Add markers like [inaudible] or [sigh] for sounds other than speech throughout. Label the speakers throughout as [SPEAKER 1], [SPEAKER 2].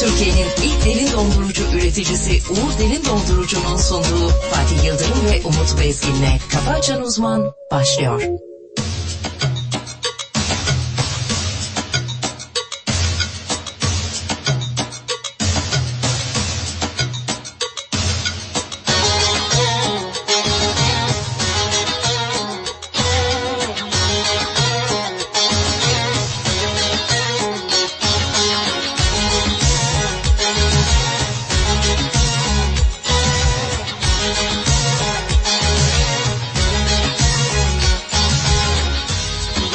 [SPEAKER 1] Türkiye'nin ilk derin dondurucu üreticisi Uğur Derin Dondurucu'nun sunduğu Fatih Yıldırım ve Umut Bezgin'le Kafa Açan Uzman başlıyor.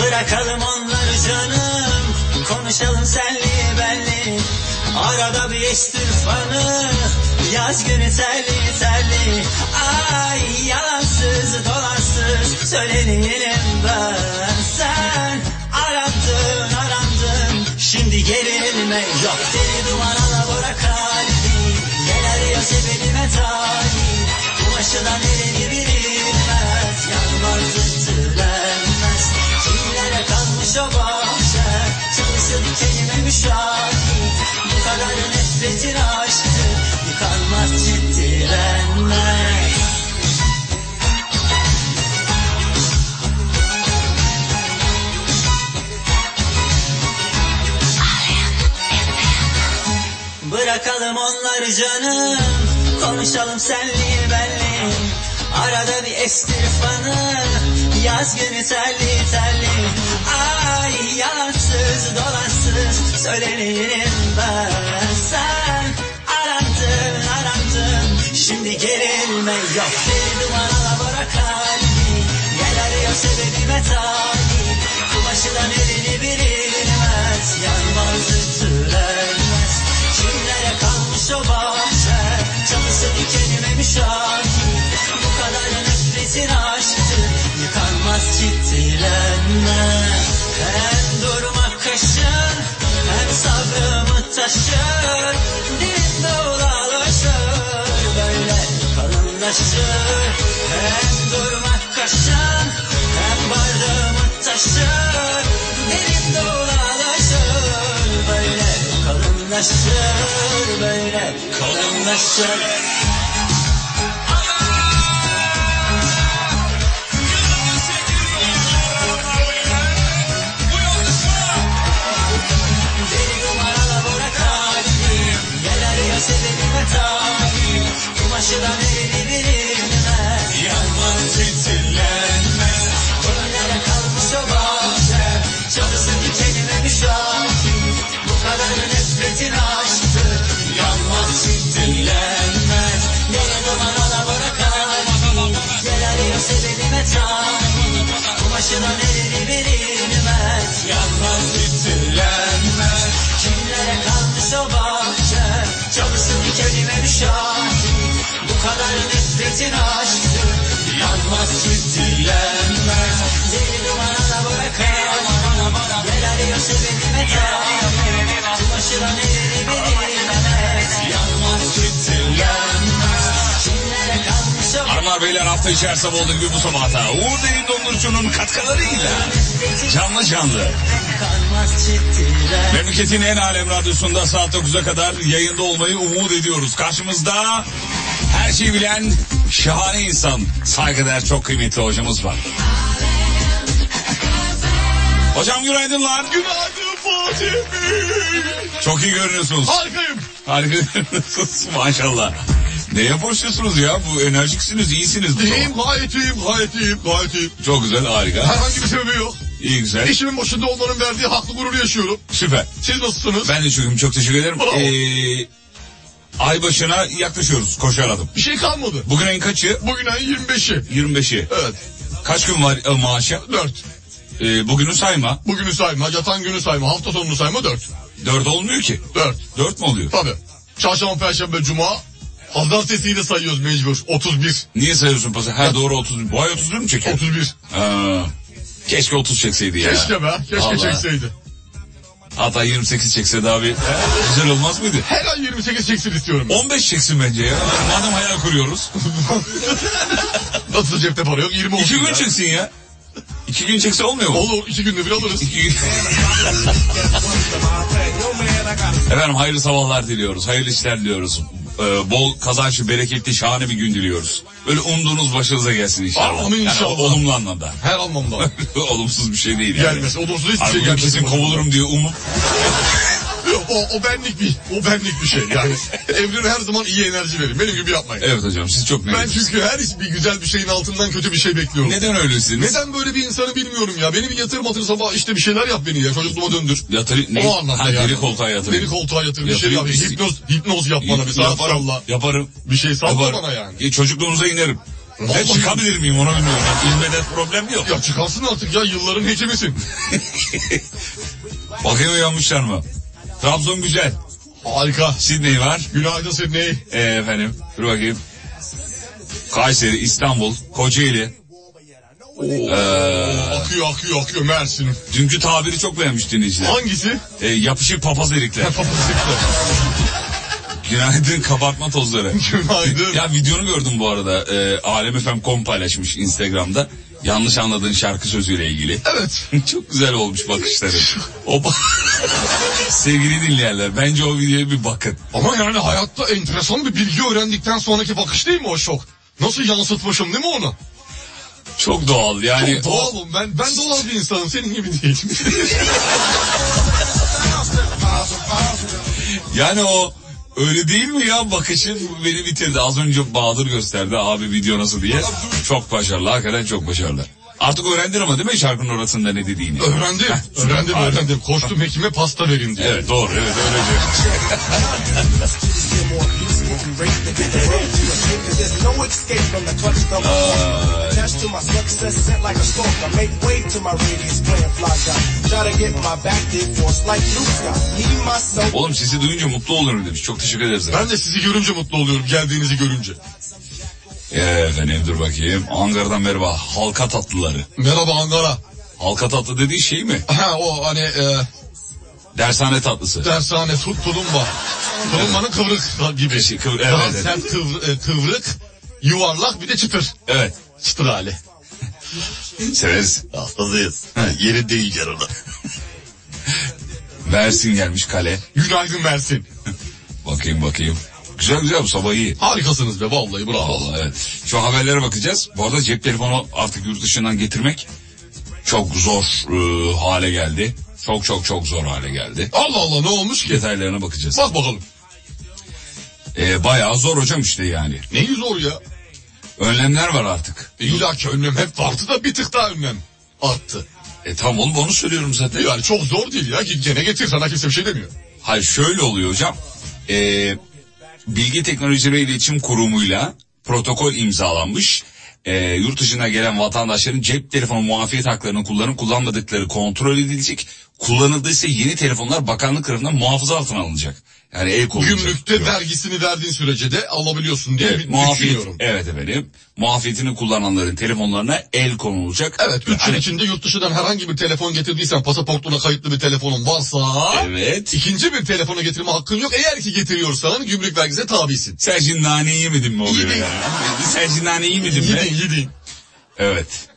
[SPEAKER 2] Bırakalım onları canım Konuşalım senli benli Arada bir istirfanı Yaz günü terli terli Ay yalansız dolansız Söyleneyim ben Sen arandın arandın Şimdi gerilme yok Deli duman alabora kalbim Gel arıyor sebebime talim Kumaşıdan elini bilinmez Yanmaz zıttırlenmez Kimlere kalmış o bahçe Çalışır kelime müşahit Bu kadar nefretin aştı Yıkanmaz ciddilenmez Bırakalım onları canım Konuşalım senli benli Arada bir estirfanı Yaz günü telli telli Ay yalansız dolansız Söylenirim ben Sen arandın arandın Şimdi gerilme yok Deli duman alabora kalbi Gel arıyor sebebime talip Kumaşıdan elini bilinmez Yanmaz ütülenmez Kimlere kalmış o bahçe Çalısı dikenime müşahit Bu kadar nefretin aşktı Yıkanmaz ciddilenme Hem durma kaşın Hem sabrımı taşır Dilimde dolaşır Böyle kalınlaşır Hem durma kaşın Hem bardağımı taşır Dilimde dolaşır Böyle kalınlaşır Böyle kalınlaşır Deli numaralı bora kalbim Gel arıyor sebebime talim Kumaşıdan elini bilinmez Yanmaz titrilenmez Önlere kalmış o bahçe Çalısı dikenime müşahit Bu kadar nefretin aşktı Yanmaz titrilenmez Deli numaralı bora kalbim Gel arıyor sebebime talim Kumaşıdan elini bilinmez Yanmaz titrilenmez Kimlere kalmış o bahçe Çalısı dikenime müşahit Bu kadar nefretin aşktı Yanmaz titrilenmez Deli dumanına bırakamam Gel arıyor sebebime talim Kumaşıdan elini bilinmez Yanmaz titrilenmez Kimlere kalmış o
[SPEAKER 3] Hanımlar beyler hafta içi her sabah olduğu gibi bu sabah da Uğur Derin Dondurucu'nun katkılarıyla canlı canlı
[SPEAKER 2] Kalmaz ciddiler
[SPEAKER 3] memleketin en alem radyosunda saat 9'a kadar yayında olmayı umut ediyoruz. Karşımızda her şeyi bilen şahane insan saygıdeğer çok kıymetli hocamız var. Hocam günaydınlar.
[SPEAKER 4] Günaydın Fatih Bey.
[SPEAKER 3] Çok iyi görünüyorsunuz.
[SPEAKER 4] Harikayım.
[SPEAKER 3] Harika görünüyorsunuz maşallah. Neye boşuyorsunuz ya? Bu enerjiksiniz, iyisiniz. bu sabah.
[SPEAKER 4] İyiyim gayet iyiyim gayet iyiyim gayet iyiyim.
[SPEAKER 3] Çok güzel, harika.
[SPEAKER 4] Herhangi bir sebebi yok.
[SPEAKER 3] İyi güzel.
[SPEAKER 4] İşimin başında olmanın verdiği haklı gururu yaşıyorum.
[SPEAKER 3] Süper.
[SPEAKER 4] Siz nasılsınız?
[SPEAKER 3] Ben de çokum çok teşekkür ederim.
[SPEAKER 4] Bravo.
[SPEAKER 3] Ee, ay başına yaklaşıyoruz koşar adım.
[SPEAKER 4] Bir şey kalmadı.
[SPEAKER 3] Bugün ayın kaçı?
[SPEAKER 4] Bugün ayın 25'i.
[SPEAKER 3] 25'i.
[SPEAKER 4] Evet.
[SPEAKER 3] Kaç gün var e, maaşa?
[SPEAKER 4] 4.
[SPEAKER 3] Ee, bugünü sayma.
[SPEAKER 4] Bugünü sayma, yatan günü sayma, hafta sonunu sayma 4.
[SPEAKER 3] 4 olmuyor ki.
[SPEAKER 4] 4.
[SPEAKER 3] 4 mü oluyor?
[SPEAKER 4] Tabii. Çarşamba, perşembe, cuma. Pazartesiyi de sayıyoruz mecbur. 31.
[SPEAKER 3] Niye sayıyorsun pası? Ha doğru 30. Bu ay 30 mu çekiyor?
[SPEAKER 4] 31.
[SPEAKER 3] Aa, keşke 30 çekseydi ya.
[SPEAKER 4] Keşke be. Keşke
[SPEAKER 3] Vallahi.
[SPEAKER 4] çekseydi.
[SPEAKER 3] Hatta 28 çekse daha bir güzel olmaz mıydı?
[SPEAKER 4] Her ay 28 çeksin istiyorum.
[SPEAKER 3] 15 çeksin bence ya. Madem
[SPEAKER 4] [laughs]
[SPEAKER 3] hayal kuruyoruz.
[SPEAKER 4] Nasıl cepte para yok? 20 olsun.
[SPEAKER 3] 2 gün
[SPEAKER 4] ya.
[SPEAKER 3] çeksin ya. İki gün çekse olmuyor mu?
[SPEAKER 4] Olur iki günde bir alırız.
[SPEAKER 3] İki gün. Efendim hayırlı sabahlar diliyoruz. Hayırlı işler diliyoruz. Ee, bol kazançlı, bereketli, şahane bir gün diliyoruz. Böyle umduğunuz başınıza gelsin inşallah.
[SPEAKER 4] Amin
[SPEAKER 3] Yani
[SPEAKER 4] inşallah.
[SPEAKER 3] olumlu anlamda. [laughs]
[SPEAKER 4] Her anlamda.
[SPEAKER 3] Olumsuz bir şey değil yani.
[SPEAKER 4] Gelmesin. Olumsuz hiçbir şey
[SPEAKER 3] Abi
[SPEAKER 4] gelmesin.
[SPEAKER 3] kesin kovulurum diye umup
[SPEAKER 4] O, o benlik bir, o benlik bir şey yani. Evrene her zaman iyi enerji verin. Benim gibi yapmayın.
[SPEAKER 3] Evet hocam siz çok
[SPEAKER 4] Ben
[SPEAKER 3] negatifsiniz.
[SPEAKER 4] çünkü her iş- bir güzel bir şeyin altından kötü bir şey bekliyorum.
[SPEAKER 3] Neden öylesiniz?
[SPEAKER 4] Neden böyle bir insanı bilmiyorum ya. Beni bir yatır matır sabah işte bir şeyler yap beni ya. Çocukluğuma döndür.
[SPEAKER 3] Yatır, ne?
[SPEAKER 4] O anlamda
[SPEAKER 3] ha,
[SPEAKER 4] yani.
[SPEAKER 3] Deri koltuğa yatır.
[SPEAKER 4] Beni koltuğa yatır. Bir şey
[SPEAKER 3] Yatırayım
[SPEAKER 4] yap.
[SPEAKER 3] biz-
[SPEAKER 4] Hipnoz, hipnoz yap bana mesela.
[SPEAKER 3] Yaparım.
[SPEAKER 4] Salla.
[SPEAKER 3] Yaparım.
[SPEAKER 4] Bir şey salla
[SPEAKER 3] yaparım.
[SPEAKER 4] bana yani.
[SPEAKER 3] E, Çocukluğumuza inerim. Ne
[SPEAKER 4] Vallahi-
[SPEAKER 3] çıkabilir miyim onu bilmiyorum. Yani İnmeden problem yok.
[SPEAKER 4] Ya çıkarsın artık ya yılların hekimisin.
[SPEAKER 3] Bakayım uyanmışlar mı? Trabzon güzel.
[SPEAKER 4] Harika.
[SPEAKER 3] Sydney var.
[SPEAKER 4] Günaydın Sydney.
[SPEAKER 3] E, efendim dur bakayım. Kayseri, İstanbul, Kocaeli. E, Ee.
[SPEAKER 4] Akıyor akıyor akıyor Mersin.
[SPEAKER 3] Dünkü tabiri çok beğenmiş dinleyiciler.
[SPEAKER 4] Hangisi?
[SPEAKER 3] E, yapışık [laughs] papaz erikler.
[SPEAKER 4] Papazlıklı.
[SPEAKER 3] Günaydın kabartma tozları.
[SPEAKER 4] Günaydın.
[SPEAKER 3] Ya videonu gördüm bu arada. E, Alemfm.com paylaşmış Instagram'da. Yanlış anladığın şarkı sözüyle ilgili.
[SPEAKER 4] Evet.
[SPEAKER 3] [laughs] Çok güzel olmuş bakışları. O ba- [laughs] Sevgili dinleyenler bence o videoya bir bakın.
[SPEAKER 4] Ama yani hayatta enteresan bir bilgi öğrendikten sonraki bakış değil mi o şok? Nasıl yansıtmışım değil mi onu?
[SPEAKER 3] Çok doğal yani.
[SPEAKER 4] Çok doğalım ben. Ben E, doğal bir insanım senin gibi değil.
[SPEAKER 3] Yani o öyle değil mi ya bakışın beni bitirdi. Az önce Bahadır gösterdi abi video nasıl diye. Çok başarılı hakikaten çok başarılı. Artık öğrendin ama değil mi şarkının orasında ne dediğini?
[SPEAKER 4] [laughs] öğrendim. öğrendim öğrendim. Koştum hekime pasta verin diye.
[SPEAKER 3] Evet doğru evet öyle diyor. Oğlum sizi duyunca mutlu olurum demiş. Çok teşekkür ederiz.
[SPEAKER 4] Ben de sizi görünce mutlu oluyorum geldiğinizi görünce.
[SPEAKER 3] Efendim dur bakayım. Ankara'dan merhaba. Halka tatlıları.
[SPEAKER 4] Merhaba Ankara.
[SPEAKER 3] Halka tatlı dediğin şey mi?
[SPEAKER 4] Ha o hani e,
[SPEAKER 3] Dershane tatlısı.
[SPEAKER 4] dershane tut tulumba. Tulumbanın kıvrık gibi.
[SPEAKER 3] Şey, kıvr- evet,
[SPEAKER 4] Daha
[SPEAKER 3] evet.
[SPEAKER 4] sert kıvr- e, kıvrık, yuvarlak bir de çıtır.
[SPEAKER 3] Evet.
[SPEAKER 4] Çıtır hali.
[SPEAKER 3] Severiz.
[SPEAKER 4] Hastasıyız. Yeri değil yarına.
[SPEAKER 3] Mersin gelmiş kale.
[SPEAKER 4] Günaydın Mersin.
[SPEAKER 3] Bakayım bakayım. Güzel güzel bu sabah iyi.
[SPEAKER 4] Harikasınız be vallahi bravo.
[SPEAKER 3] Vallahi evet. Şu haberlere bakacağız. Bu arada cep telefonu artık yurt dışından getirmek çok zor e, hale geldi. Çok çok çok zor hale geldi.
[SPEAKER 4] Allah Allah ne olmuş ki?
[SPEAKER 3] Detaylarına bakacağız.
[SPEAKER 4] Bak bakalım.
[SPEAKER 3] E, bayağı zor hocam işte yani.
[SPEAKER 4] Neyi zor ya?
[SPEAKER 3] Önlemler var artık.
[SPEAKER 4] İlla ki önlem hep vardı da bir tık daha önlem arttı.
[SPEAKER 3] E tamam oğlum onu söylüyorum zaten.
[SPEAKER 4] Yani çok zor değil ya ki gene getir sana kimse bir şey demiyor.
[SPEAKER 3] Hayır şöyle oluyor hocam. Ee, Bilgi Teknolojileri ve İletişim Kurumu'yla protokol imzalanmış. Ee, yurt dışına gelen vatandaşların cep telefonu muafiyet haklarını kullanıp kullanmadıkları kontrol edilecek. Kullanıldıysa yeni telefonlar bakanlık tarafından muhafaza altına alınacak. Yani el konulacak.
[SPEAKER 4] Gümrükte vergisini verdiğin sürece de alabiliyorsun diye
[SPEAKER 3] şey. Evet,
[SPEAKER 4] bir-
[SPEAKER 3] muafiyet, E,
[SPEAKER 4] düşünüyorum.
[SPEAKER 3] evet efendim. Muafiyetini kullananların telefonlarına el konulacak.
[SPEAKER 4] Evet 3 yıl
[SPEAKER 3] Hani-
[SPEAKER 4] içinde yurt dışından herhangi bir telefon getirdiysen pasaportuna kayıtlı bir telefonun varsa
[SPEAKER 3] Evet.
[SPEAKER 4] ikinci bir telefona getirme hakkın yok. Eğer ki getiriyorsan gümrük vergisine tabisin.
[SPEAKER 3] Sen şimdi naneyi yemedin mi oluyor
[SPEAKER 4] Yedim.
[SPEAKER 3] ya? Sen şimdi naneyi yemedin mi?
[SPEAKER 4] Yedin yedin.
[SPEAKER 3] Evet.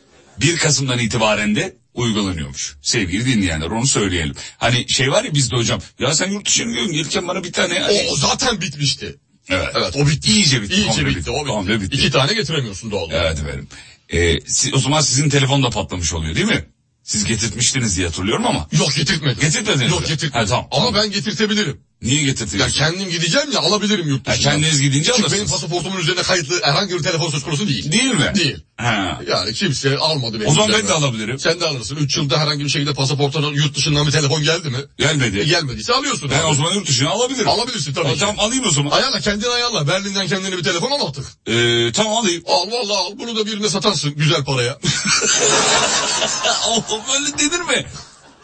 [SPEAKER 3] 1 Kasım'dan itibaren de uygulanıyormuş. Sevgili dinleyenler onu söyleyelim. Hani şey var ya bizde hocam. Ya sen yurt dışına gidiyorsun gelirken bana bir tane...
[SPEAKER 4] O zaten bitmişti.
[SPEAKER 3] evet.
[SPEAKER 4] Evet o bitti.
[SPEAKER 3] İyice bitti.
[SPEAKER 4] İyice
[SPEAKER 3] komple
[SPEAKER 4] bitti. O bitti.
[SPEAKER 3] Komple bitti.
[SPEAKER 4] İki tane getiremiyorsun doğal olarak.
[SPEAKER 3] Evet efendim. Ee, si- o zaman sizin telefon da patlamış oluyor değil mi? Siz getirtmiştiniz diye hatırlıyorum ama.
[SPEAKER 4] Yok getirtmedim.
[SPEAKER 3] şey Getirtmediniz mi?
[SPEAKER 4] Yok getirtmedim.
[SPEAKER 3] Ha, tamam.
[SPEAKER 4] Ama
[SPEAKER 3] Tamam.
[SPEAKER 4] ben getirtebilirim.
[SPEAKER 3] Niye
[SPEAKER 4] Ya
[SPEAKER 3] getirtiyorsunuz?
[SPEAKER 4] kendim gideceğim ya alabilirim yurt
[SPEAKER 3] Ha,
[SPEAKER 4] dışından.
[SPEAKER 3] kendiniz gidince
[SPEAKER 4] Çünkü benim
[SPEAKER 3] alırsınız.
[SPEAKER 4] pasaportumun üzerine kayıtlı herhangi bir telefon söz konusu değil.
[SPEAKER 3] Değil mi?
[SPEAKER 4] Değil.
[SPEAKER 3] Ha.
[SPEAKER 4] Yani kimse almadı benim
[SPEAKER 3] O zaman ben
[SPEAKER 4] üzerime.
[SPEAKER 3] de alabilirim.
[SPEAKER 4] Sen de alırsın. 3 yılda herhangi bir şekilde pasaportuna yurt dışından bir telefon geldi mi? E,
[SPEAKER 3] Gelmedi.
[SPEAKER 4] Gelmediyse alıyorsun.
[SPEAKER 3] Ben
[SPEAKER 4] abi.
[SPEAKER 3] o zaman yurt dışına alabilirim.
[SPEAKER 4] Alabilirsin tabii.
[SPEAKER 3] E,
[SPEAKER 4] ki.
[SPEAKER 3] Tamam alayım o zaman.
[SPEAKER 4] Ayarla kendin ayarla. Berlin'den kendine bir telefon al artık.
[SPEAKER 3] Ee, tamam alayım.
[SPEAKER 4] Al valla al. Bunu da birine satarsın güzel paraya.
[SPEAKER 3] [laughs] Oğlum öyle denir mi?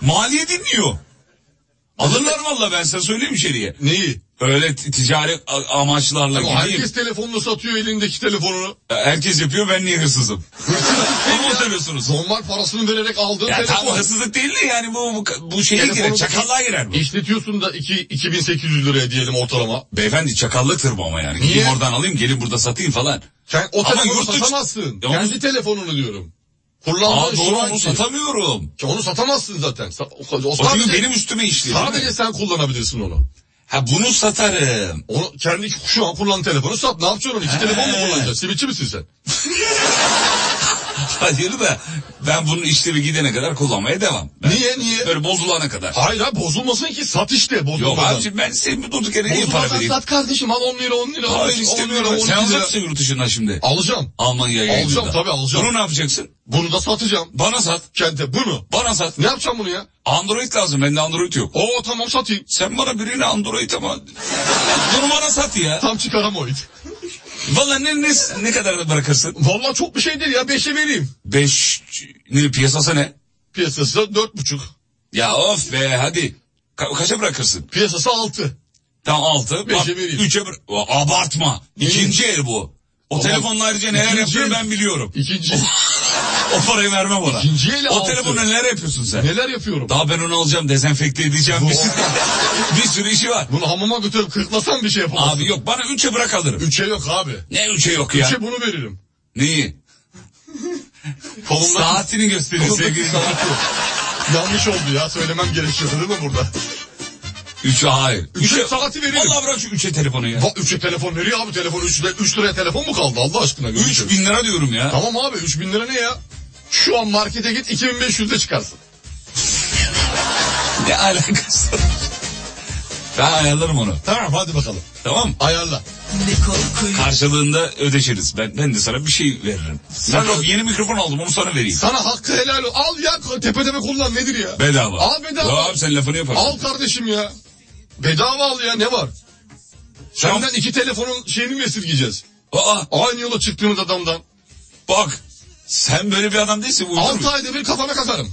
[SPEAKER 3] Maliye dinliyor. Alırlar valla ben size söyleyeyim içeriye.
[SPEAKER 4] Neyi?
[SPEAKER 3] Öyle t- ticari a- amaçlarla
[SPEAKER 4] Ama
[SPEAKER 3] gideyim.
[SPEAKER 4] herkes
[SPEAKER 3] Herkes...
[SPEAKER 4] telefonunu satıyor
[SPEAKER 3] [laughs]
[SPEAKER 4] elindeki telefonunu.
[SPEAKER 3] yapıyor ben niye hırsızım? Ama söylüyorsunuz.
[SPEAKER 4] Normal parasını vererek aldığın
[SPEAKER 3] Ya tam
[SPEAKER 4] telefon.
[SPEAKER 3] hırsızlık değil de yani bu, bu, bu şeye
[SPEAKER 4] Telefonu
[SPEAKER 3] girer
[SPEAKER 4] da-
[SPEAKER 3] çakallığa girer bu.
[SPEAKER 4] İşletiyorsun da iki- 2800 liraya diyelim ortalama.
[SPEAKER 3] Beyefendi çakallıktır bu ama yani.
[SPEAKER 4] Niye?
[SPEAKER 3] Gideyim oradan alayım gelin burada satayım falan.
[SPEAKER 4] Sen o
[SPEAKER 3] Ama
[SPEAKER 4] telefonu
[SPEAKER 3] yurt dışı-
[SPEAKER 4] satamazsın.
[SPEAKER 3] Ya onu-
[SPEAKER 4] Kendi telefonunu diyorum. Kullandığın
[SPEAKER 3] Aa, doğru
[SPEAKER 4] şu
[SPEAKER 3] onu
[SPEAKER 4] anki.
[SPEAKER 3] satamıyorum.
[SPEAKER 4] Ki onu satamazsın zaten. Sa- O, o
[SPEAKER 3] O çünkü
[SPEAKER 4] sadece,
[SPEAKER 3] benim üstüme işliyor. değil mi?
[SPEAKER 4] sadece sen kullanabilirsin onu.
[SPEAKER 3] Ha bunu satarım. [laughs]
[SPEAKER 4] Onu kendi şu an kullan telefonu sat. Ne yapacaksın onu? İki telefon mu
[SPEAKER 3] He.
[SPEAKER 4] kullanacaksın? Simitçi misin sen?
[SPEAKER 3] Hayır da ben bunun işlevi gidene kadar kullanmaya devam. Ben
[SPEAKER 4] Niye niye?
[SPEAKER 3] Böyle bozulana kadar.
[SPEAKER 4] Hayır abi bozulmasın ki sat işte
[SPEAKER 3] Yok
[SPEAKER 4] bozulmadan.
[SPEAKER 3] abiciğim ben senin bir durduk yere niye para
[SPEAKER 4] Bozulmadan
[SPEAKER 3] vereyim?
[SPEAKER 4] sat kardeşim al 10 lira 10 lira. on
[SPEAKER 3] Hayır
[SPEAKER 4] lira, on
[SPEAKER 3] istemiyorum.
[SPEAKER 4] lira, on
[SPEAKER 3] Sen
[SPEAKER 4] lira.
[SPEAKER 3] alacaksın yurt dışından şimdi.
[SPEAKER 4] Alacağım.
[SPEAKER 3] Almanya'ya
[SPEAKER 4] Alacağım,
[SPEAKER 3] yayıldığında.
[SPEAKER 4] tabii alacağım.
[SPEAKER 3] Bunu ne yapacaksın?
[SPEAKER 4] Bunu da satacağım.
[SPEAKER 3] Bana sat.
[SPEAKER 4] Kente bunu.
[SPEAKER 3] Bana sat.
[SPEAKER 4] Ne yapacağım bunu ya?
[SPEAKER 3] Android lazım. Bende Android yok.
[SPEAKER 4] Oo tamam satayım.
[SPEAKER 3] Sen bana birini Android ama [laughs] bunu bana sat ya.
[SPEAKER 4] Tam çıkaram o it.
[SPEAKER 3] Valla ne, ne, ne kadar da bırakırsın?
[SPEAKER 4] Valla çok bir şey değil ya 5'e vereyim.
[SPEAKER 3] Beş ne, piyasası ne?
[SPEAKER 4] Piyasası 4,5.
[SPEAKER 3] Ya of be hadi. Ka- kaça bırakırsın?
[SPEAKER 4] Piyasası 6.
[SPEAKER 3] Tam altı.
[SPEAKER 4] Beşe
[SPEAKER 3] bak,
[SPEAKER 4] vereyim.
[SPEAKER 3] Üçe bıra- Aa, Abartma. İkinci el bu. O
[SPEAKER 4] Ama-
[SPEAKER 3] telefonla ayrıca neler
[SPEAKER 4] İkinci
[SPEAKER 3] yapıyor
[SPEAKER 4] el-
[SPEAKER 3] ben biliyorum.
[SPEAKER 4] İkinci.
[SPEAKER 3] O parayı vermem ona.
[SPEAKER 4] İkinci el
[SPEAKER 3] O
[SPEAKER 4] altı.
[SPEAKER 3] telefonla neler yapıyorsun sen?
[SPEAKER 4] Neler yapıyorum?
[SPEAKER 3] Daha ben onu alacağım dezenfekte edeceğim. Bir, sürü- [laughs] bir sürü işi var.
[SPEAKER 4] Bunu hamama götürüp kırklasam bir şey yapamazsın.
[SPEAKER 3] Abi yok bana üçe bırak alırım.
[SPEAKER 4] 3'e yok abi.
[SPEAKER 3] Ne üçe yok ya?
[SPEAKER 4] 3'e bunu veririm.
[SPEAKER 3] Neyi?
[SPEAKER 4] Kolumda
[SPEAKER 3] Saatini gösterin sevgili
[SPEAKER 4] saati. Yanlış oldu ya söylemem gerekiyordu değil mi burada?
[SPEAKER 3] Üçe hayır.
[SPEAKER 4] Üçe saati veririm.
[SPEAKER 3] Vallahi bırak şu üçe telefonu ya.
[SPEAKER 4] Va 3'e telefon veriyor abi telefon 3 3 liraya telefon mu kaldı Allah aşkına?
[SPEAKER 3] Üç bin lira diyorum ya.
[SPEAKER 4] Tamam abi 3000 lira ne ya? Şu an markete git 2500'de çıkarsın.
[SPEAKER 3] Ne alakası var? Ben ayarlarım onu.
[SPEAKER 4] Tamam hadi bakalım.
[SPEAKER 3] Tamam mı?
[SPEAKER 4] Ayarla.
[SPEAKER 3] Karşılığında ödeşiriz. Ben, ben de sana bir şey veririm. Ben bak yeni mikrofon aldım onu sana vereyim.
[SPEAKER 4] Sana hakkı helal ol. Al ya tepe tepe kullan nedir ya?
[SPEAKER 3] Bedava.
[SPEAKER 4] Al bedava.
[SPEAKER 3] Ya abi sen lafını yaparsın.
[SPEAKER 4] Al kardeşim ya. Bedava al ya ne var?
[SPEAKER 3] Tamam.
[SPEAKER 4] Senden iki telefonun şeyini mi esirgeyeceğiz?
[SPEAKER 3] Aa
[SPEAKER 4] Aynı yola çıktığımız adamdan.
[SPEAKER 3] bak. Sen böyle bir adam değilsin. Uydurma.
[SPEAKER 4] 6 ayda bir kafana kasarım.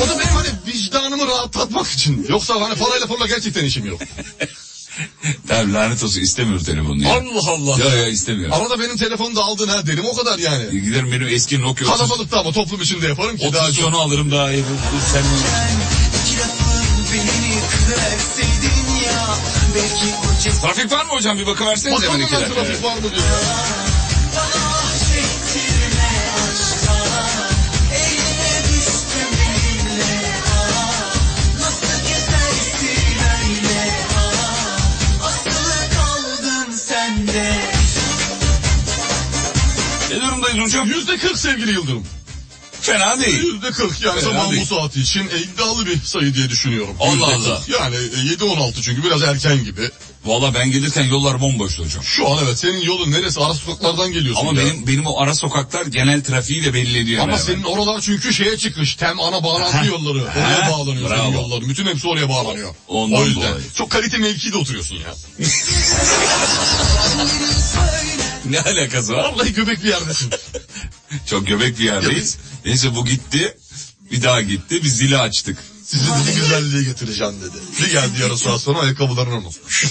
[SPEAKER 4] o da benim hani vicdanımı rahatlatmak için. Yoksa hani parayla pulla gerçekten işim yok.
[SPEAKER 3] Tamam lanet olsun istemiyorum telefonunu ya.
[SPEAKER 4] Allah Allah.
[SPEAKER 3] Ya ya istemiyorum. E,
[SPEAKER 4] Arada benim telefonu da aldın ha derim o kadar yani.
[SPEAKER 3] Giderim benim eski Nokia 30
[SPEAKER 4] Kalabalıkta ama toplum içinde yaparım ki daha
[SPEAKER 3] 30
[SPEAKER 4] çok.
[SPEAKER 3] sonu alırım daha iyi. Sen
[SPEAKER 2] İki lafın beni kırarsaydın ya Belki o ceza
[SPEAKER 3] Trafik var mı hocam bir bakıverseniz
[SPEAKER 4] Bakalım
[SPEAKER 3] hemen
[SPEAKER 4] ben
[SPEAKER 3] iki dakika.
[SPEAKER 4] trafik var mı diyor.
[SPEAKER 2] bana çektirme aşka Eline düştüm elimle ah. Nasıl gezersin öyle ah. Asılı kaldın sen de
[SPEAKER 3] Ne durumdayız hocam?
[SPEAKER 4] Yüzde kırk sevgili Yıldırım.
[SPEAKER 3] Fena değil.
[SPEAKER 4] Yüzde kırk yani
[SPEAKER 3] Evet,
[SPEAKER 4] sabah
[SPEAKER 3] abi.
[SPEAKER 4] bu saati için e, iddialı bir sayı diye düşünüyorum.
[SPEAKER 3] Allah
[SPEAKER 4] Yüzde
[SPEAKER 3] Allah.
[SPEAKER 4] kırk. Yani e, yedi on altı çünkü biraz erken gibi.
[SPEAKER 3] Valla ben gelirken yollar bomboştu hocam.
[SPEAKER 4] Şu an evet senin yolun neresi ara sokaklardan geliyorsun
[SPEAKER 3] Ama
[SPEAKER 4] ya.
[SPEAKER 3] benim benim o ara sokaklar genel trafiği de belli ediyor.
[SPEAKER 4] Ama
[SPEAKER 3] hemen
[SPEAKER 4] senin oralar çünkü şeye çıkış. Tem
[SPEAKER 3] [laughs]
[SPEAKER 4] ana
[SPEAKER 3] Ha.
[SPEAKER 4] bağlantı yolları. Oraya
[SPEAKER 3] Ha.
[SPEAKER 4] bağlanıyor
[SPEAKER 3] Bravo.
[SPEAKER 4] senin yolların. Bütün hepsi oraya bağlanıyor.
[SPEAKER 3] Ondan
[SPEAKER 4] o yüzden.
[SPEAKER 3] dolayı.
[SPEAKER 4] Çok kalite mevkide oturuyorsun ya.
[SPEAKER 3] hemen. [laughs] Ne alakası var?
[SPEAKER 4] Vallahi göbek bir yerdesin.
[SPEAKER 3] Çok göbek bir yerdeyiz. Neyse bu gitti. Bir daha gitti. Biz zili açtık.
[SPEAKER 4] Sizi dedi güzelliğe getireceğim dedi. Bir geldi yarım saat sonra ayakkabılarını unutmuş.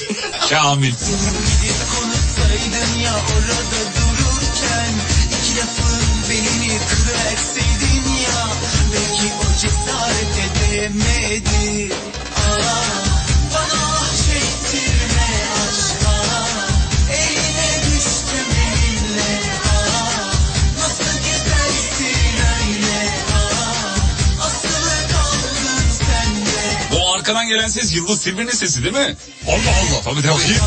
[SPEAKER 3] Kamil.
[SPEAKER 2] Gidip konuşsaydın ya orada dururken iki lafın belini kırarsaydın ya Belki o cesaret edemedi Ah, Bana çektirme aşka Eline düştüm elinle ah. Nasıl gezersin öyle ah. Asılı kaldın sen de
[SPEAKER 3] O arkadan gelen ses Yıldız Tilbe'nin sesi değil mi?
[SPEAKER 4] Allah Allah.
[SPEAKER 3] Tabii tabii.
[SPEAKER 2] Eline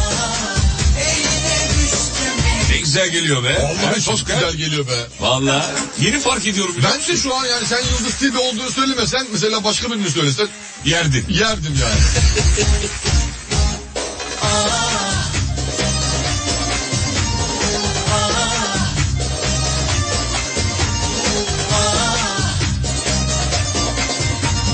[SPEAKER 2] düştüm elinle
[SPEAKER 3] Ne güzel geliyor be.
[SPEAKER 4] Vallahi
[SPEAKER 3] Evet,
[SPEAKER 4] çok
[SPEAKER 3] Oscar.
[SPEAKER 4] güzel geliyor be.
[SPEAKER 3] Valla yeni fark ediyorum. biliyor
[SPEAKER 4] Ben de şu an yani sen Yıldız Tilbe olduğunu söylemesen mesela başka birini söylesen
[SPEAKER 3] musun? Yerdin.
[SPEAKER 4] yerdim yani.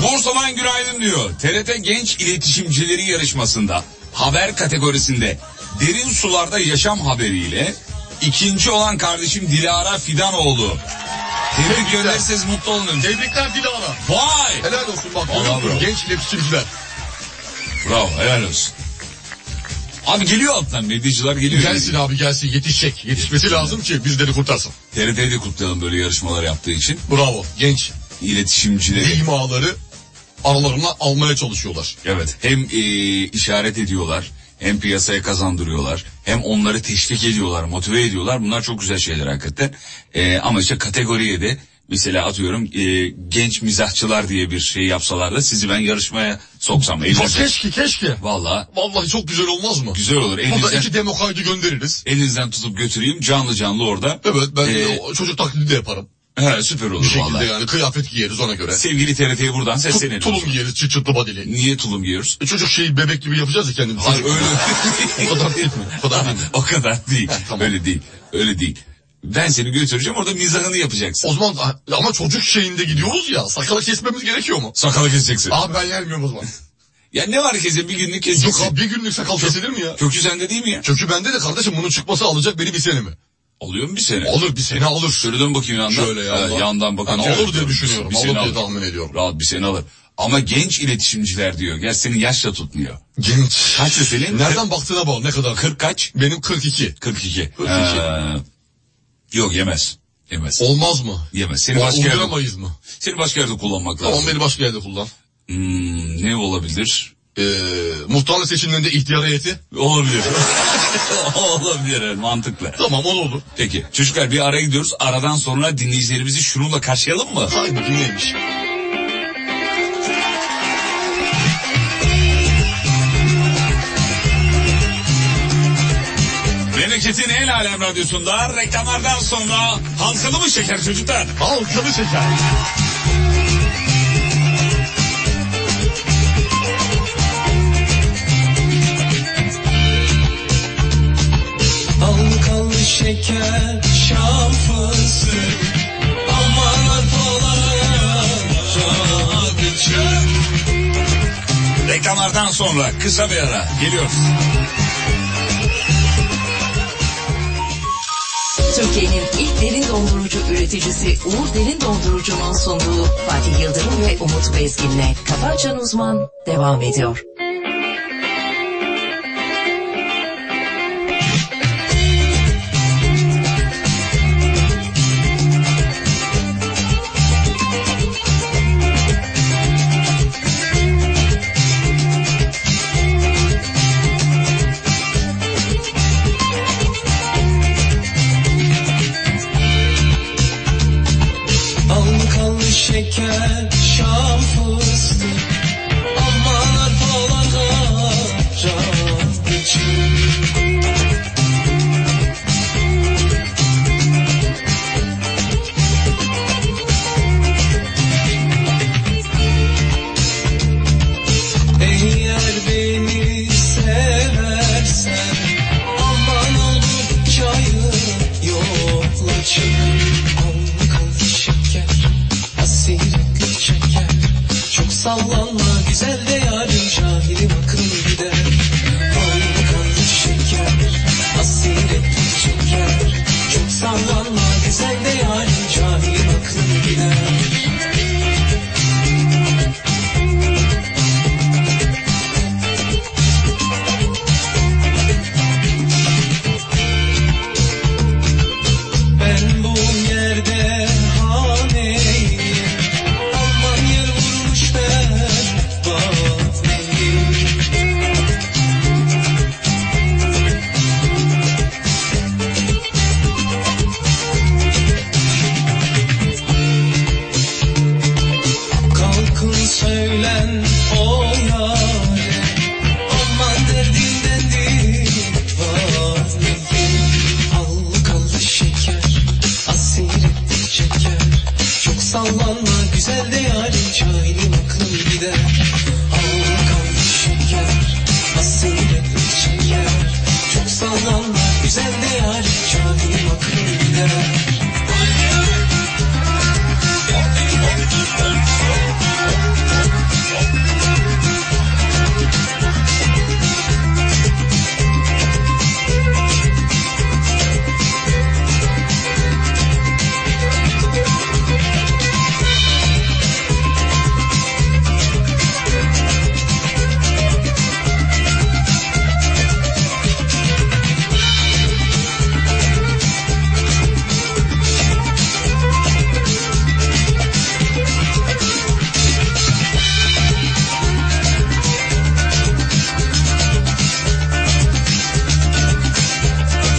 [SPEAKER 3] Bursa'dan günaydın diyor. TRT Genç İletişimcileri Yarışması'nda haber kategorisinde derin sularda yaşam haberiyle ikinci olan kardeşim Dilara Fidanoğlu. Tebrik gönderirseniz mutlu olun.
[SPEAKER 4] Tebrikler Dilara.
[SPEAKER 3] Vay!
[SPEAKER 4] Helal olsun bak.
[SPEAKER 3] Vallahi
[SPEAKER 4] görüyor musun?
[SPEAKER 3] bravo.
[SPEAKER 4] Genç iletişimciler.
[SPEAKER 3] Bravo helal olsun. Abi geliyor alttan medyacılar geliyor.
[SPEAKER 4] Gelsin abi gelsin yetişecek. Yetişmesi lazım ki bizleri kurtarsın.
[SPEAKER 3] TRT'yi de kutlayalım böyle yarışmalar yaptığı için.
[SPEAKER 4] Bravo genç
[SPEAKER 3] İletişimcileri.
[SPEAKER 4] imaları aralarına almaya çalışıyorlar.
[SPEAKER 3] Evet hem e, işaret ediyorlar hem piyasaya kazandırıyorlar hem onları teşvik ediyorlar motive ediyorlar bunlar çok güzel şeyler hakikaten Ee, ama işte kategoriye de mesela atıyorum e, genç mizahçılar diye bir şey yapsalar da sizi ben yarışmaya soksam
[SPEAKER 4] Ya
[SPEAKER 3] elinize.
[SPEAKER 4] keşke keşke.
[SPEAKER 3] Valla
[SPEAKER 4] Vallahi çok güzel olmaz mı?
[SPEAKER 3] güzel olur
[SPEAKER 4] Hatta
[SPEAKER 3] elinizden,
[SPEAKER 4] iki demo kaydı göndeririz.
[SPEAKER 3] elinizden tutup götüreyim canlı canlı orada.
[SPEAKER 4] Evet ben de
[SPEAKER 3] Ee,
[SPEAKER 4] o- çocuk taklidi de yaparım.
[SPEAKER 3] He, süper
[SPEAKER 4] Bir
[SPEAKER 3] olur
[SPEAKER 4] şekilde
[SPEAKER 3] valla.
[SPEAKER 4] yani kıyafet giyeriz ona göre.
[SPEAKER 3] Sevgili TRT'ye buradan
[SPEAKER 4] Tu-
[SPEAKER 3] seslenelim.
[SPEAKER 4] tulum giyeriz çıt çıtlı badili.
[SPEAKER 3] Niye tulum giyiyoruz?
[SPEAKER 4] E, Çocuk şeyi bebek gibi yapacağız ya kendimizi.
[SPEAKER 3] Hayır öyle
[SPEAKER 4] [laughs] O kadar değil mi? O kadar değil mi?
[SPEAKER 3] o kadar değil.
[SPEAKER 4] [laughs] tamam.
[SPEAKER 3] Öyle değil. Öyle değil. Ben seni götüreceğim orada mizahını yapacaksın.
[SPEAKER 4] O zaman ama çocuk şeyinde gidiyoruz ya sakala kesmemiz gerekiyor mu?
[SPEAKER 3] Sakalı keseceksin.
[SPEAKER 4] Abi ben yermiyorum o zaman.
[SPEAKER 3] Ya ne var kesin bir günlük
[SPEAKER 4] [laughs] Yok
[SPEAKER 3] keseceksin.
[SPEAKER 4] abi bir günlük sakal kesilir mi ya?
[SPEAKER 3] Kökü sende değil mi ya?
[SPEAKER 4] Çünkü bende de kardeşim bunun çıkması alacak beni bir sene mi?
[SPEAKER 3] Oluyor mu bir sene?
[SPEAKER 4] Alır bir sene alır.
[SPEAKER 3] Şöyle dön bakayım yandan.
[SPEAKER 4] Şöyle yandan.
[SPEAKER 3] Ha, yandan bakınca.
[SPEAKER 4] Yani olur diye
[SPEAKER 3] evet,
[SPEAKER 4] düşünüyorum.
[SPEAKER 3] bir sene
[SPEAKER 4] Olur diye
[SPEAKER 3] alır.
[SPEAKER 4] tahmin ediyorum.
[SPEAKER 3] Rahat bir sene alır. Ama genç iletişimciler diyor. Ya seni yaşla tutmuyor.
[SPEAKER 4] Genç.
[SPEAKER 3] Kaçtı senin?
[SPEAKER 4] Nereden baktığına bağlı ne kadar.
[SPEAKER 3] 40 kaç?
[SPEAKER 4] Benim 42.
[SPEAKER 3] 42.
[SPEAKER 4] 42.
[SPEAKER 3] Ee, yok yemez. Yemez.
[SPEAKER 4] Olmaz mı?
[SPEAKER 3] Yemez. Seni başka yerde,
[SPEAKER 4] Uyduramayız mı?
[SPEAKER 3] seni başka yerde kullanmak lazım.
[SPEAKER 4] Tamam beni başka yerde kullan.
[SPEAKER 3] Hmm, ne olabilir?
[SPEAKER 4] Ee, muhtarlık seçimlerinde ihtiyar heyeti.
[SPEAKER 3] Olabilir. [laughs] olabilir evet, mantıklı.
[SPEAKER 4] Tamam o da olur.
[SPEAKER 3] Peki çocuklar bir araya gidiyoruz. Aradan sonra dinleyicilerimizi şununla karşılayalım mı?
[SPEAKER 4] Hayır bakayım neymiş.
[SPEAKER 3] Memleketin el alem radyosunda reklamlardan sonra halkalı mı şeker çocuklar?
[SPEAKER 4] Halkalı şeker.
[SPEAKER 2] Halkalı şeker, şam fıstığı Aman atolaya rahat içer
[SPEAKER 3] Reklamlardan sonra kısa bir ara geliyoruz.
[SPEAKER 1] Türkiye'nin ilk derin dondurucu üreticisi Uğur Derin Dondurucu'nun sunduğu Fatih Yıldırım ve Umut Bezgin'le Kafa Açan Uzman devam ediyor.
[SPEAKER 2] Halkalı şeker, şam fıstığı Aman atolaya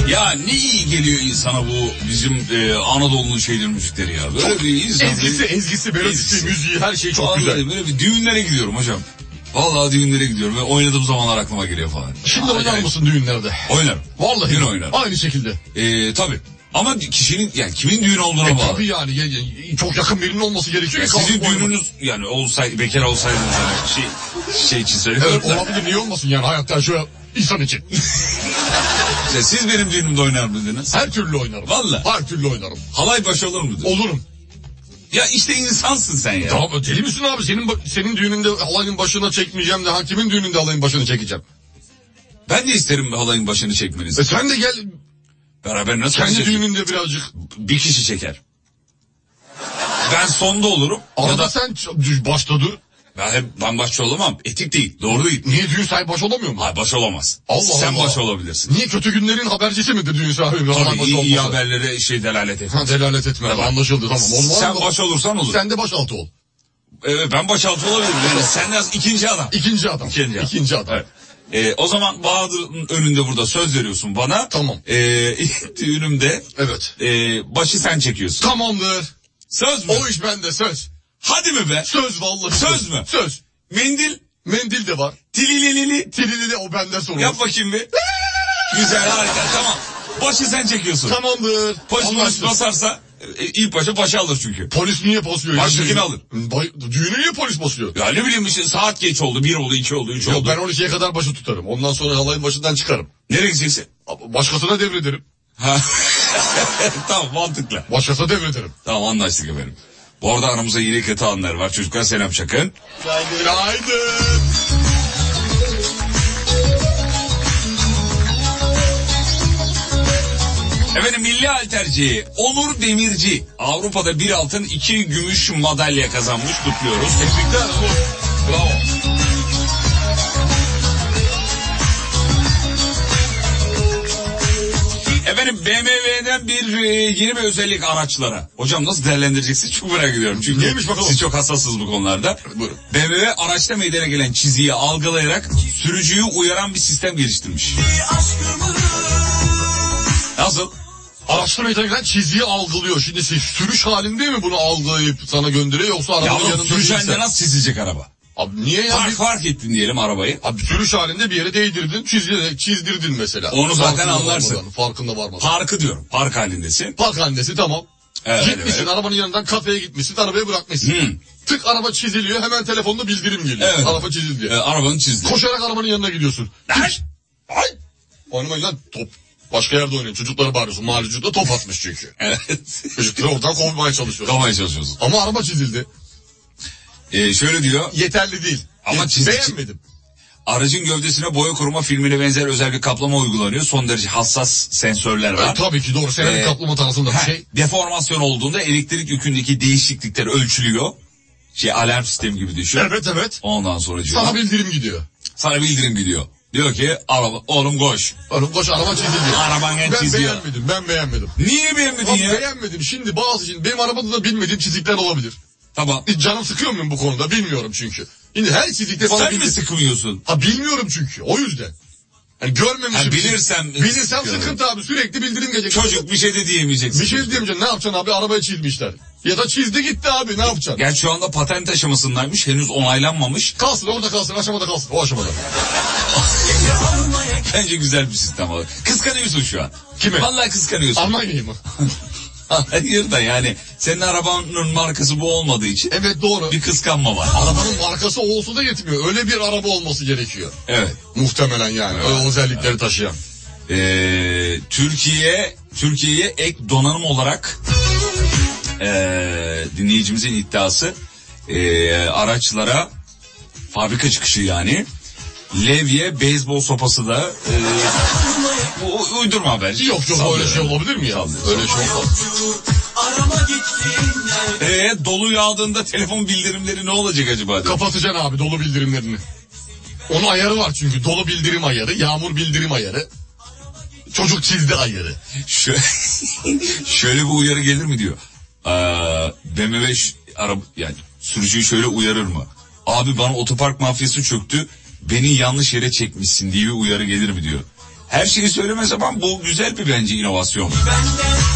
[SPEAKER 3] Ya ne iyi geliyor insana bu bizim e, Anadolu'nun şeyleri müzikleri ya. Böyle bir insan.
[SPEAKER 4] Ezgisi, ezgisi, melodisi,
[SPEAKER 3] Ezgisi.
[SPEAKER 4] müziği her şey çok
[SPEAKER 3] Vallahi
[SPEAKER 4] güzel.
[SPEAKER 3] Böyle bir düğünlere gidiyorum hocam. Vallahi düğünlere gidiyorum ve oynadığım zamanlar aklıma geliyor falan.
[SPEAKER 4] Şimdi oynar
[SPEAKER 3] Acayip.
[SPEAKER 4] mısın düğünlerde?
[SPEAKER 3] Oynarım.
[SPEAKER 4] Vallahi
[SPEAKER 3] Düğün oynarım.
[SPEAKER 4] Aynı şekilde.
[SPEAKER 3] Ee, tabii. Ama kişinin yani kimin düğün olduğuna
[SPEAKER 4] E
[SPEAKER 3] bağlı.
[SPEAKER 4] tabii yani ya- ya- çok yakın birinin olması gerekiyor
[SPEAKER 3] Ya
[SPEAKER 4] ki
[SPEAKER 3] sizin
[SPEAKER 4] kalkıp oynamak.
[SPEAKER 3] düğününüz yani olsaydı bekar olsaydınız yani şey şey için söylüyorum.
[SPEAKER 4] Evet
[SPEAKER 3] da.
[SPEAKER 4] olabilir niye olmasın yani hayatta şu insan için.
[SPEAKER 3] [laughs] İşte siz benim düğünümde oynar mıydınız?
[SPEAKER 4] Her türlü oynarım.
[SPEAKER 3] Vallahi.
[SPEAKER 4] Her türlü oynarım.
[SPEAKER 3] Halay baş olur muydu?
[SPEAKER 4] Olurum.
[SPEAKER 3] Ya işte insansın sen ya.
[SPEAKER 4] Tamam deli misin abi? Senin ba- senin düğününde halayın başına çekmeyeceğim de hakimin düğününde halayın başına çekeceğim.
[SPEAKER 3] Ben de isterim halayın başını çekmenizi.
[SPEAKER 4] E sen de gel
[SPEAKER 3] Beraber nasıl
[SPEAKER 4] kendi
[SPEAKER 3] çekeceğiz?
[SPEAKER 4] düğününde birazcık.
[SPEAKER 3] Bir kişi çeker. Ben sonda olurum. Ya
[SPEAKER 4] Arada
[SPEAKER 3] da
[SPEAKER 4] sen ç- başta dur.
[SPEAKER 3] ben hep ben başçı olamam. Etik değil. Doğru değil.
[SPEAKER 4] Niye düğün sahibi baş olamıyor mu?
[SPEAKER 3] Hayır baş olamaz.
[SPEAKER 4] Allah
[SPEAKER 3] sen
[SPEAKER 4] Allah.
[SPEAKER 3] baş olabilirsin.
[SPEAKER 4] Niye kötü günlerin habercisi midir düğün sahibi?
[SPEAKER 3] Tabii
[SPEAKER 4] Halay başı
[SPEAKER 3] iyi, iyi
[SPEAKER 4] olmasa?
[SPEAKER 3] haberlere şey delalet et.
[SPEAKER 4] Ha, delalet etme.
[SPEAKER 3] Tamam.
[SPEAKER 4] Anlaşıldı tamam. Olmaz
[SPEAKER 3] Sen
[SPEAKER 4] mı?
[SPEAKER 3] baş olursan olur.
[SPEAKER 4] Sen de baş altı ol.
[SPEAKER 3] Evet, ben baş altı olabilirim. Yani sen de ikinci adam.
[SPEAKER 4] İkinci adam.
[SPEAKER 3] İkinci adam.
[SPEAKER 4] İkinci adam.
[SPEAKER 3] Evet. Ee, o zaman Bahadır'ın önünde burada söz veriyorsun bana.
[SPEAKER 4] Tamam.
[SPEAKER 3] Ee, ilk [laughs] düğünümde
[SPEAKER 4] Evet.
[SPEAKER 3] e, başı sen çekiyorsun.
[SPEAKER 4] Tamamdır.
[SPEAKER 3] Söz mü?
[SPEAKER 4] O iş bende söz.
[SPEAKER 3] Hadi mi be?
[SPEAKER 4] Söz vallahi.
[SPEAKER 3] Söz mü?
[SPEAKER 4] Söz.
[SPEAKER 3] Mendil
[SPEAKER 4] Mendil de var.
[SPEAKER 3] tilililili.
[SPEAKER 4] Tilini de o benden sorulur.
[SPEAKER 3] Yap bakayım bir. Güzel harika tamam. Başı sen çekiyorsun.
[SPEAKER 4] Tamamdır.
[SPEAKER 3] Polis polis
[SPEAKER 4] Anlaştık.
[SPEAKER 3] basarsa e, ilk başa başı alır çünkü.
[SPEAKER 4] Polis niye basıyor? ya?
[SPEAKER 3] Baştakini alır.
[SPEAKER 4] Bay- Düğünü niye polis basıyor?
[SPEAKER 3] Ya ne bileyim işte saat geç oldu. Bir oldu, iki oldu, üç
[SPEAKER 4] Yok
[SPEAKER 3] oldu.
[SPEAKER 4] ben 12'ye kadar başı tutarım. Ondan sonra halayın başından çıkarım.
[SPEAKER 3] Nereye gideceksin? [laughs]
[SPEAKER 4] Başkasına devrederim.
[SPEAKER 3] Ha. tamam mantıklı.
[SPEAKER 4] Başkasına devrederim.
[SPEAKER 3] Tamam anlaştık efendim. Bu arada aramızda yine kötü anlar var. Çocuklar selam çakın.
[SPEAKER 4] Günaydın.
[SPEAKER 3] Efendim milli halterci Onur Demirci Avrupa'da bir altın iki gümüş madalya kazanmış kutluyoruz.
[SPEAKER 4] Tebrikler Onur.
[SPEAKER 3] Bravo. Efendim BMW'den bir e, yeni bir özellik araçlara. Hocam nasıl değerlendireceksiniz çok merak ediyorum. Çünkü
[SPEAKER 4] Neymiş bakalım?
[SPEAKER 3] siz çok hassassınız bu konularda.
[SPEAKER 4] Buyurun.
[SPEAKER 3] BMW araçta meydana gelen çiziyi algılayarak sürücüyü uyaran bir sistem geliştirmiş. Nasıl?
[SPEAKER 4] Araçta meydana gelen çizgiyi algılıyor. Şimdi siz sürüş halinde mi bunu algılayıp sana gönderiyor yoksa arabanın
[SPEAKER 3] Yavrum
[SPEAKER 4] yanında
[SPEAKER 3] sürücen de
[SPEAKER 4] değilse?
[SPEAKER 3] nasıl çizilecek araba?
[SPEAKER 4] Abi niye ya?
[SPEAKER 3] Park
[SPEAKER 4] Bir-
[SPEAKER 3] fark ettin diyelim arabayı.
[SPEAKER 4] Abi sürüş halinde bir yere değdirdin, çizdirdin, çizdirdin mesela.
[SPEAKER 3] Onu zaten
[SPEAKER 4] Farkında
[SPEAKER 3] anlarsın.
[SPEAKER 4] varmadan, farkında varmadan.
[SPEAKER 3] Parkı diyorum. Park halindesin.
[SPEAKER 4] Park halindesi tamam.
[SPEAKER 3] Evet,
[SPEAKER 4] gitmişsin
[SPEAKER 3] evet.
[SPEAKER 4] arabanın yanından kafeye gitmişsin, arabaya bırakmışsın.
[SPEAKER 3] Hmm.
[SPEAKER 4] Tık araba çiziliyor, hemen telefonda bildirim geliyor.
[SPEAKER 3] Evet.
[SPEAKER 4] Araba çizildi. diye.
[SPEAKER 3] Ee, arabanın çizdi.
[SPEAKER 4] Koşarak arabanın yanına gidiyorsun.
[SPEAKER 3] Ay!
[SPEAKER 4] Ay! Oynamayın lan top. Başka yerde oynuyor. Çocuklara bağırıyorsun. Mahalle çocuğu da top atmış çünkü.
[SPEAKER 3] [laughs] [laughs] Evet.
[SPEAKER 4] Çocukları oradan kovmaya çalışıyorsun.
[SPEAKER 3] Kalmaya çalışıyorsun.
[SPEAKER 4] Ama araba çizildi.
[SPEAKER 3] Ee, şöyle diyor.
[SPEAKER 4] Yeterli değil.
[SPEAKER 3] Ama
[SPEAKER 4] Ye-
[SPEAKER 3] çizdi-
[SPEAKER 4] Beğenmedim.
[SPEAKER 3] Aracın gövdesine boya koruma filmine benzer özel bir kaplama uygulanıyor. Son derece hassas sensörler
[SPEAKER 4] E,
[SPEAKER 3] var.
[SPEAKER 4] tabii ki doğru. Seramik
[SPEAKER 3] Ee,
[SPEAKER 4] kaplama tarzında bir
[SPEAKER 3] Ha,
[SPEAKER 4] şey.
[SPEAKER 3] Deformasyon olduğunda elektrik yükündeki değişiklikler ölçülüyor. Şey alarm sistemi gibi düşün.
[SPEAKER 4] Evet evet.
[SPEAKER 3] Ondan sonra diyor.
[SPEAKER 4] Sana
[SPEAKER 3] Sana,
[SPEAKER 4] bildirim gidiyor.
[SPEAKER 3] bildirim gidiyor. Diyor ki araba, oğlum koş.
[SPEAKER 4] Oğlum koş araba çizildi.
[SPEAKER 3] Araban
[SPEAKER 4] Ben
[SPEAKER 3] genç çiziyor.
[SPEAKER 4] beğenmedim. Ben beğenmedim.
[SPEAKER 3] Niye beğenmedin
[SPEAKER 4] Ama
[SPEAKER 3] ya?
[SPEAKER 4] beğenmedim. Şimdi bazı şimdi benim arabada da bilmediğim çizikler olabilir.
[SPEAKER 3] Tamam.
[SPEAKER 4] Hiç canım sıkıyor muyum bu konuda bilmiyorum çünkü. Şimdi her çizikte bana
[SPEAKER 3] Sen
[SPEAKER 4] bildir-
[SPEAKER 3] mi sıkmıyorsun?
[SPEAKER 4] Ha bilmiyorum çünkü o yüzden. Hani görmemişim.
[SPEAKER 3] Ha, bilirsem-
[SPEAKER 4] Bilirsem
[SPEAKER 3] Sıkıyorum.
[SPEAKER 4] sıkıntı abi sürekli bildirim gelecek.
[SPEAKER 3] Çocuk bir şey de diyemeyeceksin.
[SPEAKER 4] Bir şey diyemeyeceğim ne yapacaksın abi arabaya çizmişler. Ya da çizdi gitti abi ne yapacaksın?
[SPEAKER 3] Gerçi şu anda patent aşamasındaymış. Henüz onaylanmamış.
[SPEAKER 4] Kalsın orada kalsın aşamada kalsın o aşamada.
[SPEAKER 3] [laughs] Bence güzel bir sistem olur. Kıskanıyorsun şu an.
[SPEAKER 4] Kimi?
[SPEAKER 3] Vallahi kıskanıyorsun.
[SPEAKER 4] Almanya'yı mı? Ah.
[SPEAKER 3] [laughs] Hayır da yani senin arabanın markası bu olmadığı için
[SPEAKER 4] Evet doğru. Ah.
[SPEAKER 3] bir kıskanma var.
[SPEAKER 4] Arabanın markası o olsa da yetmiyor. Öyle bir araba olması gerekiyor.
[SPEAKER 3] Evet.
[SPEAKER 4] Muhtemelen yani. O özellikleri taşıyan.
[SPEAKER 3] Ee, Türkiye Türkiye'ye ek donanım olarak ee, dinleyicimizin iddiası ee, araçlara fabrika çıkışı yani levye beyzbol sopası da ee, bu u- uydurma haber.
[SPEAKER 4] Yok yok
[SPEAKER 3] Sallıyor
[SPEAKER 4] öyle şey
[SPEAKER 3] yani.
[SPEAKER 4] olabilir mi ya?
[SPEAKER 3] Sallıyor.
[SPEAKER 4] Öyle şey olmaz.
[SPEAKER 3] Ee, dolu yağdığında telefon bildirimleri ne olacak acaba? diyor.
[SPEAKER 4] Kapatacaksın abi dolu bildirimlerini. Onun ayarı var çünkü. Dolu bildirim ayarı, yağmur bildirim ayarı. Çocuk çizdi ayarı.
[SPEAKER 3] Şö- [laughs] şöyle bir uyarı gelir mi diyor. Ee, BMW ş- araba yani sürücüyü şöyle uyarır mı? Abi bana otopark mafyası çöktü. Beni yanlış yere çekmişsin diye bir uyarı gelir mi diyor. Her şeyi söylemez ama bu güzel bir bence inovasyon. [laughs]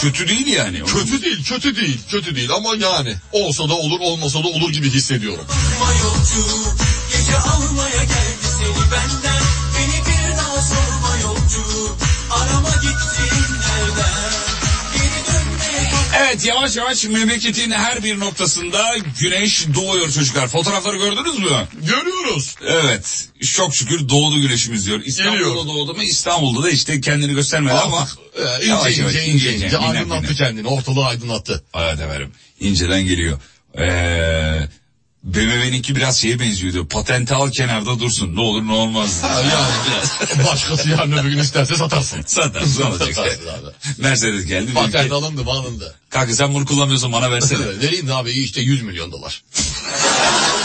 [SPEAKER 3] Kötü değil yani.
[SPEAKER 4] Kötü değil, kötü değil, kötü değil ama yani olsa da olur, olmasa da olur gibi hissediyorum.
[SPEAKER 2] Gece almaya geldi seni benden Beni bir daha sorma yolcu Arama gittiğin yerden Geri dönmeye
[SPEAKER 3] Evet yavaş yavaş memleketin her bir noktasında güneş doğuyor çocuklar. Fotoğrafları gördünüz mü?
[SPEAKER 4] Görüyoruz.
[SPEAKER 3] Evet. Çok şükür doğdu güneşimiz diyor. İstanbul'da
[SPEAKER 4] Geliyor.
[SPEAKER 3] doğdu mu İstanbul'da da işte kendini göstermedi ama.
[SPEAKER 4] Artık, e, ince,
[SPEAKER 3] Yavaş
[SPEAKER 4] ince,
[SPEAKER 3] yavaş,
[SPEAKER 4] ince,
[SPEAKER 3] ince,
[SPEAKER 4] ince,
[SPEAKER 3] ince, aynen,
[SPEAKER 4] aydınlattı
[SPEAKER 3] aynen.
[SPEAKER 4] kendini, ortalığı aydınlattı.
[SPEAKER 3] Evet efendim. İnceden geliyor. Ee, BMW'ninki biraz şeye benziyordu. Patenti al kenarda dursun. Ne olur ne olmaz.
[SPEAKER 4] [laughs] Ha, Yani başkası yarın öbür gün isterse satarsın.
[SPEAKER 3] Satarsın olacak.
[SPEAKER 4] Satarsın abi.
[SPEAKER 3] Mercedes geldi. dedi
[SPEAKER 4] Patent
[SPEAKER 3] ki,
[SPEAKER 4] alındı mı alındı.
[SPEAKER 3] Kanka sen bunu kullanmıyorsan bana
[SPEAKER 4] [laughs]
[SPEAKER 3] versene.
[SPEAKER 4] Vereyim de abi iyi işte 100 milyon dolar.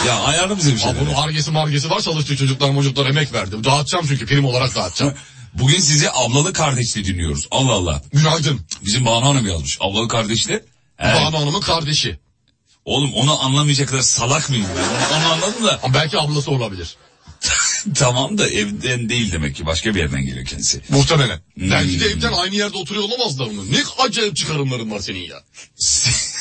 [SPEAKER 3] ya ayarlı bize bir şey.
[SPEAKER 4] Ha, bunun argesi margesi var çalıştığı çocuklar mocuklar emek verdi. Dağıtacağım çünkü prim olarak dağıtacağım.
[SPEAKER 3] Bugün sizi ablalı kardeşli dinliyoruz. Allah Allah.
[SPEAKER 4] Günaydın.
[SPEAKER 3] Bizim Banu Hanım yazmış. Ablalı kardeşli. Evet.
[SPEAKER 4] Banu Hanım'ın kardeşi.
[SPEAKER 3] Oğlum onu anlamayacak kadar salak mıyım ben? Onu anladım da.
[SPEAKER 4] Ama belki ablası olabilir.
[SPEAKER 3] tamam da evden değil demek ki. Başka bir yerden geliyor kendisi.
[SPEAKER 4] Muhtemelen.
[SPEAKER 3] Hmm.
[SPEAKER 4] Belki de evden aynı yerde oturuyor olamazlar mı? Ne acayip çıkarımların var
[SPEAKER 3] [laughs]
[SPEAKER 4] senin ya.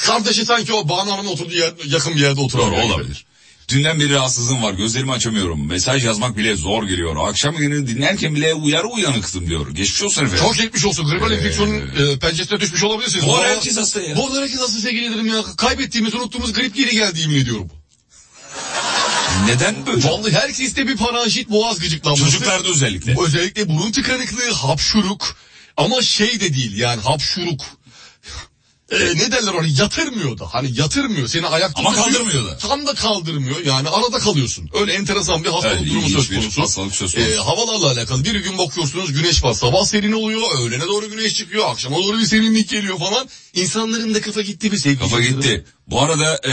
[SPEAKER 4] Kardeşi sanki o Banu Hanım'ın oturduğu yer, yakın bir yerde oturuyor.
[SPEAKER 3] Doğru
[SPEAKER 4] gibi.
[SPEAKER 3] olabilir. Dünden beri rahatsızlığım var. Gözlerimi açamıyorum. Mesaj yazmak bile zor geliyor. Akşam yayını dinlerken bile uyarı uyanıktım diyor. Geçmiş olsun efendim.
[SPEAKER 4] Çok geçmiş olsun.
[SPEAKER 3] Ee,
[SPEAKER 4] Gribal enfeksiyonun e, pençesine düşmş olabilirsiniz.
[SPEAKER 3] Bu ara
[SPEAKER 4] Vallahi-
[SPEAKER 3] herkes hasta ya.
[SPEAKER 4] Bu arada herkes hasta sevgili dedim ya. Kaybettiğimiz, unuttuğumuz grip geri geldi yemin ediyorum.
[SPEAKER 3] Neden böyle?
[SPEAKER 4] Vallahi herkeste bir paranjit boğaz gıcıklanması.
[SPEAKER 3] Çocuklarda özellikle.
[SPEAKER 4] Özellikle burun tıkanıklığı, hapşuruk. Ama şey de değil yani hapşuruk. E, ne derler ona yatırmıyor da hani yatırmıyor seni ayakta
[SPEAKER 3] Ama
[SPEAKER 4] tutuyor.
[SPEAKER 3] kaldırmıyor da.
[SPEAKER 4] tam da kaldırmıyor yani arada kalıyorsun öyle enteresan bir hastalık
[SPEAKER 3] Evet,
[SPEAKER 4] durumu
[SPEAKER 3] ilginç
[SPEAKER 4] söz
[SPEAKER 3] bir
[SPEAKER 4] konusu,
[SPEAKER 3] hastalık söz konusu.
[SPEAKER 4] E, havalarla alakalı bir gün bakıyorsunuz güneş var sabah serin oluyor öğlene doğru güneş çıkıyor akşama doğru bir serinlik geliyor falan insanların da kafa gitti bir sevgili
[SPEAKER 3] Kafa gitti. Bu arada e,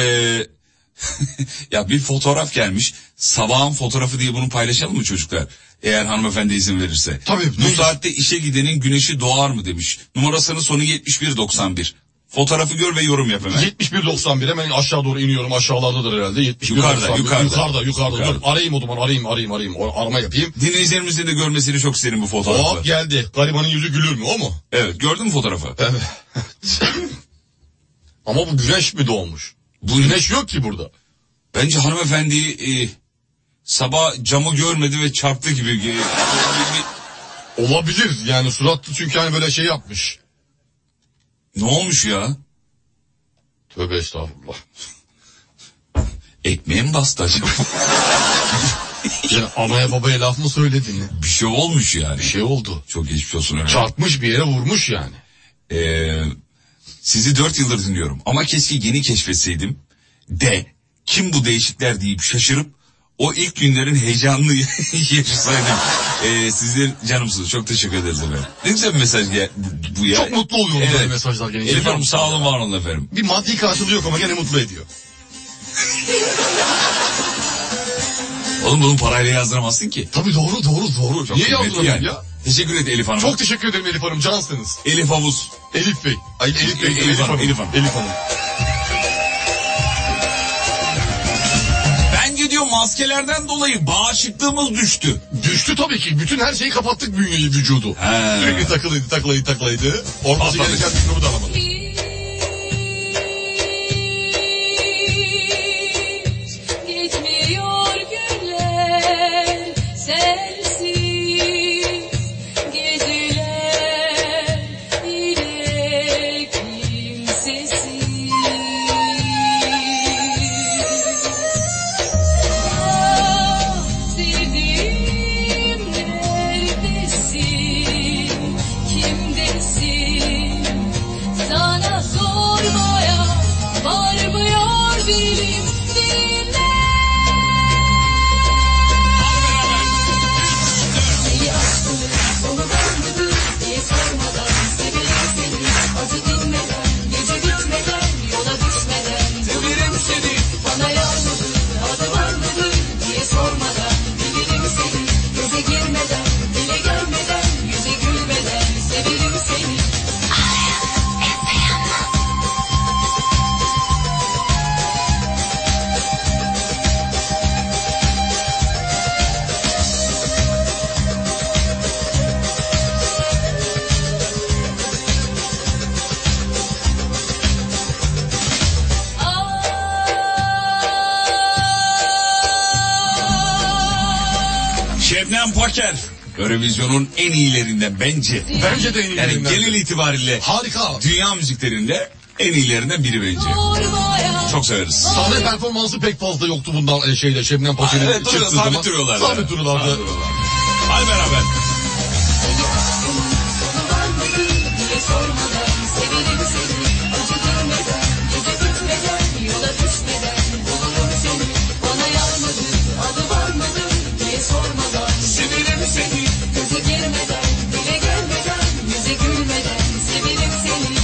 [SPEAKER 3] [laughs] ya bir fotoğraf gelmiş. Sabahın fotoğrafı diye bunu paylaşalım mı çocuklar? Eğer hanımefendi izin verirse.
[SPEAKER 4] Tabii,
[SPEAKER 3] Bu
[SPEAKER 4] buyurun.
[SPEAKER 3] saatte işe gidenin güneşi doğar mı demiş. Numarasının sonu 7191. Fotoğrafı gör ve yorum yap hemen.
[SPEAKER 4] 71.91 hemen aşağı doğru iniyorum aşağılardadır herhalde. 71,
[SPEAKER 3] Yukarıda,
[SPEAKER 4] 91.
[SPEAKER 3] yukarıda.
[SPEAKER 4] Yukarıda, yukarıda.
[SPEAKER 3] Yukarıda.
[SPEAKER 4] Dur, arayayım o zaman arayayım arayayım arayayım. O- Arama yapayım.
[SPEAKER 3] Dinleyicilerimizin de görmesini çok isterim bu fotoğrafı.
[SPEAKER 4] Hop geldi. Garibanın yüzü gülür mü o mu?
[SPEAKER 3] Evet gördün mü fotoğrafı?
[SPEAKER 4] Evet. [laughs] Ama bu güneş mi doğmuş?
[SPEAKER 3] Bu
[SPEAKER 4] Güneş yok ki burada.
[SPEAKER 3] Bence hanımefendi e, sabah camı görmedi ve çarptı gibi. e,
[SPEAKER 4] Olabilir yani suratlı çünkü hani böyle şey yapmış.
[SPEAKER 3] ne olmuş ya?
[SPEAKER 4] Tövbe estağfurullah.
[SPEAKER 3] Ekmeğe mi bastı acaba? [laughs]
[SPEAKER 4] Ya anaya babaya laf mı söyledin?
[SPEAKER 3] bir şey olmuş yani.
[SPEAKER 4] Bir şey oldu.
[SPEAKER 3] Çok geçmiş olsun. öyle.
[SPEAKER 4] Çarpmış bir yere vurmuş yani.
[SPEAKER 3] Ee, sizi dört yıldır dinliyorum ama keşke yeni keşfetseydim de kim bu değişikler deyip şaşırıp o ilk günlerin heyecanını [laughs] yaşasaydım. Ee, sizler canımsınız. Çok teşekkür ederiz efendim. Ne güzel bir mesaj gel bu ya.
[SPEAKER 4] Çok mutlu oluyorum böyle mesajlar gelince.
[SPEAKER 3] Elif
[SPEAKER 4] biliyor
[SPEAKER 3] Hanım
[SPEAKER 4] musun?
[SPEAKER 3] sağ olun var olun efendim.
[SPEAKER 4] Bir maddi karşılığı yok ama gene mutlu ediyor.
[SPEAKER 3] Oğlum bunu parayla yazdıramazsın ki.
[SPEAKER 4] Tabii doğru doğru doğru.
[SPEAKER 3] Çok
[SPEAKER 4] Niye
[SPEAKER 3] kıymetli
[SPEAKER 4] yazdın
[SPEAKER 3] yani.
[SPEAKER 4] ya?
[SPEAKER 3] Teşekkür ederim Elif Hanım.
[SPEAKER 4] Çok teşekkür ederim Elif Hanım cansınız.
[SPEAKER 3] Elif Havuz.
[SPEAKER 4] Elif Bey. Ay Elif Bey.
[SPEAKER 3] Elif
[SPEAKER 4] Elif,
[SPEAKER 3] Hanım,
[SPEAKER 4] Hanım.
[SPEAKER 3] Elif Hanım.
[SPEAKER 4] Elif Hanım.
[SPEAKER 3] Bence diyor maskelerden dolayı bağışıklığımız düştü.
[SPEAKER 4] Düştü tabii ki. Bütün her şeyi kapattık bünyeyi vücudu.
[SPEAKER 3] He.
[SPEAKER 4] Sürekli takılıydı takılıydı takılıydı. Ortası
[SPEAKER 3] Patladı.
[SPEAKER 4] gereken mikrobu da alamadı.
[SPEAKER 5] Hiç Gitmiyor günler sensiz geceler yine kimsesiz. Ah, Sevdiğim neredesin, kimdesin? Sana
[SPEAKER 3] Şebnem Paker. Eurovision'un en iyilerinden bence.
[SPEAKER 4] Bence de en
[SPEAKER 3] Yani
[SPEAKER 4] iyilerinden.
[SPEAKER 3] genel itibariyle
[SPEAKER 4] Harika.
[SPEAKER 3] dünya müziklerinde en iyilerinden biri bence.
[SPEAKER 5] sormaya
[SPEAKER 3] Çok severiz.
[SPEAKER 4] Sahne performansı pek fazla yoktu bundan e, şeyde Şebnem Paşa'nın
[SPEAKER 3] Evet, duruyor,
[SPEAKER 4] çıktığı
[SPEAKER 3] sabit
[SPEAKER 4] zaman.
[SPEAKER 3] duruyorlar.
[SPEAKER 4] Sabit duruyorlardı.
[SPEAKER 3] Sabit Hadi beraber.
[SPEAKER 5] Hiç sormadan severim seni Acı girmeden gece bitmeden yola düşmeden bulurum seni Bana yarmadı adı varmadı diye sormadan severim seni Göze girmeden dile gelmeden yüze gülmeden severim seni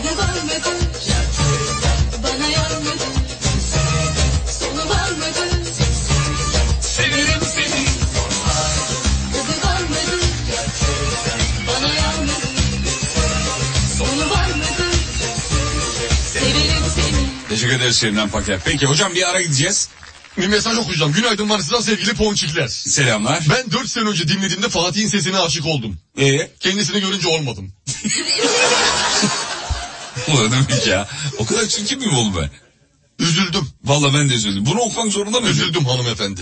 [SPEAKER 5] Adı varmadı bana yarmadı sonu varmadı severim seni Adı varmadı bana yalnız Sonu var mıdır? Severim seni
[SPEAKER 3] Teşekkür ederiz Şebnem Paker. Peki hocam bir ara gideceğiz.
[SPEAKER 4] Bir mesaj okuyacağım. Günaydın var sizden sevgili ponçikler.
[SPEAKER 3] Selamlar.
[SPEAKER 4] Ben 4 sene önce dinlediğimde Fatih'in sesine aşık oldum.
[SPEAKER 3] Ee, [laughs]
[SPEAKER 4] Kendisini görünce olmadım.
[SPEAKER 3] ulan demek ya. O kadar çirkin miyim oğlum ben?
[SPEAKER 4] Üzüldüm.
[SPEAKER 3] Valla ben de üzüldüm. Bunu okumak zorunda mıydı?
[SPEAKER 4] Üzüldüm hanımefendi.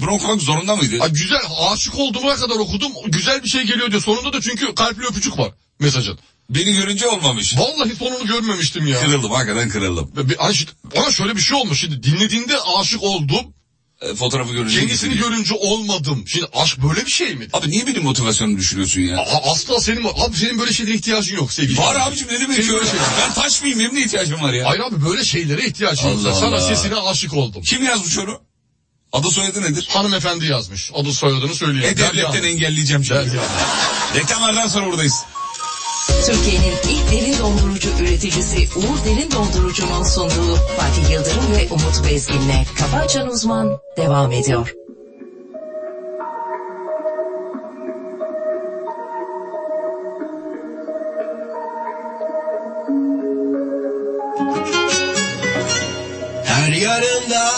[SPEAKER 3] Bunu okumak zorunda mıydı?
[SPEAKER 4] Ha, güzel aşık olduğuma kadar okudum. Güzel bir şey geliyor diyor. Sonunda da çünkü kalpli öpücük var mesajın.
[SPEAKER 3] Beni görünce olmamış.
[SPEAKER 4] Vallahi sonunu görmemiştim ya.
[SPEAKER 3] Kırıldım hakikaten kırıldım.
[SPEAKER 4] Ve bir- hani şu- Ona şöyle bir şey olmuş şimdi dinlediğinde aşık oldum
[SPEAKER 3] E, fotoğrafı görünce
[SPEAKER 4] kendisini
[SPEAKER 3] gittim.
[SPEAKER 4] görünce olmadım. Şimdi aşk böyle bir şey mi?
[SPEAKER 3] Abi niye benim motivasyonu düşürüyorsun ya?
[SPEAKER 4] A- Asla senin abi senin böyle şeylere ihtiyacın yok sevgili.
[SPEAKER 3] Var
[SPEAKER 4] kardeşim.
[SPEAKER 3] abicim ne demek
[SPEAKER 4] Senin
[SPEAKER 3] ki öyle
[SPEAKER 4] böyle
[SPEAKER 3] şey?
[SPEAKER 4] şeylere-
[SPEAKER 3] Ben taş mıyım? Benim ne ihtiyacım var ya?
[SPEAKER 4] Hayır abi böyle şeylere ihtiyacın yok.
[SPEAKER 3] Allah
[SPEAKER 4] Sana
[SPEAKER 3] Allah.
[SPEAKER 4] sesine aşık oldum.
[SPEAKER 3] Kim yazmış onu? Adı soyadı nedir?
[SPEAKER 4] Hanımefendi yazmış. Adı soyadını söyleyeyim.
[SPEAKER 3] E devletten
[SPEAKER 4] Derya.
[SPEAKER 3] engelleyeceğim şimdi.
[SPEAKER 4] Derya.
[SPEAKER 3] Reklamlardan sonra buradayız.
[SPEAKER 1] Türkiye'nin ilk derin dondurucu üreticisi Uğur Derin Dondurucu'nun sunduğu Fatih Yıldırım ve Umut Bezgin'le Kafa Açan Uzman devam ediyor.
[SPEAKER 6] Her yarında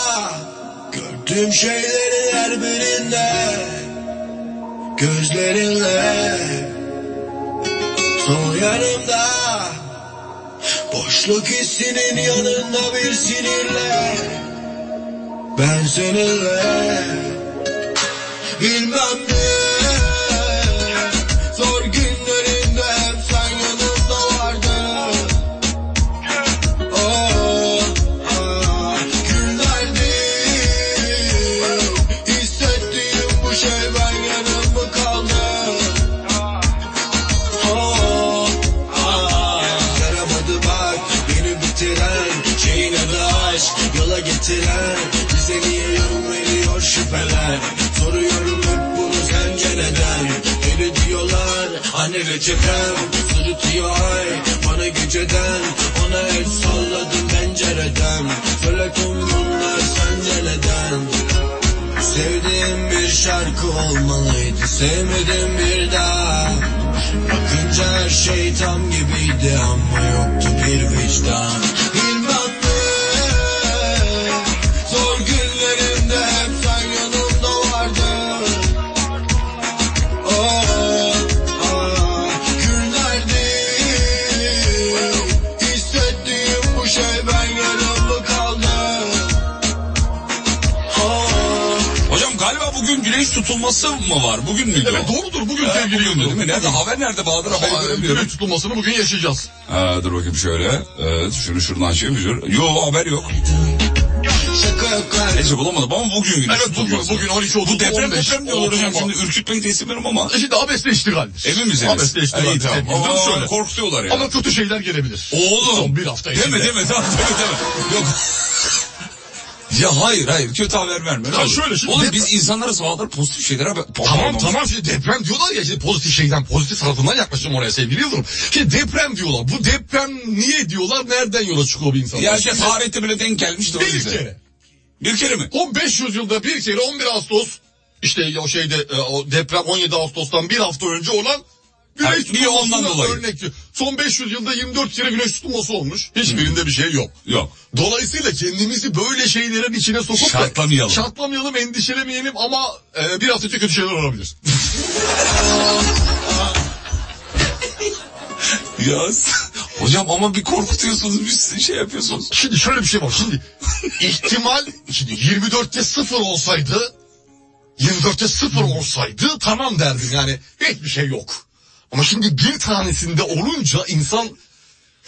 [SPEAKER 6] gördüğüm şeylerin her birinde gözlerinle son yanımda boşluk hissinin yanında bir sinirle ben seninle bilmem ne zor günlerinde hep sen yanımda vardın. Oh. Günlerdi hissettiğim bu şey ben yanımda kaldı. Oh, ah. Yaramadı bak beni bitiren şeyin adı aşk yola getiren bize niye yorum veriyor şüpheler soruyorum hep bunu sence neden deli diyorlar anne reçetem sırıtıyor ay bana geceden ona el salladım pencereden söyle tüm bunlar sence neden Sevdiğim bir şarkı olmalıydı Sevmedim bir daha Bakınca her şey tam gibiydi Ama yoktu bir vicdan Bilmem ne Zor günlerimde hep sen yanımda vardın Oh, ah, günlerdi Hissettiğim bu şey ben yanımda kaldı
[SPEAKER 3] Hocam galiba bugün güneş tutulması mı var? Bugün müydü
[SPEAKER 4] Evet
[SPEAKER 3] o?
[SPEAKER 4] doğrudur bugün
[SPEAKER 3] Ha,
[SPEAKER 4] sevgili
[SPEAKER 3] bugündü değil
[SPEAKER 4] Yıldırım.
[SPEAKER 3] mi? Nerede? Haber nerede Bahadır?
[SPEAKER 4] Aa,
[SPEAKER 3] Haberi göremiyorum.
[SPEAKER 4] Günün tutulmasını bugün yaşayacağız.
[SPEAKER 3] Ha, dur bakayım şöyle. Evet, şunu şuradan şey mi? Yo haber yok.
[SPEAKER 6] Şaka yok kardeşim.
[SPEAKER 3] Neyse bulamadım ama bugün güneş
[SPEAKER 4] Evet, bugün-
[SPEAKER 3] tutulması.
[SPEAKER 4] bugün 12, 30,
[SPEAKER 3] Bu deprem
[SPEAKER 4] 15,
[SPEAKER 3] deprem diyorlar hocam.
[SPEAKER 4] 30.
[SPEAKER 3] Şimdi ürkütmeyi de istemiyorum ama.
[SPEAKER 4] E Şimdi abesle iştigaldir.
[SPEAKER 3] Emin misiniz?
[SPEAKER 4] Abesle
[SPEAKER 3] Ha, iyi,
[SPEAKER 4] iştigaldir.
[SPEAKER 3] tamam.
[SPEAKER 4] sevgili Yıldırım
[SPEAKER 3] Ama
[SPEAKER 4] şöyle.
[SPEAKER 3] korkutuyorlar ya.
[SPEAKER 4] Ama kötü şeyler gelebilir.
[SPEAKER 3] Oğlum.
[SPEAKER 4] Son bir hafta içinde.
[SPEAKER 3] Deme deme tamam deme deme. Yok. ya hayır hayır kötü haber verme. ne
[SPEAKER 4] Ya
[SPEAKER 3] olur.
[SPEAKER 4] şöyle şimdi-
[SPEAKER 3] Oğlum biz insanlarız Bahadır pozitif şeyler haber.
[SPEAKER 4] Tamam tamam şimdi deprem diyorlar ya şimdi pozitif şeyden pozitif tarafından yaklaşacağım oraya sevgili Yıldırım. Şimdi deprem diyorlar. Bu deprem niye diyorlar? Nereden yola çıkıyor bu insanlar?
[SPEAKER 3] Ya işte tarihte bile denk gelmişti o
[SPEAKER 4] bir
[SPEAKER 3] yüzden.
[SPEAKER 4] kere.
[SPEAKER 3] Bir kere mi?
[SPEAKER 4] O 500 yılda bir kere 11 Ağustos işte o şeyde e, o deprem 17 Ağustos'tan bir hafta önce olan
[SPEAKER 3] Ha,
[SPEAKER 4] güneş
[SPEAKER 3] bir ondan
[SPEAKER 4] tutulmasına
[SPEAKER 3] dolayı.
[SPEAKER 4] örnek. Son 500 yılda 24 kere güneş tutulması olmuş. Hiçbirinde bir şey yok.
[SPEAKER 3] Yok.
[SPEAKER 4] Dolayısıyla kendimizi böyle şeylerin içine sokup da-
[SPEAKER 3] Şartlamayalım.
[SPEAKER 4] şartlamayalım, endişelemeyelim ama e, bir hafta önce kötü şeyler olabilir.
[SPEAKER 3] Ya s- [laughs] hocam ama bir korkutuyorsunuz bir şey yapıyorsunuz.
[SPEAKER 4] Şimdi şöyle bir şey var. Şimdi ihtimal şimdi 24'te 0 olsaydı 24'te 0 olsaydı tamam derdim yani hiçbir şey yok. Ama şimdi bir tanesinde olunca insan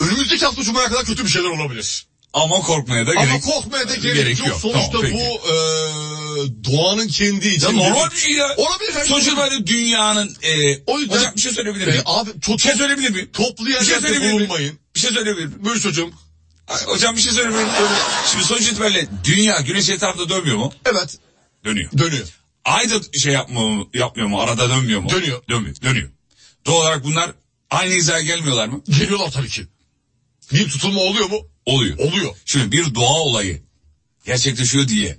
[SPEAKER 4] önümüzdeki hafta Cuma'ya kadar kötü bir şeyler olabilir.
[SPEAKER 3] Ama korkmaya da gerek,
[SPEAKER 4] Ama korkmaya da gerek, yok. Sonuçta
[SPEAKER 3] Tamam, peki.
[SPEAKER 4] bu e, doğanın kendi için.
[SPEAKER 3] Ya normal
[SPEAKER 4] bir-
[SPEAKER 3] bir şey ya.
[SPEAKER 4] Olabilir. her şey
[SPEAKER 3] Sonuçta böyle dünyanın... E,
[SPEAKER 4] O yüzden-
[SPEAKER 3] Hocam bir şey söyleyebilir
[SPEAKER 4] E,
[SPEAKER 3] miyim?
[SPEAKER 4] abi
[SPEAKER 3] bir
[SPEAKER 4] tut,
[SPEAKER 3] şey söyleyebilir miyim?
[SPEAKER 4] toplu
[SPEAKER 3] Bir şey
[SPEAKER 4] yerlerde
[SPEAKER 3] söyleyebilir miyim?
[SPEAKER 4] bulunmayın.
[SPEAKER 3] Bir şey söyleyebilir miyim?
[SPEAKER 4] Buyur çocuğum.
[SPEAKER 3] Ay, Hocam bir şey söyleyebilir miyim? Şimdi sonuç itibariyle dünya güneş etrafında dönmüyor mu?
[SPEAKER 4] Evet
[SPEAKER 3] Dönüyor.
[SPEAKER 4] dönüyor.
[SPEAKER 3] Ay da şey yapmıyor mu? Yapmıyor mu? Arada dönmüyor mu?
[SPEAKER 4] Dönüyor.
[SPEAKER 3] Dönmüyor. Dönüyor. Doğal olarak bunlar aynı hizaya gelmiyorlar mı?
[SPEAKER 4] Geliyorlar tabii ki. Bir tutulma oluyor mu?
[SPEAKER 3] Oluyor.
[SPEAKER 4] Oluyor.
[SPEAKER 3] Şimdi bir doğa olayı gerçekleşiyor diye.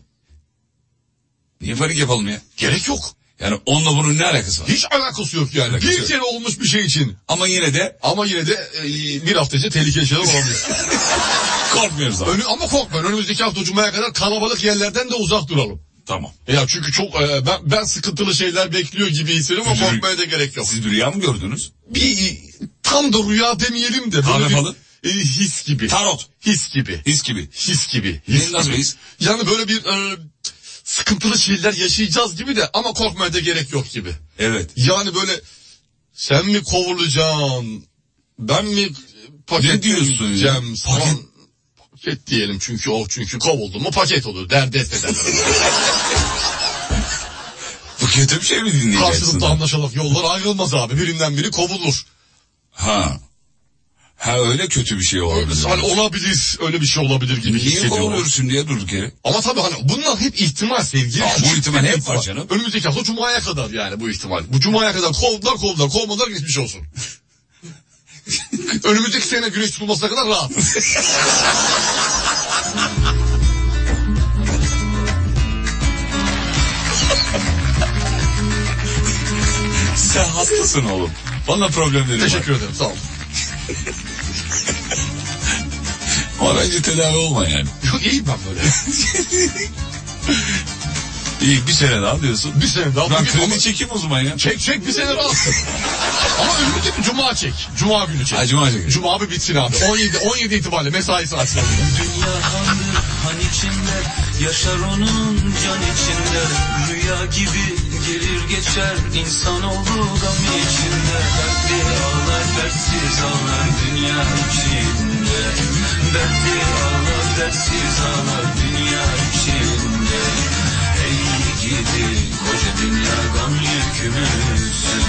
[SPEAKER 3] Niye panik yapalım ya?
[SPEAKER 4] Gerek yok.
[SPEAKER 3] Yani onunla bunun ne alakası var?
[SPEAKER 4] Hiç alakası yok yani.
[SPEAKER 3] Alakası
[SPEAKER 4] bir
[SPEAKER 3] yok.
[SPEAKER 4] kere olmuş bir şey için.
[SPEAKER 3] Ama yine de
[SPEAKER 4] Ama yine de e, bir hafta içinde tehlikeli
[SPEAKER 3] [laughs]
[SPEAKER 4] şeyler olabilir.
[SPEAKER 3] korkmuyoruz abi.
[SPEAKER 4] Önü, ama korkmayın önümüzdeki hafta Cuma'ya kadar kalabalık yerlerden de uzak duralım.
[SPEAKER 3] Tamam.
[SPEAKER 4] Ya çünkü çok e, ben, ben sıkıntılı şeyler bekliyor gibi hissediyorum ama
[SPEAKER 3] Üzülür.
[SPEAKER 4] korkmaya da gerek yok.
[SPEAKER 3] Siz bir rüya mı gördünüz?
[SPEAKER 4] Bir tam da rüya demeyelim de böyle
[SPEAKER 3] Kahve
[SPEAKER 4] bir,
[SPEAKER 3] falan?
[SPEAKER 4] e, his gibi.
[SPEAKER 3] Tarot.
[SPEAKER 4] his gibi.
[SPEAKER 3] His gibi.
[SPEAKER 4] His gibi. His
[SPEAKER 3] Benim nasıl bir his?
[SPEAKER 4] Yani böyle bir e, sıkıntılı şeyler yaşayacağız gibi de ama korkmaya da gerek yok gibi.
[SPEAKER 3] Evet.
[SPEAKER 4] Yani böyle sen mi kovulacaksın? Ben mi
[SPEAKER 3] Ne
[SPEAKER 4] paket
[SPEAKER 3] diyorsun ya?
[SPEAKER 4] diyeceğim?
[SPEAKER 3] Paket-
[SPEAKER 4] Paket, paket diyelim çünkü o çünkü kovuldu mu paket olur. Derdest ederler.
[SPEAKER 3] Bu kötü bir şey mi dinleyeceksin?
[SPEAKER 4] Karşılıklı anlaşarak yollar ayrılmaz abi. Birinden biri kovulur.
[SPEAKER 3] Ha. Ha öyle kötü bir şey olabilir.
[SPEAKER 4] Hani olabilir öyle bir şey olabilir gibi
[SPEAKER 3] Niye
[SPEAKER 4] hissediyorum.
[SPEAKER 3] kovuluyoruz şimdi ya durduk yere?
[SPEAKER 4] Ama tabii hani bunlar hep ihtimal sevgili.
[SPEAKER 3] Ya bu
[SPEAKER 4] Küçük
[SPEAKER 3] ihtimal
[SPEAKER 4] bir
[SPEAKER 3] hep var canım.
[SPEAKER 4] Önümüzdeki hafta Cuma'ya kadar yani bu ihtimal. Bu Cuma'ya kadar kovdular kovdular kovmadılar geçmiş olsun. Önümüzdeki sene güneş tutulmasına kadar rahat.
[SPEAKER 3] Sen hastasın oğlum. Bana problemleri var.
[SPEAKER 4] Teşekkür ederim sağ olun.
[SPEAKER 3] Ama bence tedavi olma yani.
[SPEAKER 4] Yok iyiyim ben böyle.
[SPEAKER 3] İyi bir sene daha diyorsun.
[SPEAKER 4] [laughs] Bir sene daha.
[SPEAKER 3] Ben
[SPEAKER 4] bugün- ama-
[SPEAKER 3] kredi çekeyim o zaman ya.
[SPEAKER 4] Çek çek bir sene rahatsın. Ama önümüzdeki cuma çek. Cuma günü çek.
[SPEAKER 3] Ha, Cuma çekelim.
[SPEAKER 4] Cuma bir bitsin abi. 17, 17 itibariyle mesai saati.
[SPEAKER 2] Dünya hanı han içinde Yaşar onun can içinde Rüya gibi gelir geçer İnsanoğlu gam içinde Dertli ağlar dertsiz ağlar Dünya içinde Dertli ağlar dertsiz ağlar Dünya içinde Ey gidi koca dünya gam yükümüzsün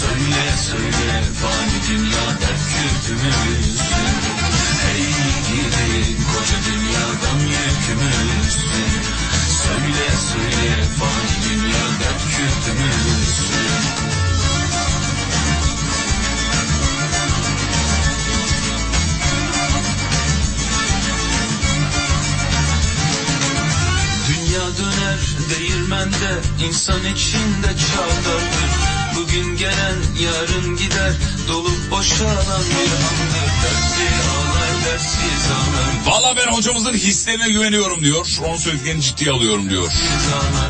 [SPEAKER 2] Söyle söyle fani dünya dert küpümüzsün Ey gidi koca dünya gam yükümüzsün Söyle söyle fani dünya dert küpümüzsün Dünya döner değirmende insan içinde çağlardır Bugün gelen yarın gider Dolup boşalan bir andır Dertli ağlar dertsiz ağlar
[SPEAKER 3] Valla ben hocamızın hislerine güveniyorum diyor. Onun söylediklerini ciddiye alıyorum diyor.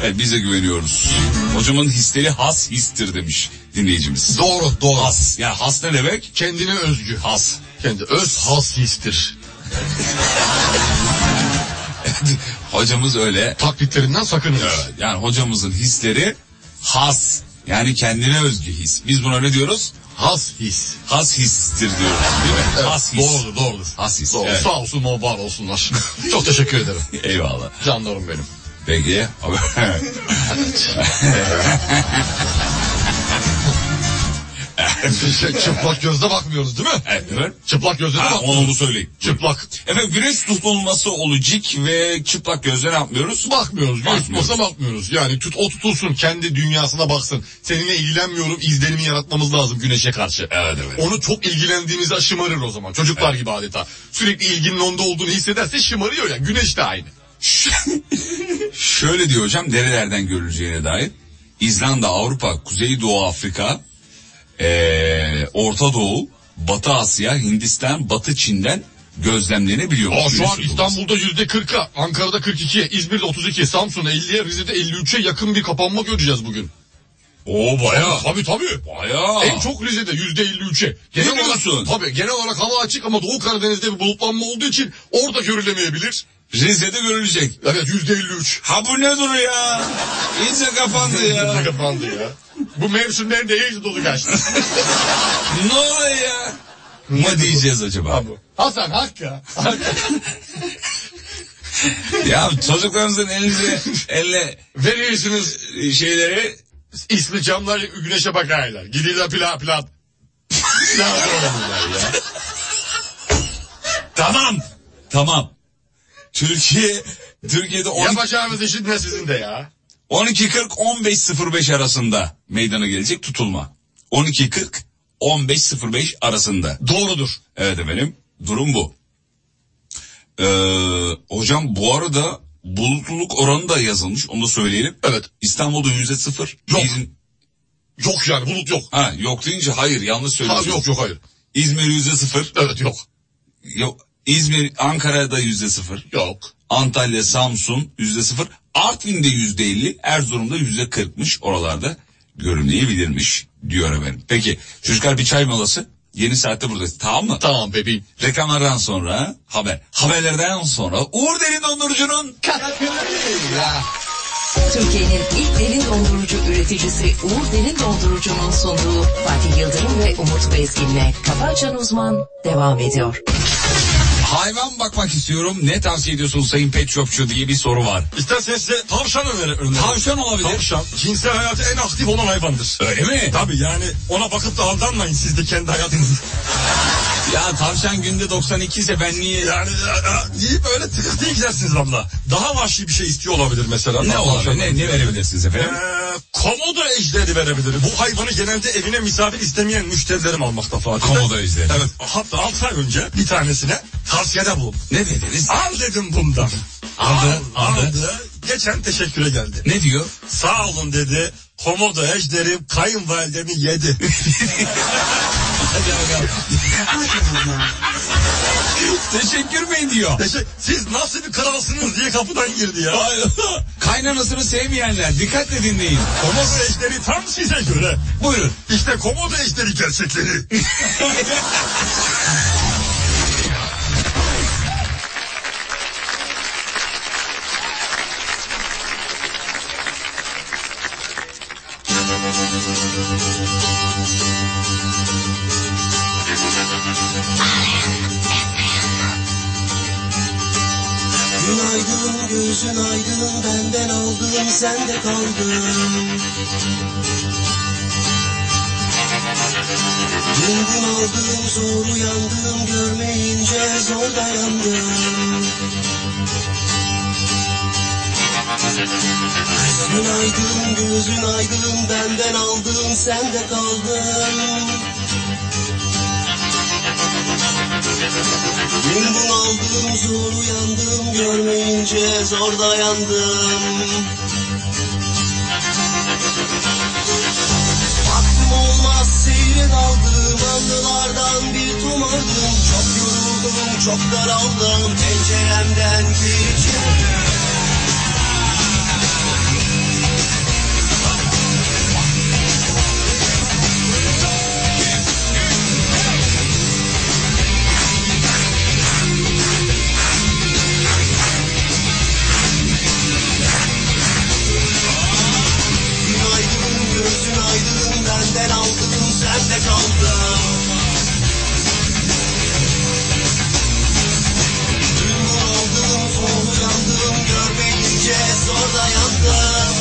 [SPEAKER 3] Evet biz de güveniyoruz. Hocamın hisleri has histir demiş dinleyicimiz.
[SPEAKER 4] doğru doğru.
[SPEAKER 3] Has. Yani has ne demek?
[SPEAKER 4] Kendine özgü.
[SPEAKER 3] Has.
[SPEAKER 4] Kendi öz has histir.
[SPEAKER 3] Hocamız öyle.
[SPEAKER 4] Taklitlerinden sakının.
[SPEAKER 3] Evet, Yani hocamızın hisleri has. Yani kendine özgü his. Biz buna ne diyoruz?
[SPEAKER 4] Has his.
[SPEAKER 3] Has histir diyoruz değil mi?
[SPEAKER 4] Evet,
[SPEAKER 3] has his.
[SPEAKER 4] Doğrudur doğrudur.
[SPEAKER 3] Has his,
[SPEAKER 4] Doğru.
[SPEAKER 3] evet.
[SPEAKER 4] Sağ olsun o var [laughs] olsunlar. Çok teşekkür ederim.
[SPEAKER 3] Eyvallah.
[SPEAKER 4] Canlarım benim.
[SPEAKER 3] Peki. [laughs]
[SPEAKER 4] Şey, çıplak gözle bakmıyoruz değil mi?
[SPEAKER 3] evet.
[SPEAKER 4] Çıplak gözle de
[SPEAKER 3] Ha,
[SPEAKER 4] bakmıyoruz.
[SPEAKER 3] onu söyleyeyim.
[SPEAKER 4] Çıplak.
[SPEAKER 3] Efendim güneş tutulması olacak ve çıplak gözle ne yapmıyoruz?
[SPEAKER 4] Bakmıyoruz.
[SPEAKER 3] Bakmıyoruz.
[SPEAKER 4] Bakmıyoruz. Masa bakmıyoruz. Yani tut, o tutulsun. Kendi dünyasına baksın. Seninle ilgilenmiyorum. izlenimi yaratmamız lazım güneşe karşı.
[SPEAKER 3] Evet, evet.
[SPEAKER 4] Onu çok ilgilendiğimizde şımarır o zaman. Çocuklar gibi adeta. Sürekli ilginin onda olduğunu hissederse şımarıyor ya. Güneş de aynı.
[SPEAKER 3] Şöyle diyor hocam nerelerden görüleceğine dair. İzlanda, Avrupa, Kuzeydoğu Afrika, eee Orta Doğu, Batı Asya, Hindistan, Batı Çin'den gözlemlenebiliyor.
[SPEAKER 4] Aa, şu
[SPEAKER 3] Güneş
[SPEAKER 4] an
[SPEAKER 3] tutulması.
[SPEAKER 4] İstanbul'da yüzde 40'a, Ankara'da 42'ye, İzmir'de 32, Samsun'da 50'ye, Rize'de 53'e yakın bir kapanma göreceğiz bugün.
[SPEAKER 3] Oo
[SPEAKER 4] Tabii
[SPEAKER 3] bayağı.
[SPEAKER 4] tabii. tabii.
[SPEAKER 3] Bayağı.
[SPEAKER 4] En çok Rize'de yüzde 53'e.
[SPEAKER 3] Ne
[SPEAKER 4] Genel olarak,
[SPEAKER 3] diyorsun?
[SPEAKER 4] tabii genel olarak hava açık ama Doğu Karadeniz'de bir bulutlanma olduğu için orada görülemeyebilir.
[SPEAKER 3] Rize'de görülecek.
[SPEAKER 7] Evet yüzde elli üç.
[SPEAKER 3] Ha bu ne duru ya? İyice kapandı ya.
[SPEAKER 7] Kapandı ya. Bu mevsimlerin de iyice dolu kaçtı.
[SPEAKER 3] ne oluyor ya? Ne diyeceğiz acaba?
[SPEAKER 7] Abi. Hasan Hakkı.
[SPEAKER 3] Ya çocuklarınızın elinize elle
[SPEAKER 7] Verirsiniz
[SPEAKER 3] e, şeyleri
[SPEAKER 7] ismi camlar güneşe bakarlar. Gidiyorlar pilav pilav. Pilav sorumlular ya.
[SPEAKER 3] tamam. Tamam. Türkiye Türkiye'de 12
[SPEAKER 7] Yapacağımız işin ne sizin de ya?
[SPEAKER 3] 12.40-15.05 arasında meydana gelecek tutulma. 12.40-15.05 arasında.
[SPEAKER 7] Doğrudur.
[SPEAKER 3] Evet efendim durum bu. Ee, hocam bu arada bulutluluk oranı da yazılmış onu da söyleyelim.
[SPEAKER 7] Evet.
[SPEAKER 3] İstanbul'da yüzde sıfır.
[SPEAKER 7] Yok.
[SPEAKER 3] İzm-
[SPEAKER 7] Yok yani bulut yok.
[SPEAKER 3] Ha, yok deyince hayır yanlış
[SPEAKER 7] Ha,
[SPEAKER 3] söylüyorsun.
[SPEAKER 7] yok yok hayır.
[SPEAKER 3] İzmir yüzde sıfır.
[SPEAKER 7] Evet yok.
[SPEAKER 3] Yok. İzmir, Ankara'da yüzde sıfır.
[SPEAKER 7] Yok.
[SPEAKER 3] Antalya, Samsun yüzde sıfır. Artvin'de yüzde elli. Erzurum'da yüzde kırkmış. Oralarda görünmeyebilirmiş diyor efendim. Peki çocuklar bir çay molası. Yeni saatte buradayız. Tamam mı?
[SPEAKER 7] Tamam bebeğim.
[SPEAKER 3] Reklamlardan sonra haber. Haberlerden sonra Uğur Derin Dondurucu'nun
[SPEAKER 1] Türkiye'nin ilk derin dondurucu üreticisi Uğur Derin Dondurucu'nun sunduğu Fatih Yıldırım ve Umut Bezgin'le Kafa Açan Uzman devam ediyor.
[SPEAKER 3] hayvan bakmak istiyorum. Ne tavsiye ediyorsunuz Sayın Pet Shopçu diye bir soru var.
[SPEAKER 4] İsterseniz size tavşan önerim. önerim.
[SPEAKER 3] Tavşan olabilir.
[SPEAKER 4] Tavşan cinsel hayatı en aktif olan hayvandır.
[SPEAKER 3] Öyle mi?
[SPEAKER 4] Tabii yani ona bakıp da aldanmayın siz de kendi hayatınızı.
[SPEAKER 3] Ya tavşan günde 92 ise ben niye?
[SPEAKER 4] Yani a- a- deyip öyle tıkır diye gidersiniz abla. Daha vahşi bir şey istiyor olabilir mesela.
[SPEAKER 3] Ne
[SPEAKER 4] Daha
[SPEAKER 3] olabilir?
[SPEAKER 4] tavşan-
[SPEAKER 3] Ne, ne verebilirsiniz efendim?
[SPEAKER 4] Ee, komodo ejderi verebilir. Bu hayvanı genelde evine misafir istemeyen müşterilerim almakta Fatih.
[SPEAKER 3] Komodo ejderi.
[SPEAKER 4] Evet. Hatta 6 ay önce bir tanesine tavsiyede bulundum.
[SPEAKER 3] Ne dediniz?
[SPEAKER 4] Al dedim bundan.
[SPEAKER 3] Aldı,
[SPEAKER 4] Al,
[SPEAKER 3] aldı.
[SPEAKER 4] Geçen teşekküre geldi.
[SPEAKER 3] Ne diyor?
[SPEAKER 4] Sağ olun dedi. Komodo ejderim kayınvalidemi
[SPEAKER 3] [laughs]
[SPEAKER 4] yedi.
[SPEAKER 3] Teşekkür bey diyor.
[SPEAKER 4] Teşekkür- Siz nasıl bir kralsınız diye kapıdan girdi ya.
[SPEAKER 3] Kaynanasını sevmeyenler dikkatle dinleyin.
[SPEAKER 4] Komodo ejderi tam size göre.
[SPEAKER 3] Buyurun.
[SPEAKER 4] İşte komodo ejderi gerçekleri.
[SPEAKER 3] [laughs]
[SPEAKER 2] Günaydın gözün aydın benden aldın sen de kaldın Dün gün aldım zor uyandım görmeyince zor dayandım Günaydın gözün aydın benden aldın sen de kaldın Dün gün aldım zor uyandım görmeyince zor dayandım Baktım olmaz seyre daldım anılardan bir tumardım Çok yoruldum çok daraldım penceremden geçirdim Günaydın gözün aydın benden aldın sen de kaldın Dün gün aldım zor uyandım görmeyince zor dayandım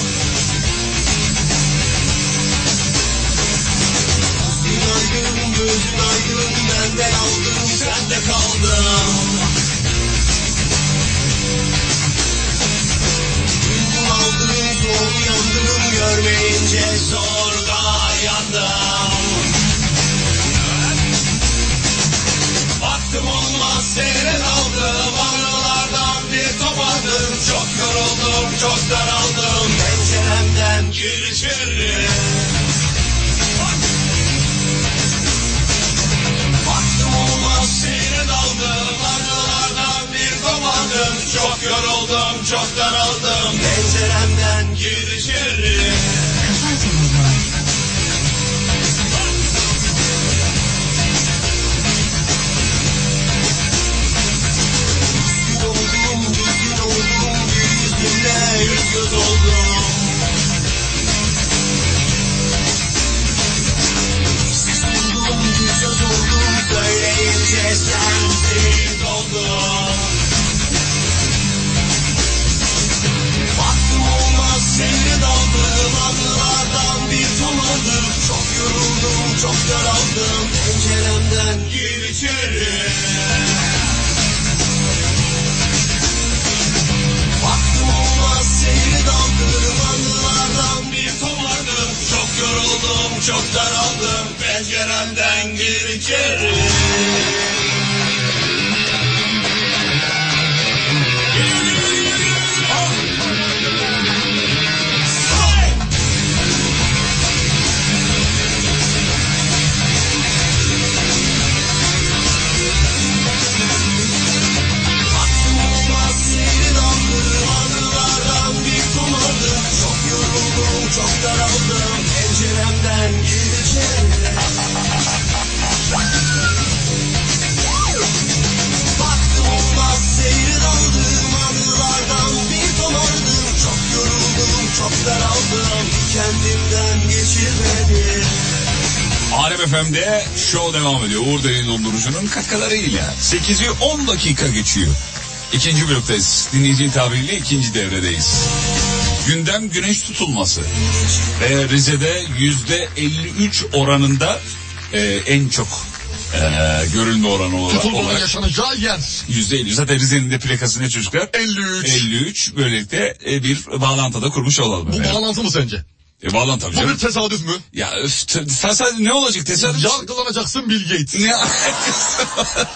[SPEAKER 2] Günaydın gözün aydın benden aldın sen de kaldın Dün gün aldım zor uyandım görmeyince zor dayandım Baktım olmaz seyre daldım Anılardan bir topardım Çok yoruldum çok daraldım Penceremden gir içeri Baktım olmaz seyre daldım Anılardan bir kopardım Çok yoruldum çok daraldım Penceremden gir içeri Gün oldum düz
[SPEAKER 6] Aldığım anılardan bir tomadım Çok yoruldum çok daraldım Penceremden gir içeri Baktım olmaz seyri daldım Anılardan bir tomadım Çok yoruldum çok daraldım Penceremden gir içeri
[SPEAKER 3] Alem FM'de show devam ediyor. Uğur Derin Dondurucu'nun katkılarıyla. 8'i 10 dakika geçiyor. İkinci bloktayız. Dinleyicinin tabiriyle ikinci devredeyiz. Gündem güneş tutulması. Ve Rize'de yüzde 53 oranında e, en çok e, görülme oranı olarak.
[SPEAKER 4] Tutulmanın
[SPEAKER 3] olarak
[SPEAKER 4] yaşanacağı yer.
[SPEAKER 3] Yüzde 53. Zaten Rize'nin de plakası ne çocuklar?
[SPEAKER 4] 53.
[SPEAKER 3] 53. Böylelikle e, bir bağlantıda kurmuş olalım.
[SPEAKER 4] Bu
[SPEAKER 3] efendim.
[SPEAKER 4] bağlantı mı sence?
[SPEAKER 3] E, bağlantı tabii
[SPEAKER 4] Bu bir
[SPEAKER 3] canım.
[SPEAKER 4] tesadüf mü?
[SPEAKER 3] Ya öf, te- tesadüf ne olacak tesadüf?
[SPEAKER 4] Yargılanacaksın Bill Gates.
[SPEAKER 3] Ne alakası var?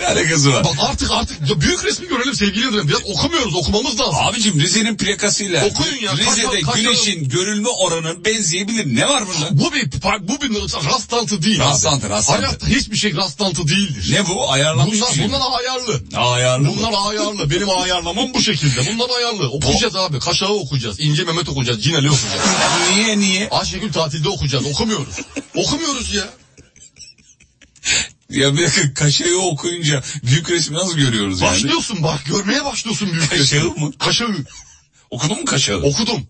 [SPEAKER 3] ne alakası var?
[SPEAKER 4] Bak artık artık ya büyük resmi görelim sevgili Yıldırım. Biraz okumuyoruz okumamız lazım.
[SPEAKER 3] Abicim Rize'nin plakasıyla
[SPEAKER 4] Okuyun ya, kaç-
[SPEAKER 3] Rize'de
[SPEAKER 4] kaç-
[SPEAKER 3] güneşin görülme oranı benzeyebilir. Ne var bunda?
[SPEAKER 4] Bu bir bu bir rastlantı değil.
[SPEAKER 3] Rastlantı,
[SPEAKER 4] abi.
[SPEAKER 3] rastlantı.
[SPEAKER 4] Hayatta hiçbir şey rastlantı değildir.
[SPEAKER 3] Ne bu? Ayarlanmış
[SPEAKER 4] Bunlar,
[SPEAKER 3] bir şey mi?
[SPEAKER 4] bunlar ayarlı.
[SPEAKER 3] Ayarlı mı?
[SPEAKER 4] Bunlar ayarlı. Benim ayarlamam bu şekilde. Bunlar ayarlı. Okuyacağız abi. Kaşağı okuyacağız. İnce Mehmet okuyacağız. Cinali okuyacağız.
[SPEAKER 3] Niye niye?
[SPEAKER 4] Ayşegül tatilde okuyacağız. Okumuyoruz. Okumuyoruz ya.
[SPEAKER 3] Ya bir dakika kaşeyi okuyunca büyük resmi nasıl görüyoruz yani?
[SPEAKER 4] Başlıyorsun bak. Görmeye başlıyorsun büyük
[SPEAKER 3] Kaşağı
[SPEAKER 4] resmi.
[SPEAKER 3] mı?
[SPEAKER 4] Kaşağı.
[SPEAKER 3] Okudun mu kaşağı?
[SPEAKER 4] Okudum.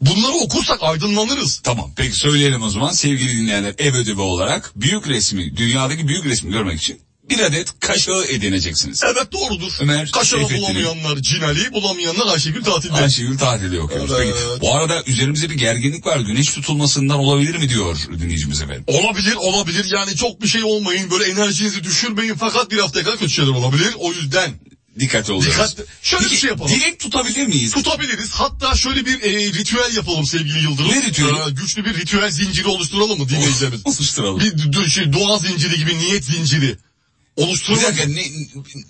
[SPEAKER 4] Bunları okursak aydınlanırız.
[SPEAKER 3] Tamam peki söyleyelim o zaman sevgili dinleyenler ev ödevi olarak büyük resmi dünyadaki büyük resmi görmek için bir adet kaşağı edineceksiniz.
[SPEAKER 4] Evet doğrudur.
[SPEAKER 3] Ömer,
[SPEAKER 4] Kaşağı
[SPEAKER 3] Seyfettin'in-
[SPEAKER 4] bulamayanlar Cinali, bulamayanlar Ayşegül tatilde.
[SPEAKER 3] Ayşegül tatilde okuyoruz.
[SPEAKER 4] Evet.
[SPEAKER 3] Peki, bu arada üzerimizde bir gerginlik var. Güneş tutulmasından olabilir mi diyor dinleyicimiz efendim.
[SPEAKER 4] Olabilir olabilir yani çok bir şey olmayın böyle enerjinizi düşürmeyin fakat bir haftaya kadar kötü şeyler olabilir o yüzden
[SPEAKER 3] Dikkatli olacağız.
[SPEAKER 4] Dikkat- Şöyle bir şey yapalım.
[SPEAKER 3] Dilek tutabilir miyiz?
[SPEAKER 4] tutabiliriz hatta şöyle bir e, ritüel yapalım sevgili Yıldırım.
[SPEAKER 3] Ne ritüeli?
[SPEAKER 4] Ee, güçlü bir ritüel zinciri oluşturalım mı dinleyicilerimiz?
[SPEAKER 3] Oluşturalım.
[SPEAKER 4] bir du- şey, dua zinciri gibi niyet zinciri
[SPEAKER 3] Bir
[SPEAKER 4] oluşturalım.
[SPEAKER 3] dakika ne,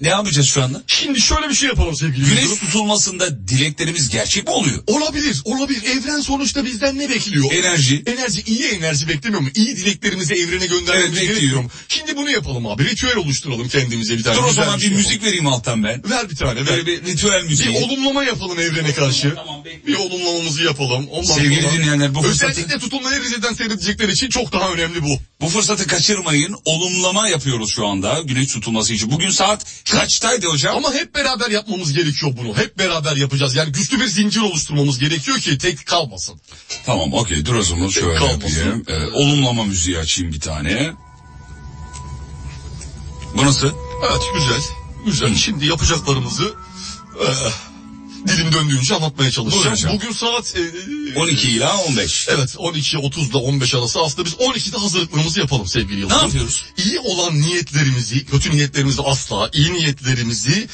[SPEAKER 3] ne yapacağız şu anda?
[SPEAKER 4] Şimdi şöyle bir şey yapalım sevgili
[SPEAKER 3] Güneş
[SPEAKER 4] Yıldırım.
[SPEAKER 3] tutulmasında dileklerimiz gerçek mi oluyor?
[SPEAKER 4] Olabilir olabilir evren sonuçta bizden ne bekliyor?
[SPEAKER 3] Enerji.
[SPEAKER 4] Enerji iyi enerji beklemiyor mu? İyi dileklerimizi evrene göndermemiz
[SPEAKER 3] Evet, bekliyor.
[SPEAKER 4] gerekiyor mu? Şimdi bunu yapalım abi ritüel oluşturalım kendimize bir tane.
[SPEAKER 3] Dur o
[SPEAKER 4] güzel
[SPEAKER 3] zaman
[SPEAKER 4] şey
[SPEAKER 3] bir
[SPEAKER 4] yapalım.
[SPEAKER 3] müzik vereyim alttan ben.
[SPEAKER 4] Ver bir tane ver.
[SPEAKER 3] Böyle bir ritüel
[SPEAKER 4] Bir
[SPEAKER 3] müziği.
[SPEAKER 4] olumlama yapalım evrene karşı. bir olumlamamızı yapalım. Ondan
[SPEAKER 3] Sevgili dinleyenler, bu fırsatı-
[SPEAKER 4] Özellikle tutumları Rize'den seyredecekler için çok daha önemli bu.
[SPEAKER 3] Bu fırsatı kaçırmayın. Olumlama yapıyoruz şu anda güneş tutulması için. Bugün saat kaçtaydı hocam?
[SPEAKER 4] Ama hep beraber yapmamız gerekiyor bunu. Hep beraber yapacağız. Yani güçlü bir zincir oluşturmamız gerekiyor ki tek kalmasın.
[SPEAKER 3] Tamam okey dur o zaman şöyle
[SPEAKER 4] Kalmasın.
[SPEAKER 3] yapayım. Ee, olumlama müziği açayım bir tane. Bu nasıl?
[SPEAKER 4] Evet güzel. Güzel. Şimdi yapacaklarımızı eh, dilim döndüğünce anlatmaya
[SPEAKER 3] Buyurun
[SPEAKER 4] çalışacağım.
[SPEAKER 3] hocam.
[SPEAKER 4] Bugün saat eh,
[SPEAKER 3] 12 ila 15.
[SPEAKER 4] Evet 12 30 da 15 arası aslında biz 12'de hazırlıklarımızı yapalım sevgili Yıldırım.
[SPEAKER 3] Ne yapıyoruz?
[SPEAKER 4] İyi olan niyetlerimizi, kötü niyetlerimizi asla, iyi niyetlerimizi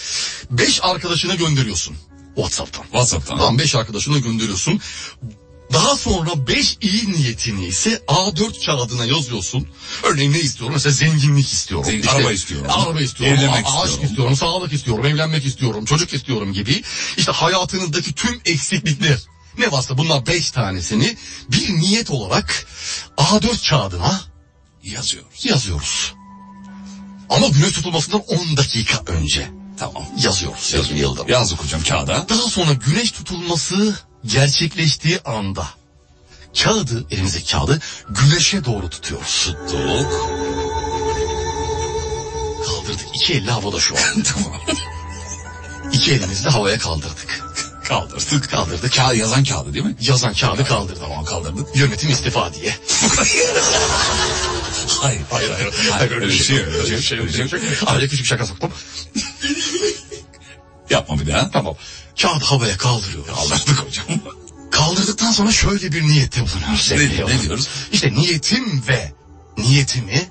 [SPEAKER 4] 5 arkadaşına gönderiyorsun WhatsApp'tan.
[SPEAKER 3] WhatsApp'tan.
[SPEAKER 4] Tamam 5 arkadaşına gönderiyorsun. Daha sonra 5 iyi niyetini ise A4 kağıdına yazıyorsun. Örneğin ne istiyorum? Mesela zenginlik istiyorum.
[SPEAKER 3] Zengin- araba istiyorum.
[SPEAKER 4] Araba istiyorum.
[SPEAKER 3] Evlenmek
[SPEAKER 4] a- Aşk
[SPEAKER 3] istiyorum.
[SPEAKER 4] istiyorum. Sağlık istiyorum. Evlenmek istiyorum. Çocuk istiyorum gibi. İşte hayatınızdaki tüm eksiklikler. Ne varsa bunlar 5 tanesini bir niyet olarak A4 kağıdına
[SPEAKER 3] Yazıyoruz.
[SPEAKER 4] yazıyoruz. Ama güneş tutulmasından 10 dakika önce
[SPEAKER 3] Tamam.
[SPEAKER 4] yazıyoruz. Sevgili Yıldırım.
[SPEAKER 3] Yazdık hocam
[SPEAKER 4] [laughs]
[SPEAKER 3] kağıda.
[SPEAKER 4] Daha sonra güneş tutulması gerçekleştiği anda kağıdı, elimizdeki kağıdı güneşe doğru tutuyoruz.
[SPEAKER 3] Tuttuk.
[SPEAKER 4] Kaldırdık. İki elle havada şu an.
[SPEAKER 3] tamam.
[SPEAKER 4] İki elimizle havaya kaldırdık.
[SPEAKER 3] Kaldırdık.
[SPEAKER 4] Kaldırdık.
[SPEAKER 3] Kağıt yazan kağıdı değil mi?
[SPEAKER 4] Yazan kağıdı kaldırdı.
[SPEAKER 3] Tamam kaldırdık.
[SPEAKER 4] Yönetim istifa diye.
[SPEAKER 3] Hayır.
[SPEAKER 4] [laughs] Hayır hayır. hayır öyle bir şey yok. Öyle bir şey yok. Ayrıca küçük şaka soktum.
[SPEAKER 3] Yapma bir daha.
[SPEAKER 4] Tamam. Kağıt havaya kaldırıyoruz.
[SPEAKER 3] Kaldırdık hocam. [laughs]
[SPEAKER 4] Kaldırdıktan sonra şöyle bir niyette bulunuyoruz.
[SPEAKER 3] Ne-
[SPEAKER 4] sevgili
[SPEAKER 3] ne
[SPEAKER 4] yavrum.
[SPEAKER 3] diyoruz?
[SPEAKER 4] İşte niyetim ve niyetimi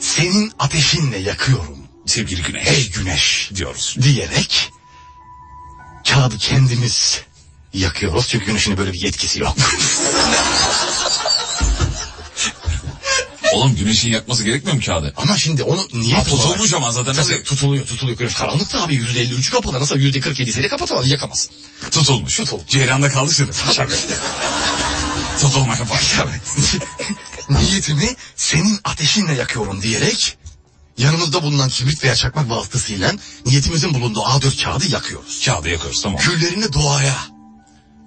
[SPEAKER 4] senin ateşinle yakıyorum.
[SPEAKER 3] Sevgili Güneş
[SPEAKER 4] Ey güneş
[SPEAKER 3] diyoruz.
[SPEAKER 4] diyerek kağıdı kendimiz yakıyoruz. Çünkü güneşin böyle bir yetkisi [laughs] yok.
[SPEAKER 3] Oğlum güneşin yakması gerekmiyor mu kağıdı?
[SPEAKER 4] Ama şimdi onu niyet
[SPEAKER 3] Ha, tutulmuş
[SPEAKER 4] olarak-
[SPEAKER 3] ama zaten
[SPEAKER 4] Tabii,
[SPEAKER 3] nasıl-
[SPEAKER 4] tutuluyor tutuluyor. Güneş karanlıkta abi yüzde elli üçü kapalı. Nasıl yüzde kırk yedisiyle kapatamaz yakamaz.
[SPEAKER 3] Tutulmuş.
[SPEAKER 4] Tutulmuş.
[SPEAKER 3] Ceyranda kaldıysanız. Tutulmaya başlar.
[SPEAKER 4] [laughs] Niyetimi senin ateşinle yakıyorum diyerek yanımızda bulunan kibrit veya çakmak vasıtasıyla niyetimizin bulunduğu A4 kağıdı yakıyoruz.
[SPEAKER 3] Kağıdı yakıyoruz tamam.
[SPEAKER 4] Küllerini doğaya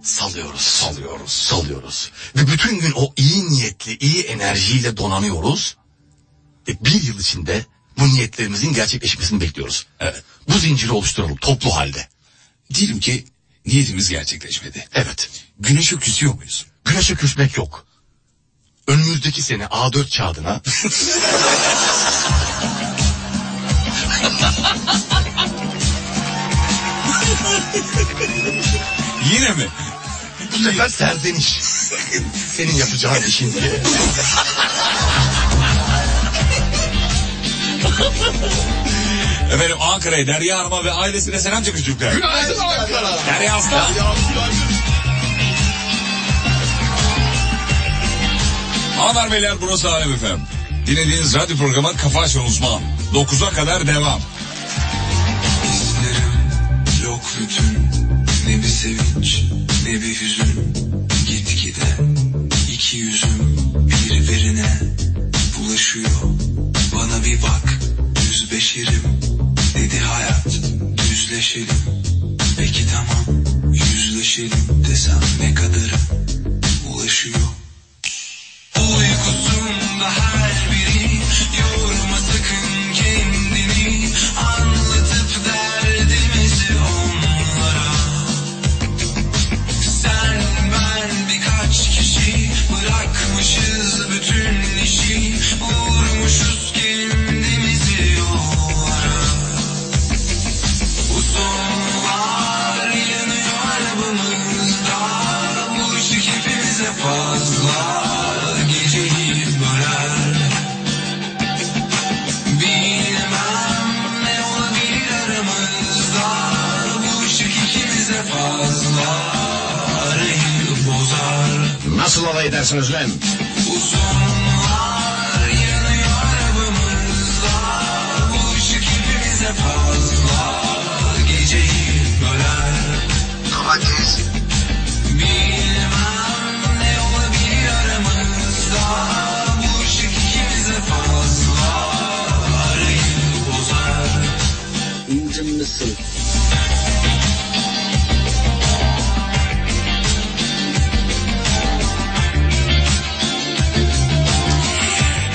[SPEAKER 4] salıyoruz. Salıyoruz. Salıyoruz. Ve bütün gün o iyi niyetli, iyi enerjiyle donanıyoruz. Ve bir yıl içinde bu niyetlerimizin gerçekleşmesini bekliyoruz.
[SPEAKER 3] Evet.
[SPEAKER 4] Bu zinciri oluşturalım toplu halde.
[SPEAKER 3] Diyelim ki niyetimiz gerçekleşmedi.
[SPEAKER 4] Evet.
[SPEAKER 3] Güneşe küsüyor muyuz?
[SPEAKER 4] Güneşe küsmek yok. Önümüzdeki sene A4 kağıdına
[SPEAKER 3] Yine mi?
[SPEAKER 4] bu sefer serzeniş. Senin yapacağın işin diye.
[SPEAKER 3] Efendim Ankara'ya Derya Hanım'a ve ailesine selam çakın çocuklar.
[SPEAKER 4] Günaydın Ankara.
[SPEAKER 3] Derya Aslan. Hanımlar beyler burası Alem Efem. Dinlediğiniz radyo programı Kafa Açan Uzman. 9'a kadar devam.
[SPEAKER 2] Hislerim yok bütün Ne bir sevinç ne bir hüzün Gitgide iki yüzüm birbirine bulaşıyor Bana bir bak düz beşerim Dedi hayat düzleşelim Peki tamam yüzleşelim desem ne kadarı ulaşıyor Uykusunda her biri yorma sakın kendini anlatıp derdimizi onlara. Sen ben birkaç kişi bırakmışız bütün işi vurmuşuz kendimizi yollara. Bu sonlar yanıyor arabamızda bu ışık hepimize fazla geceyi böler. Bilmem ne olabilir aramızda bu ışık ikimize fazla rengi bozar.
[SPEAKER 8] Nasıl alay edersiniz lan?
[SPEAKER 2] Uzunlar yanıyor arabamızda bu ışık hepimize fazla geceyi böler. Bilmem ne olabilir aramızda bu ışık ikimize fazla rengi bozar.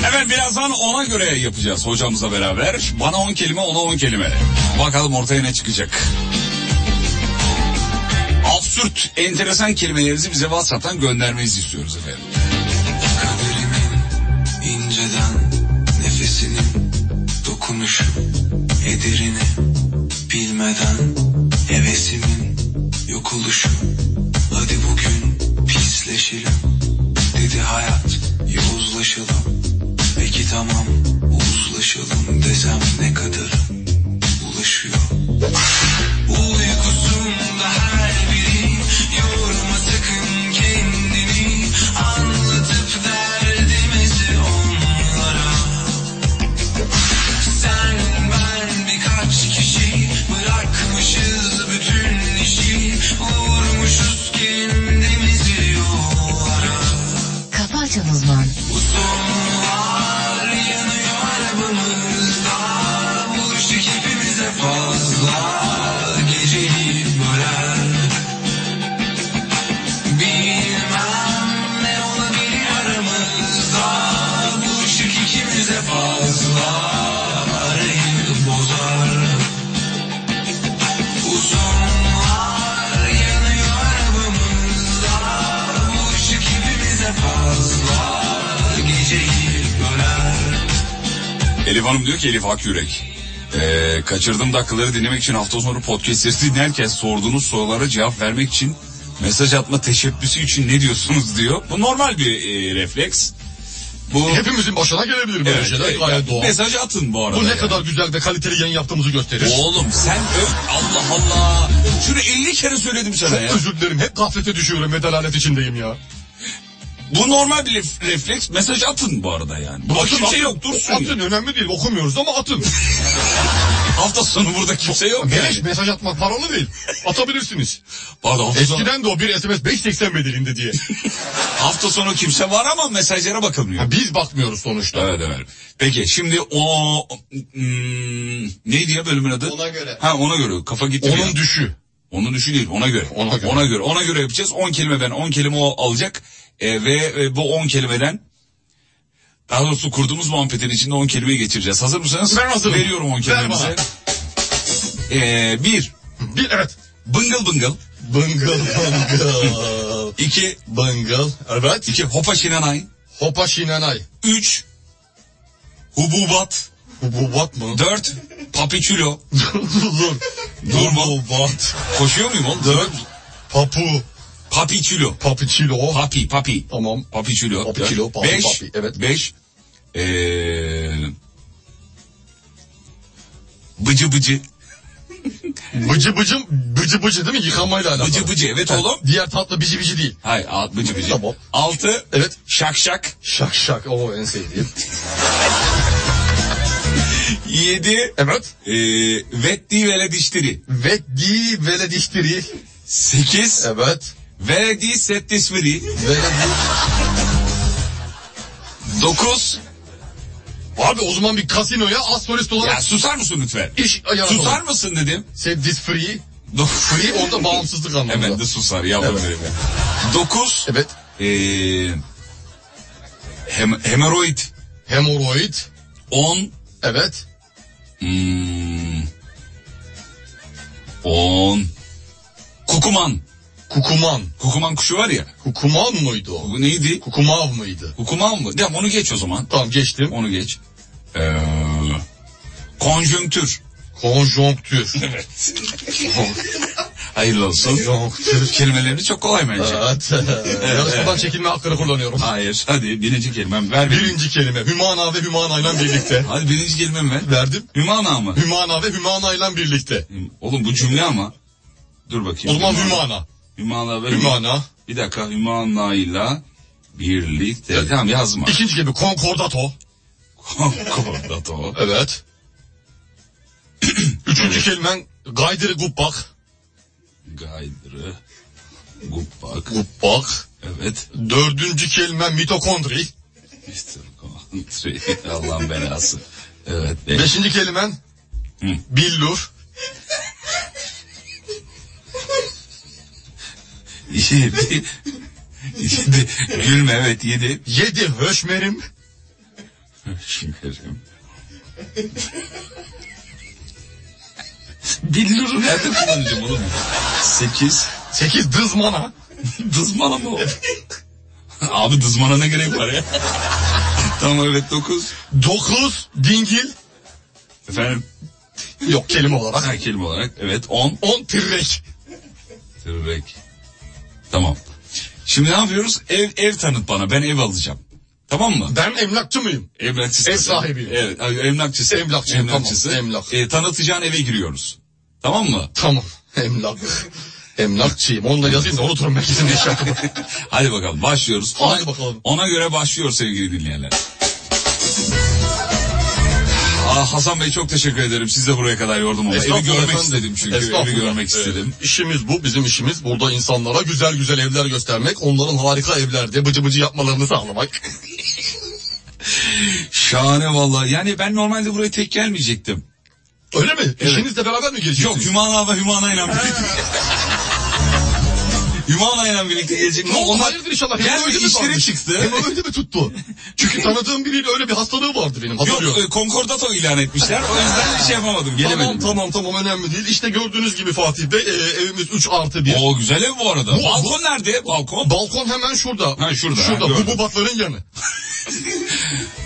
[SPEAKER 3] Hemen birazdan ona göre yapacağız hocamızla beraber. Bana 10 kelime ona 10 kelime. Bakalım ortaya ne çıkacak. Absürt, enteresan kelimelerinizi bize WhatsApp'tan göndermenizi istiyoruz efendim.
[SPEAKER 2] Kaderimin inceden nefesinin dokunuşu ederini bilmeden hevesimin yok oluşu hadi bugün pisleşelim dedi hayat yozlaşalım peki tamam uzlaşalım desem ne kadar ulaşıyor Uykusunda her biri yorma sakın kendini anlatıp derdimizi onlara. Sen ben birkaç kişi bırakmışız bütün işi vurmuşuz kendimizi yollara.
[SPEAKER 1] Kafa Açan Uzman
[SPEAKER 2] Uzunlar yanıyor arabamızda Bu ışık hepimize fazla Geceyi böler Bilmem ne olabilir aramızda Bu ışık ikimize fazla Arayı bozar Uzunlar yanıyor arabamızda Bu ışık hepimize fazla Geceyi böler
[SPEAKER 3] Elif Hanım diyor ki Elif Akyürek. Ee, kaçırdığım dakikaları dinlemek için hafta sonu podcastleri dinlerken sorduğunuz sorulara cevap vermek için mesaj atma teşebbüsü için ne diyorsunuz diyor. Bu normal bir e, refleks. Bu
[SPEAKER 4] Hepimizin başına gelebilir böyle
[SPEAKER 3] Evet,
[SPEAKER 4] şeyler.
[SPEAKER 3] evet.
[SPEAKER 4] Gayet doğal.
[SPEAKER 3] Mesaj atın bu arada.
[SPEAKER 4] Bu ne
[SPEAKER 3] yani.
[SPEAKER 4] kadar güzel ve kaliteli yayın yaptığımızı gösterir.
[SPEAKER 3] Oğlum sen öp Allah Allah. Şunu 50 kere söyledim sana
[SPEAKER 4] Çok
[SPEAKER 3] ya.
[SPEAKER 4] özür dilerim. Hep gaflete düşüyorum ve dalalet içindeyim ya.
[SPEAKER 3] Bu normal bir ref- refleks. Mesaj atın bu arada yani. Bu
[SPEAKER 4] Atın,
[SPEAKER 3] kimse
[SPEAKER 4] atın.
[SPEAKER 3] yok dursun.
[SPEAKER 4] Atın
[SPEAKER 3] ya.
[SPEAKER 4] önemli değil okumuyoruz ama [laughs] atın.
[SPEAKER 3] Hafta sonu burada kimse yok.
[SPEAKER 4] Beleş
[SPEAKER 3] yani.
[SPEAKER 4] mesaj atmak paralı değil. Atabilirsiniz.
[SPEAKER 3] Pardon hafta sonu,
[SPEAKER 4] Eskiden de o bir SMS 5.80 bedelinde diye.
[SPEAKER 3] hafta sonu kimse var ama mesajlara bakılmıyor.
[SPEAKER 4] Ya biz bakmıyoruz sonuçta.
[SPEAKER 3] Evet evet. Peki şimdi o hmm, neydi ya bölümün adı?
[SPEAKER 9] Ona göre.
[SPEAKER 3] Ha ona göre. Kafa gitti. bir
[SPEAKER 4] Onun
[SPEAKER 3] an.
[SPEAKER 4] düşü.
[SPEAKER 3] Onun düşü değil ona göre. Ona göre. Ona göre, ona göre yapacağız. 10 kelime ben 10 kelime o alacak. E, ve e, bu 10 kelimeden daha doğrusu kurduğumuz muhabbetin içinde 10 kelimeyi geçireceğiz. Hazır mısınız?
[SPEAKER 4] Ben hazırım.
[SPEAKER 3] Veriyorum 10 kelimemizi.
[SPEAKER 4] Ver
[SPEAKER 3] E, bir,
[SPEAKER 4] Bir evet.
[SPEAKER 3] bıngıl bıngıl.
[SPEAKER 4] Bıngıl bıngıl.
[SPEAKER 3] İki,
[SPEAKER 4] bıngıl. Evet.
[SPEAKER 3] iki hopa şinanay.
[SPEAKER 4] Hopa şinanay.
[SPEAKER 3] Üç, hububat.
[SPEAKER 4] Bu, bu bat mı?
[SPEAKER 3] Dört, papikülo.
[SPEAKER 4] [laughs] Dur.
[SPEAKER 3] Durma.
[SPEAKER 4] Bu bat.
[SPEAKER 3] Koşuyor muyum oğlum?
[SPEAKER 4] Dört. Papu.
[SPEAKER 3] Papikülo.
[SPEAKER 4] Papiçilo.
[SPEAKER 3] Papi, papi.
[SPEAKER 4] Tamam.
[SPEAKER 3] Papikülo.
[SPEAKER 4] Papikülo, papi,
[SPEAKER 3] beş,
[SPEAKER 4] papi, evet.
[SPEAKER 3] Beş, Ee, eee... Bıcı bıcı.
[SPEAKER 4] Bıcı bıcım. Bıcı bıcı değil mi? Yıkamayla alakalı.
[SPEAKER 3] Bıcı bıcı evet
[SPEAKER 4] Ha,
[SPEAKER 3] oğlum.
[SPEAKER 4] Diğer tatlı bici bici değil.
[SPEAKER 3] Hayır alt bıcı bıcı.
[SPEAKER 4] Tamam.
[SPEAKER 3] Altı.
[SPEAKER 4] Evet.
[SPEAKER 3] Şak şak.
[SPEAKER 4] Şak şak. O en sevdiğim.
[SPEAKER 3] Yedi.
[SPEAKER 4] Evet.
[SPEAKER 3] Eee vetti vele dişleri.
[SPEAKER 4] Veddi velediştiri.
[SPEAKER 3] Sekiz.
[SPEAKER 4] Evet.
[SPEAKER 3] Veledi settisviri.
[SPEAKER 4] Veledi.
[SPEAKER 3] Dokuz.
[SPEAKER 4] Abi o zaman bir kasinoya az solist olarak
[SPEAKER 3] Ya susar mısın lütfen?
[SPEAKER 4] iş yaratalım.
[SPEAKER 3] Susar mısın dedim.
[SPEAKER 4] Sen dis free.
[SPEAKER 3] Dokuz.
[SPEAKER 4] Free [laughs] orada bağımsızlık anlamında.
[SPEAKER 3] Hemen de susar yavrum
[SPEAKER 4] Evet.
[SPEAKER 3] benim ya. Dokuz.
[SPEAKER 4] Evet.
[SPEAKER 3] Eee... Hem, hemeroid.
[SPEAKER 4] Hemoroid.
[SPEAKER 3] On.
[SPEAKER 4] Evet.
[SPEAKER 3] Hmm. On. Kukuman.
[SPEAKER 4] Kukuman.
[SPEAKER 3] Kukuman kuşu var ya.
[SPEAKER 4] Kukuman mıydı o?
[SPEAKER 3] Bu neydi?
[SPEAKER 4] Kukumav mıydı?
[SPEAKER 3] Kukuman mı? Tamam onu geç o zaman.
[SPEAKER 4] Tamam geçtim.
[SPEAKER 3] Onu geç. Ee, konjonktür.
[SPEAKER 4] [laughs] Konjonktür.
[SPEAKER 3] [laughs] Hayırlı olsun.
[SPEAKER 4] Konjonktür.
[SPEAKER 3] Kelimelerini çok kolay bence.
[SPEAKER 4] evet. Yarışmadan çekilme hakkını kullanıyorum.
[SPEAKER 3] Hayır. Hadi birinci kelimem ver. benim.
[SPEAKER 4] Birinci kelime. Hümana ve Hümana ile birlikte.
[SPEAKER 3] Hadi birinci kelimem ver.
[SPEAKER 4] Verdim.
[SPEAKER 3] Hümana mı?
[SPEAKER 4] Hümana ve Hümana ile birlikte.
[SPEAKER 3] Oğlum bu cümle ama. Dur
[SPEAKER 4] O
[SPEAKER 3] bakayım.
[SPEAKER 4] zaman Hümana.
[SPEAKER 3] Hümana ve
[SPEAKER 4] Hümana.
[SPEAKER 3] Bir dakika. Hümana ile birlikte. Tamam yazma.
[SPEAKER 4] İkinci kelime konkordato.
[SPEAKER 3] Konkordato.
[SPEAKER 4] Evet. [clears throat] Üçüncü kelimen gaydiri gubbak.
[SPEAKER 3] Gaydırı. Gubbak.
[SPEAKER 4] Gubbak.
[SPEAKER 3] Evet.
[SPEAKER 4] Dördüncü kelimen mitokondri.
[SPEAKER 3] Mr. Country. [laughs] Allah'ın belası. Evet. E, be-
[SPEAKER 4] Beşinci kelimen
[SPEAKER 3] Hı.
[SPEAKER 4] billur.
[SPEAKER 3] Yedi. Yedi. Gülme evet yedi.
[SPEAKER 4] Yedi höşmerim.
[SPEAKER 3] Şükürüm. Billur'u nerede kullanacağım oğlum? Sekiz.
[SPEAKER 4] Sekiz dızmana.
[SPEAKER 3] Dızmana mı o? Abi dızmana ne gerek var ya? tamam evet dokuz.
[SPEAKER 4] Dokuz dingil.
[SPEAKER 3] Efendim?
[SPEAKER 4] Yok kelime olarak.
[SPEAKER 3] Ha, kelime olarak evet on.
[SPEAKER 4] On tirrek.
[SPEAKER 3] Tırrek. Tamam. Şimdi ne yapıyoruz? Ev ev tanıt bana. Ben ev alacağım. Tamam mı?
[SPEAKER 4] Ben emlakçı mıyım?
[SPEAKER 3] Emlakçısı.
[SPEAKER 4] Ev sahibi.
[SPEAKER 3] Evet. ay, Emlakçısı.
[SPEAKER 4] Emlakçı, tamam, emlak.
[SPEAKER 3] E, tanıtacağın eve giriyoruz. Tamam mı?
[SPEAKER 4] Tamam. [laughs] Emlak. Emlakçıyım. Onu da yazayım da unuturum ben kesin iş yapımı.
[SPEAKER 3] Hadi bakalım başlıyoruz.
[SPEAKER 4] Hadi bakalım.
[SPEAKER 3] Ona göre başlıyor sevgili dinleyenler. Aa, Hasan Bey çok teşekkür ederim. Siz de buraya kadar yordum ama. Evi görmek istedim çünkü. Evi görmek istedim.
[SPEAKER 4] işimiz bu, bizim işimiz. Burada insanlara güzel güzel evler göstermek, onların harika evlerde bıcı bıcı yapmalarını sağlamak. [laughs]
[SPEAKER 3] Şahane vallahi. Yani ben normalde buraya tek gelmeyecektim.
[SPEAKER 4] Öyle mi? İşinizle beraber mi
[SPEAKER 3] Yok
[SPEAKER 4] geleceksiniz?
[SPEAKER 3] Hümana ve Hümana ile birlikte. [laughs] Hümana ile birlikte gelecek.
[SPEAKER 4] Ne oldu?
[SPEAKER 3] Onlar
[SPEAKER 4] Hayırdır inşallah.
[SPEAKER 3] geldi
[SPEAKER 4] Hemoroidi mi
[SPEAKER 3] işleri
[SPEAKER 4] varmış?
[SPEAKER 3] çıktı.
[SPEAKER 4] Hemoroidi mi [laughs] tuttu? Çünkü tanıdığım biriyle öyle bir hastalığı vardı benim.
[SPEAKER 3] Yok
[SPEAKER 4] Hatırlıyorum.
[SPEAKER 3] e, konkordato ilan etmişler. O yüzden bir şey yapamadım.
[SPEAKER 4] Tamam
[SPEAKER 3] Gelemedim.
[SPEAKER 4] tamam tamam önemli değil. İşte gördüğünüz gibi Fatih Bey e, evimiz 3 artı 1.
[SPEAKER 3] Oo güzel ev bu arada.
[SPEAKER 4] Bu-
[SPEAKER 3] balkon nerede? Balkon.
[SPEAKER 4] Balkon hemen şurada.
[SPEAKER 3] Ha, şurada, ha,
[SPEAKER 4] Şurada
[SPEAKER 3] gördüm.
[SPEAKER 4] hububatların yanı.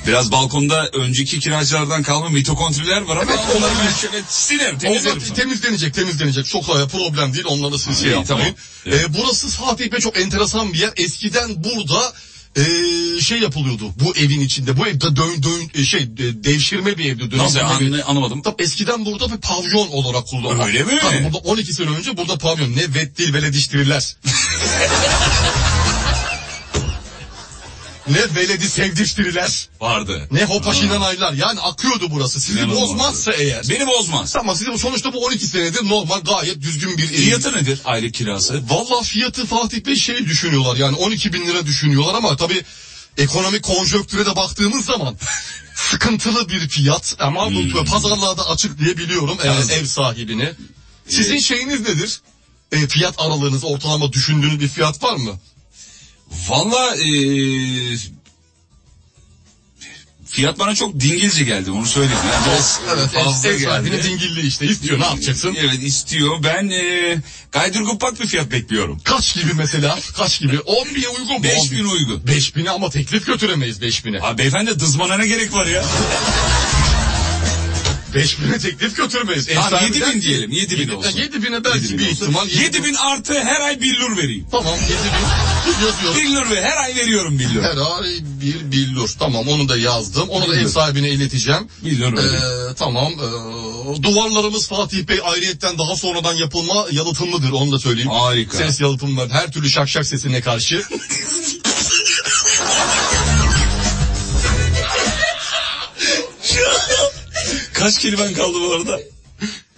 [SPEAKER 3] Biraz balkonda önceki kiracılardan kalma mitokondriler var ama
[SPEAKER 4] Evet,
[SPEAKER 3] onları
[SPEAKER 4] olabilir.
[SPEAKER 3] ben şöyle silerim temizlerim.
[SPEAKER 4] Onlar temizlenecek temizlenecek çok kolay problem değil onlara siz şey
[SPEAKER 3] İyi,
[SPEAKER 4] yapmayın.
[SPEAKER 3] tamam.
[SPEAKER 4] Ee, burası Fatih Bey çok enteresan bir yer. Eskiden burada ee, şey yapılıyordu bu evin içinde. Bu evde dön, dön, e, şey e, devşirme bir evdi.
[SPEAKER 3] Nasıl
[SPEAKER 4] dönüştürme bir-
[SPEAKER 3] anla, anlamadım.
[SPEAKER 4] Tabii eskiden burada bir pavyon olarak kullanılıyor.
[SPEAKER 3] Öyle mi?
[SPEAKER 4] Tabii burada 12 sene önce burada pavyon. Ne
[SPEAKER 3] [laughs]
[SPEAKER 4] vettil velediştirirler. ne veledi sevdiştirirler.
[SPEAKER 3] Vardı.
[SPEAKER 4] Ne hopaşinanaylar. Yani akıyordu burası. Sizi
[SPEAKER 3] İnanılmaz.
[SPEAKER 4] bozmazsa eğer.
[SPEAKER 3] Beni bozmaz.
[SPEAKER 4] Ama size bu sonuçta bu 12 senedir normal gayet düzgün bir
[SPEAKER 3] Fiyatı nedir aylık kirası?
[SPEAKER 4] Valla fiyatı Fatih Bey şey düşünüyorlar yani 12 bin lira düşünüyorlar ama tabii ekonomik konjonktüre de baktığımız zaman [laughs] sıkıntılı bir fiyat ama
[SPEAKER 3] Hmm.
[SPEAKER 4] bu pazarlarda açıklayabiliyorum eğer ev sahibini.
[SPEAKER 3] Ee,
[SPEAKER 4] Sizin şeyiniz nedir? E, fiyat aralığınız ortalama düşündüğünüz bir fiyat var mı?
[SPEAKER 3] Valla e, eee, fiyat bana çok dingilce geldi onu söyleyeyim. Yani biraz fazla Ee,
[SPEAKER 4] ev sahibinin
[SPEAKER 3] geldi.
[SPEAKER 4] dingilliği işte istiyor ne yapacaksın?
[SPEAKER 3] Evet istiyor. Ben eee gaydırgupak bir fiyat bekliyorum.
[SPEAKER 4] Kaç gibi mesela? Kaç gibi? 10 bine uygun mu?
[SPEAKER 3] 5 bin uygun.
[SPEAKER 4] 5 bine ama teklif götüremeyiz 5 bine.
[SPEAKER 3] Abi beyefendi dızmana ne gerek var
[SPEAKER 4] [laughs]
[SPEAKER 3] ya?
[SPEAKER 4] 5 bine teklif götürmeyiz. Ev
[SPEAKER 3] Tamam,
[SPEAKER 4] sahibi
[SPEAKER 3] 7
[SPEAKER 4] der
[SPEAKER 3] bin
[SPEAKER 4] ki-
[SPEAKER 3] diyelim. 7 bin olsun.
[SPEAKER 4] 7 bine belki bir ihtimal.
[SPEAKER 3] 7 bin artı her ay billur vereyim.
[SPEAKER 4] Tamam 7 bin. Yazıyorum.
[SPEAKER 3] Billur ve her ay veriyorum billur.
[SPEAKER 4] Ferrari bir billur. Tamam onu da yazdım. Onu da ev sahibine ileteceğim.
[SPEAKER 3] Billur öyle.
[SPEAKER 4] Ee, tamam. ee, duvarlarımız Fatih Bey ayrıyetten daha sonradan yapılma yalıtımlıdır. Onu da söyleyeyim.
[SPEAKER 3] Harika.
[SPEAKER 4] Ses yalıtımı var. Her türlü şakşak sesine karşı.
[SPEAKER 3] Kaç kelimen kaldı bu arada?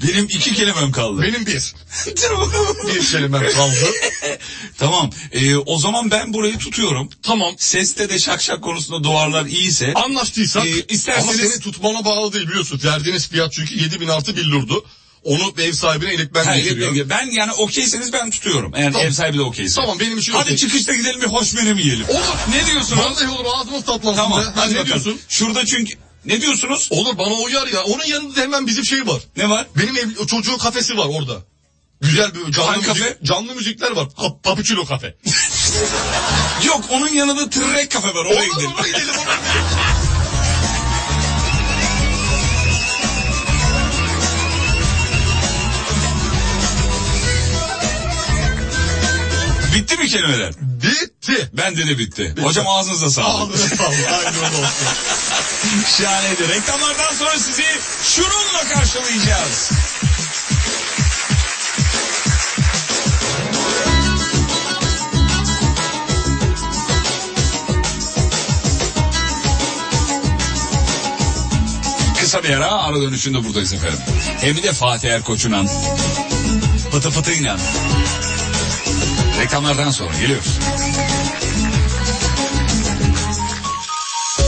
[SPEAKER 3] Benim iki kelimem kaldı.
[SPEAKER 4] [laughs] Benim bir.
[SPEAKER 3] Dur bakalım.
[SPEAKER 4] Bir kelimem kaldı.
[SPEAKER 3] [laughs] Tamam. Ee, o zaman ben burayı tutuyorum.
[SPEAKER 4] tamam.
[SPEAKER 3] Seste de şak şak konusunda duvarlar iyiyse.
[SPEAKER 4] Anlaştıysak.
[SPEAKER 3] Ee, isterseniz-
[SPEAKER 4] Ama senin tutmana bağlı değil biliyorsun. Verdiğiniz fiyat çünkü 7000 artı billurdu. Onu ev sahibine iletmen
[SPEAKER 3] Ha,
[SPEAKER 4] gerekiyor.
[SPEAKER 3] evet, ben yani okeyseniz ben tutuyorum. Eğer
[SPEAKER 4] Tamam.
[SPEAKER 3] ev sahibi de okeyse.
[SPEAKER 4] Tamam, benim için
[SPEAKER 3] Hadi
[SPEAKER 4] okey.
[SPEAKER 3] çıkışta gidelim bir hoş menem yiyelim.
[SPEAKER 4] Olur.
[SPEAKER 3] Ne diyorsunuz?
[SPEAKER 4] Vallahi olur ağzımız tatlansın
[SPEAKER 3] Tamam.
[SPEAKER 4] be.
[SPEAKER 3] Hadi
[SPEAKER 4] Hadi ne
[SPEAKER 3] bakalım.
[SPEAKER 4] diyorsun?
[SPEAKER 3] Şurada çünkü ne diyorsunuz?
[SPEAKER 4] Olur bana uyar ya. Onun yanında da hemen bizim şey var.
[SPEAKER 3] Ne var?
[SPEAKER 4] Benim ev, çocuğun kafesi var orada. Güzel bir canlı,
[SPEAKER 3] Hangi
[SPEAKER 4] müzik,
[SPEAKER 3] kafe?
[SPEAKER 4] canlı müzikler var. Pap Papuçino kafe.
[SPEAKER 3] Yok onun yanında Trek kafe var. Oraya
[SPEAKER 4] Olur
[SPEAKER 3] gidelim.
[SPEAKER 4] ona gidelim. ona gidelim.
[SPEAKER 3] Bitti mi kelimeler?
[SPEAKER 4] Bitti.
[SPEAKER 3] Bende de bitti. Hocam ağzınıza sağlık.
[SPEAKER 4] Ağzına sağlık. Aynı öyle [laughs] olsun.
[SPEAKER 3] [laughs] Şahaneydi. Reklamlardan sonra sizi şununla karşılayacağız. Kısa bir ara ara dönüşünde buradayız efendim. Hem de Fatih Erkoç'unan. Pıtı pıtı inan. Reklamlardan sonra geliyoruz.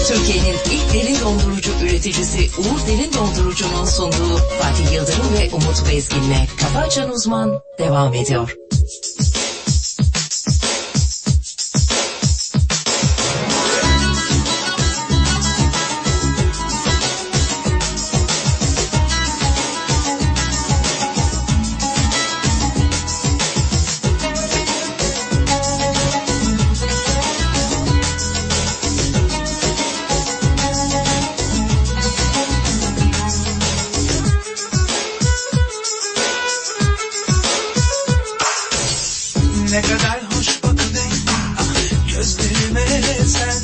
[SPEAKER 1] Türkiye'nin ilk derin dondurucu üreticisi Uğur Derin Dondurucu'nun sunduğu Fatih Yıldırım ve Umut Bezgin'le Kafa Açan Uzman devam ediyor.
[SPEAKER 2] Ne kadar hoş bakıdın ah, gözlerime sen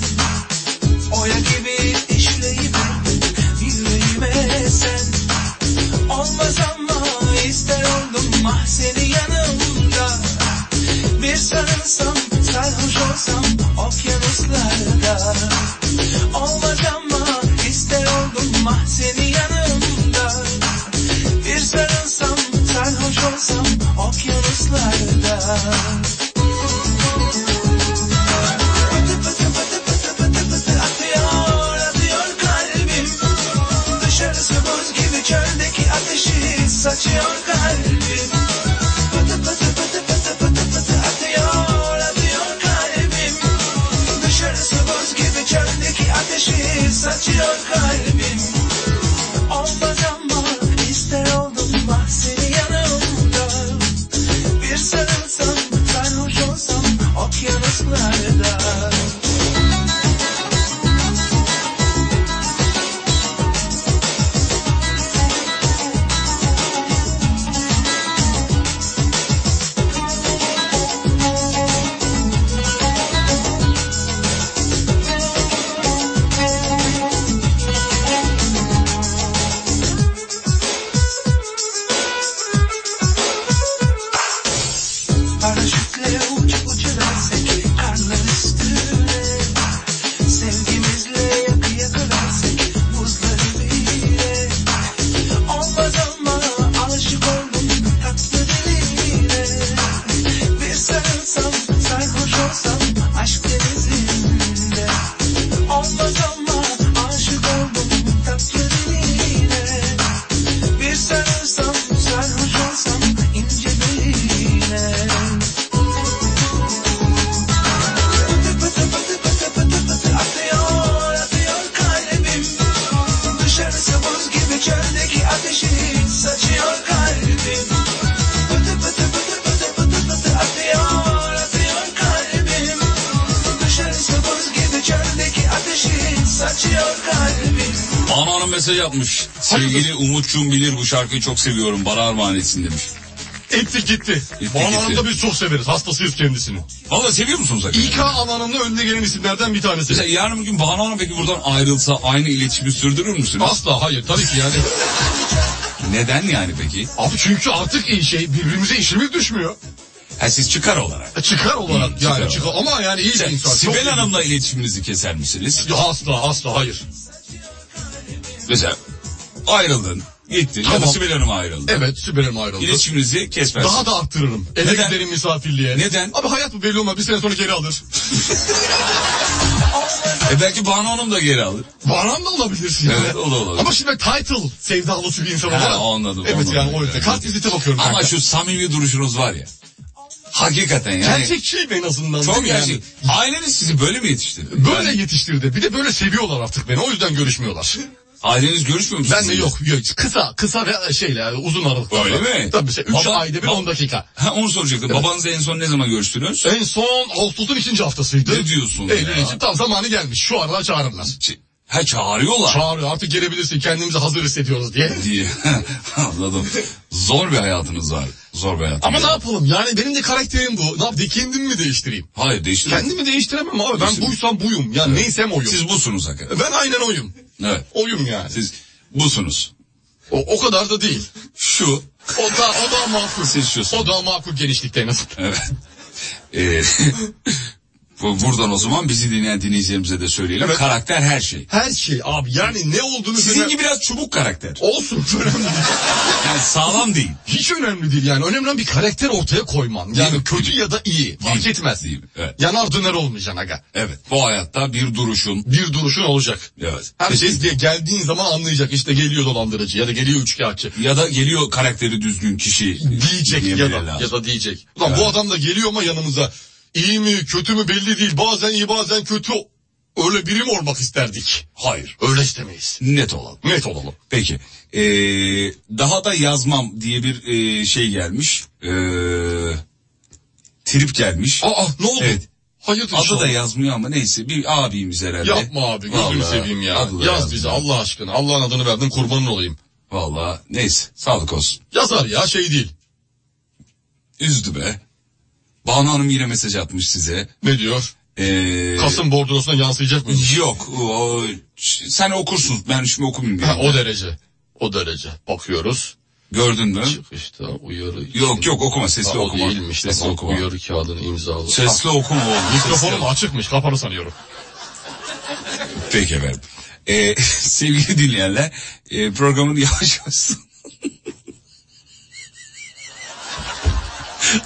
[SPEAKER 2] Oya gibi işleyip yüreğime sen Olmaz ama ister oldum ah seni yanımda Bir sarılsam sarhoş olsam okyanuslarda Olmaz ama ister oldum ah seni yanımda bir sarılsam, sarhoş olsam okyanuslarda Pıtı pıtı pıtı pıtı pıtı pıtı atıyor, atıyor kalbim Dışarısı buz gibi çöldeki ateşi saçıyor kalbim Pıtı pıtı pıtı pıtı pıtı pıtı atıyor, atıyor kalbim Dışarısı buz gibi çöldeki ateşi saçıyor kalbim Olmaz ama ister oldum bah seni yanımda Bir sarılsam sarhoş olsam okyanuslarda
[SPEAKER 3] Banu Hanım mesaj yapmış. Sevgili Umut'cum bilir bu şarkıyı çok seviyorum. Bana armağan etsin demiş.
[SPEAKER 4] Etti gitti.
[SPEAKER 3] Etti
[SPEAKER 4] Banu
[SPEAKER 3] gitti.
[SPEAKER 4] Hanım'ı da biz çok severiz. Hastasıyız kendisini.
[SPEAKER 3] Valla seviyor musunuz hakikaten?
[SPEAKER 4] İK alanında önde gelen isimlerden bir tanesi.
[SPEAKER 3] Mesela yarın bir gün Banu Hanım peki buradan ayrılsa aynı iletişimi sürdürür müsünüz?
[SPEAKER 4] Asla hayır tabii ki yani.
[SPEAKER 3] Neden yani peki?
[SPEAKER 4] Abi çünkü artık iyi şey birbirimize işimiz düşmüyor.
[SPEAKER 3] Ha siz çıkar olarak.
[SPEAKER 4] E, Çıkar olarak
[SPEAKER 3] Hı,
[SPEAKER 4] yani
[SPEAKER 3] çıkar olarak.
[SPEAKER 4] çıkar. ama yani iyi bir
[SPEAKER 3] Sen
[SPEAKER 4] insan. çok
[SPEAKER 3] Sibel
[SPEAKER 4] iyi.
[SPEAKER 3] Hanım'la iletişiminizi keser misiniz?
[SPEAKER 4] Ya Asla asla hayır.
[SPEAKER 3] Mesela ayrıldın, gittin ya da
[SPEAKER 4] Tamam.
[SPEAKER 3] Sibel Hanım ayrıldı.
[SPEAKER 4] Evet Sibel Hanım ayrıldı.
[SPEAKER 3] İletişiminizi kesmez.
[SPEAKER 4] Daha da arttırırım. Eve
[SPEAKER 3] Neden?
[SPEAKER 4] giderim misafirliğe.
[SPEAKER 3] Neden?
[SPEAKER 4] Abi hayat bu belli olmaz. Bir sene sonra geri alır.
[SPEAKER 3] E belki Banu Hanım da geri alır.
[SPEAKER 4] Baran da olabilirsin. yani.
[SPEAKER 3] Evet, o da olabilir.
[SPEAKER 4] Ama şimdi ben title sevdalısı bir insan
[SPEAKER 3] Ha,
[SPEAKER 4] olarak.
[SPEAKER 3] anladım,
[SPEAKER 4] Evet
[SPEAKER 3] anladım.
[SPEAKER 4] yani o yüzden.
[SPEAKER 3] Evet.
[SPEAKER 4] Kart vizite bakıyorum.
[SPEAKER 3] Ama
[SPEAKER 4] kanka.
[SPEAKER 3] şu samimi duruşunuz var ya. Hakikaten yani.
[SPEAKER 4] Gerçekçiyim en azından.
[SPEAKER 3] Çok
[SPEAKER 4] değil mi yani?
[SPEAKER 3] gerçek. Aileniz sizi böyle mi yetiştirdi?
[SPEAKER 4] Böyle
[SPEAKER 3] Yani
[SPEAKER 4] yetiştirdi. Bir de böyle seviyorlar artık beni. O yüzden görüşmüyorlar.
[SPEAKER 3] aileniz görüşmüyor musunuz?
[SPEAKER 4] ben de yok. yok. Kısa, kısa ve şeyle yani uzun aralıklarla.
[SPEAKER 3] Öyle mi?
[SPEAKER 4] Tabii şey. 3
[SPEAKER 3] Baba-
[SPEAKER 4] ayda bir
[SPEAKER 3] bab-
[SPEAKER 4] 10 dakika.
[SPEAKER 3] Ha onu soracaktım. Babanızla en son ne zaman görüştünüz?
[SPEAKER 4] En son Ağustos'un ikinci haftasıydı.
[SPEAKER 3] Ne diyorsun
[SPEAKER 4] Eylül
[SPEAKER 3] ya?
[SPEAKER 4] için tam zamanı gelmiş. Şu aralar çağırırlar.
[SPEAKER 3] Ç- Ha çağırıyorlar.
[SPEAKER 4] Çağırıyor artık gelebilirsin kendimizi hazır hissediyoruz diye.
[SPEAKER 3] diye. [laughs] Anladım. Zor bir hayatınız var. Zor bir hayatınız
[SPEAKER 4] Ama ne
[SPEAKER 3] var.
[SPEAKER 4] yapalım yani benim de karakterim bu. Ne yapayım kendimi mi değiştireyim?
[SPEAKER 3] Hayır değiştirme.
[SPEAKER 4] Kendimi değiştiremem abi. Ben
[SPEAKER 3] Değiştirme.
[SPEAKER 4] buysam buyum. Yani neysem oyum.
[SPEAKER 3] Siz busunuz hakikaten.
[SPEAKER 4] Ben aynen oyum.
[SPEAKER 3] Evet.
[SPEAKER 4] Oyum yani.
[SPEAKER 3] Siz busunuz.
[SPEAKER 4] O, o kadar da değil.
[SPEAKER 3] Şu.
[SPEAKER 4] O da o da makul.
[SPEAKER 3] Siz şusunuz.
[SPEAKER 4] O da makul genişlikte en azından.
[SPEAKER 3] Evet. [laughs] Ee, [laughs] bu- buradan o zaman bizi dinleyen dinleyicilerimize de söyleyelim. Karakter her şey.
[SPEAKER 4] Her şey abi yani ne olduğunu
[SPEAKER 3] Sizin
[SPEAKER 4] bilmem-
[SPEAKER 3] gibi biraz çubuk karakter.
[SPEAKER 4] olsun önemli değil.
[SPEAKER 3] Yani sağlam değil.
[SPEAKER 4] Hiç önemli değil yani. Önemli olan bir karakter ortaya koyman. Yani
[SPEAKER 3] Değil mi?
[SPEAKER 4] kötü ya da iyi. Fark
[SPEAKER 3] Değil.
[SPEAKER 4] etmez.
[SPEAKER 3] Değil. Evet.
[SPEAKER 4] Yanar döner olmayacaksın aga.
[SPEAKER 3] Evet. Bu hayatta bir duruşun.
[SPEAKER 4] Bir duruşun olacak.
[SPEAKER 3] Evet.
[SPEAKER 4] Herkes diye geldiğin zaman anlayacak işte geliyor dolandırıcı ya da geliyor üçkağıtçı.
[SPEAKER 3] Ya da geliyor karakteri düzgün kişi.
[SPEAKER 4] Diyecek ya
[SPEAKER 3] diyebilirler.
[SPEAKER 4] da, ya da diyecek. Ulan bu adam da geliyor ama yanımıza iyi mi kötü mü belli değil bazen iyi bazen kötü öyle biri mi olmak isterdik?
[SPEAKER 3] Hayır.
[SPEAKER 4] Öyle istemeyiz.
[SPEAKER 3] Net olalım.
[SPEAKER 4] Net olalım.
[SPEAKER 3] Peki. Ee, daha da yazmam diye bir ee, şey gelmiş. Ee, trip gelmiş.
[SPEAKER 4] Aa ne oldu?
[SPEAKER 3] Evet.
[SPEAKER 4] Hayırdır
[SPEAKER 3] Adı da
[SPEAKER 4] inşallah.
[SPEAKER 3] yazmıyor ama neyse bir abimiz herhalde.
[SPEAKER 4] Yapma abi gözünü
[SPEAKER 3] Vallahi
[SPEAKER 4] seveyim ya.
[SPEAKER 3] adı da
[SPEAKER 4] Yaz
[SPEAKER 3] yazmıyor.
[SPEAKER 4] bize Allah aşkına. Allah'ın adını verdin kurbanın olayım.
[SPEAKER 3] Vallahi neyse sağlık olsun.
[SPEAKER 4] Yazar ya şey değil.
[SPEAKER 3] Üzdü be. Banu Hanım yine mesaj atmış size.
[SPEAKER 4] Ne diyor?
[SPEAKER 3] Ee,
[SPEAKER 4] Kasım bordrosuna yansıyacak mı?
[SPEAKER 3] [laughs] Yok. o- ş- sen okursun. Ben şimdi okumayayım diye.
[SPEAKER 4] Ha, o derece. O derece. Bakıyoruz.
[SPEAKER 3] Gördün mü?
[SPEAKER 4] Çıkışta uyarı.
[SPEAKER 3] Yok yok okuma. Sesli
[SPEAKER 4] Ha, o
[SPEAKER 3] okuma.
[SPEAKER 4] değilmiş.
[SPEAKER 3] Sesli
[SPEAKER 4] Bak,
[SPEAKER 3] okuma.
[SPEAKER 4] Uyarı kağıdını imzalı.
[SPEAKER 3] Sesli okuma oğlum. sesli
[SPEAKER 4] Mikrofonum
[SPEAKER 3] okuma.
[SPEAKER 4] açıkmış. Kapalı sanıyorum.
[SPEAKER 3] Peki efendim. Ee, [laughs] sevgili dinleyenler e, programın yavaş yavaş [laughs] son-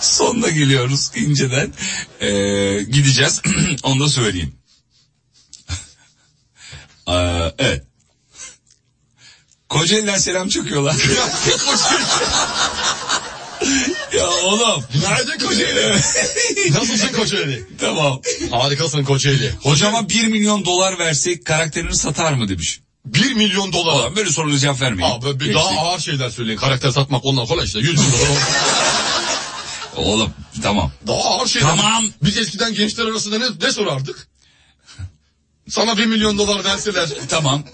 [SPEAKER 3] sonuna geliyoruz inceden. Ee, gideceğiz. [clears throat] Onu da söyleyeyim. [laughs] Ee, evet. Kocaeli'den selam çakıyorlar. [laughs] ya oğlum.
[SPEAKER 4] Nerede Kocaeli? Nasılsın Kocaeli?
[SPEAKER 3] [laughs]
[SPEAKER 4] [laughs]
[SPEAKER 3] Tamam.
[SPEAKER 4] Harikasın Kocaeli.
[SPEAKER 3] Hocama 1 milyon dolar versek karakterini satar mı demiş.
[SPEAKER 4] 1 milyon dolar.
[SPEAKER 3] Ulan böyle sorunun cevap vermeyin.
[SPEAKER 4] Abi bir daha ağır şeyler söyleyin. Karakter satmak ondan kolay işte. 100 bin dolar.
[SPEAKER 3] Oğlum tamam.
[SPEAKER 4] Daha ağır şeyler.
[SPEAKER 3] Tamam.
[SPEAKER 4] Biz eskiden gençler arasında ne, ne sorardık? Sana 1 milyon dolar verseler.
[SPEAKER 3] Tamam.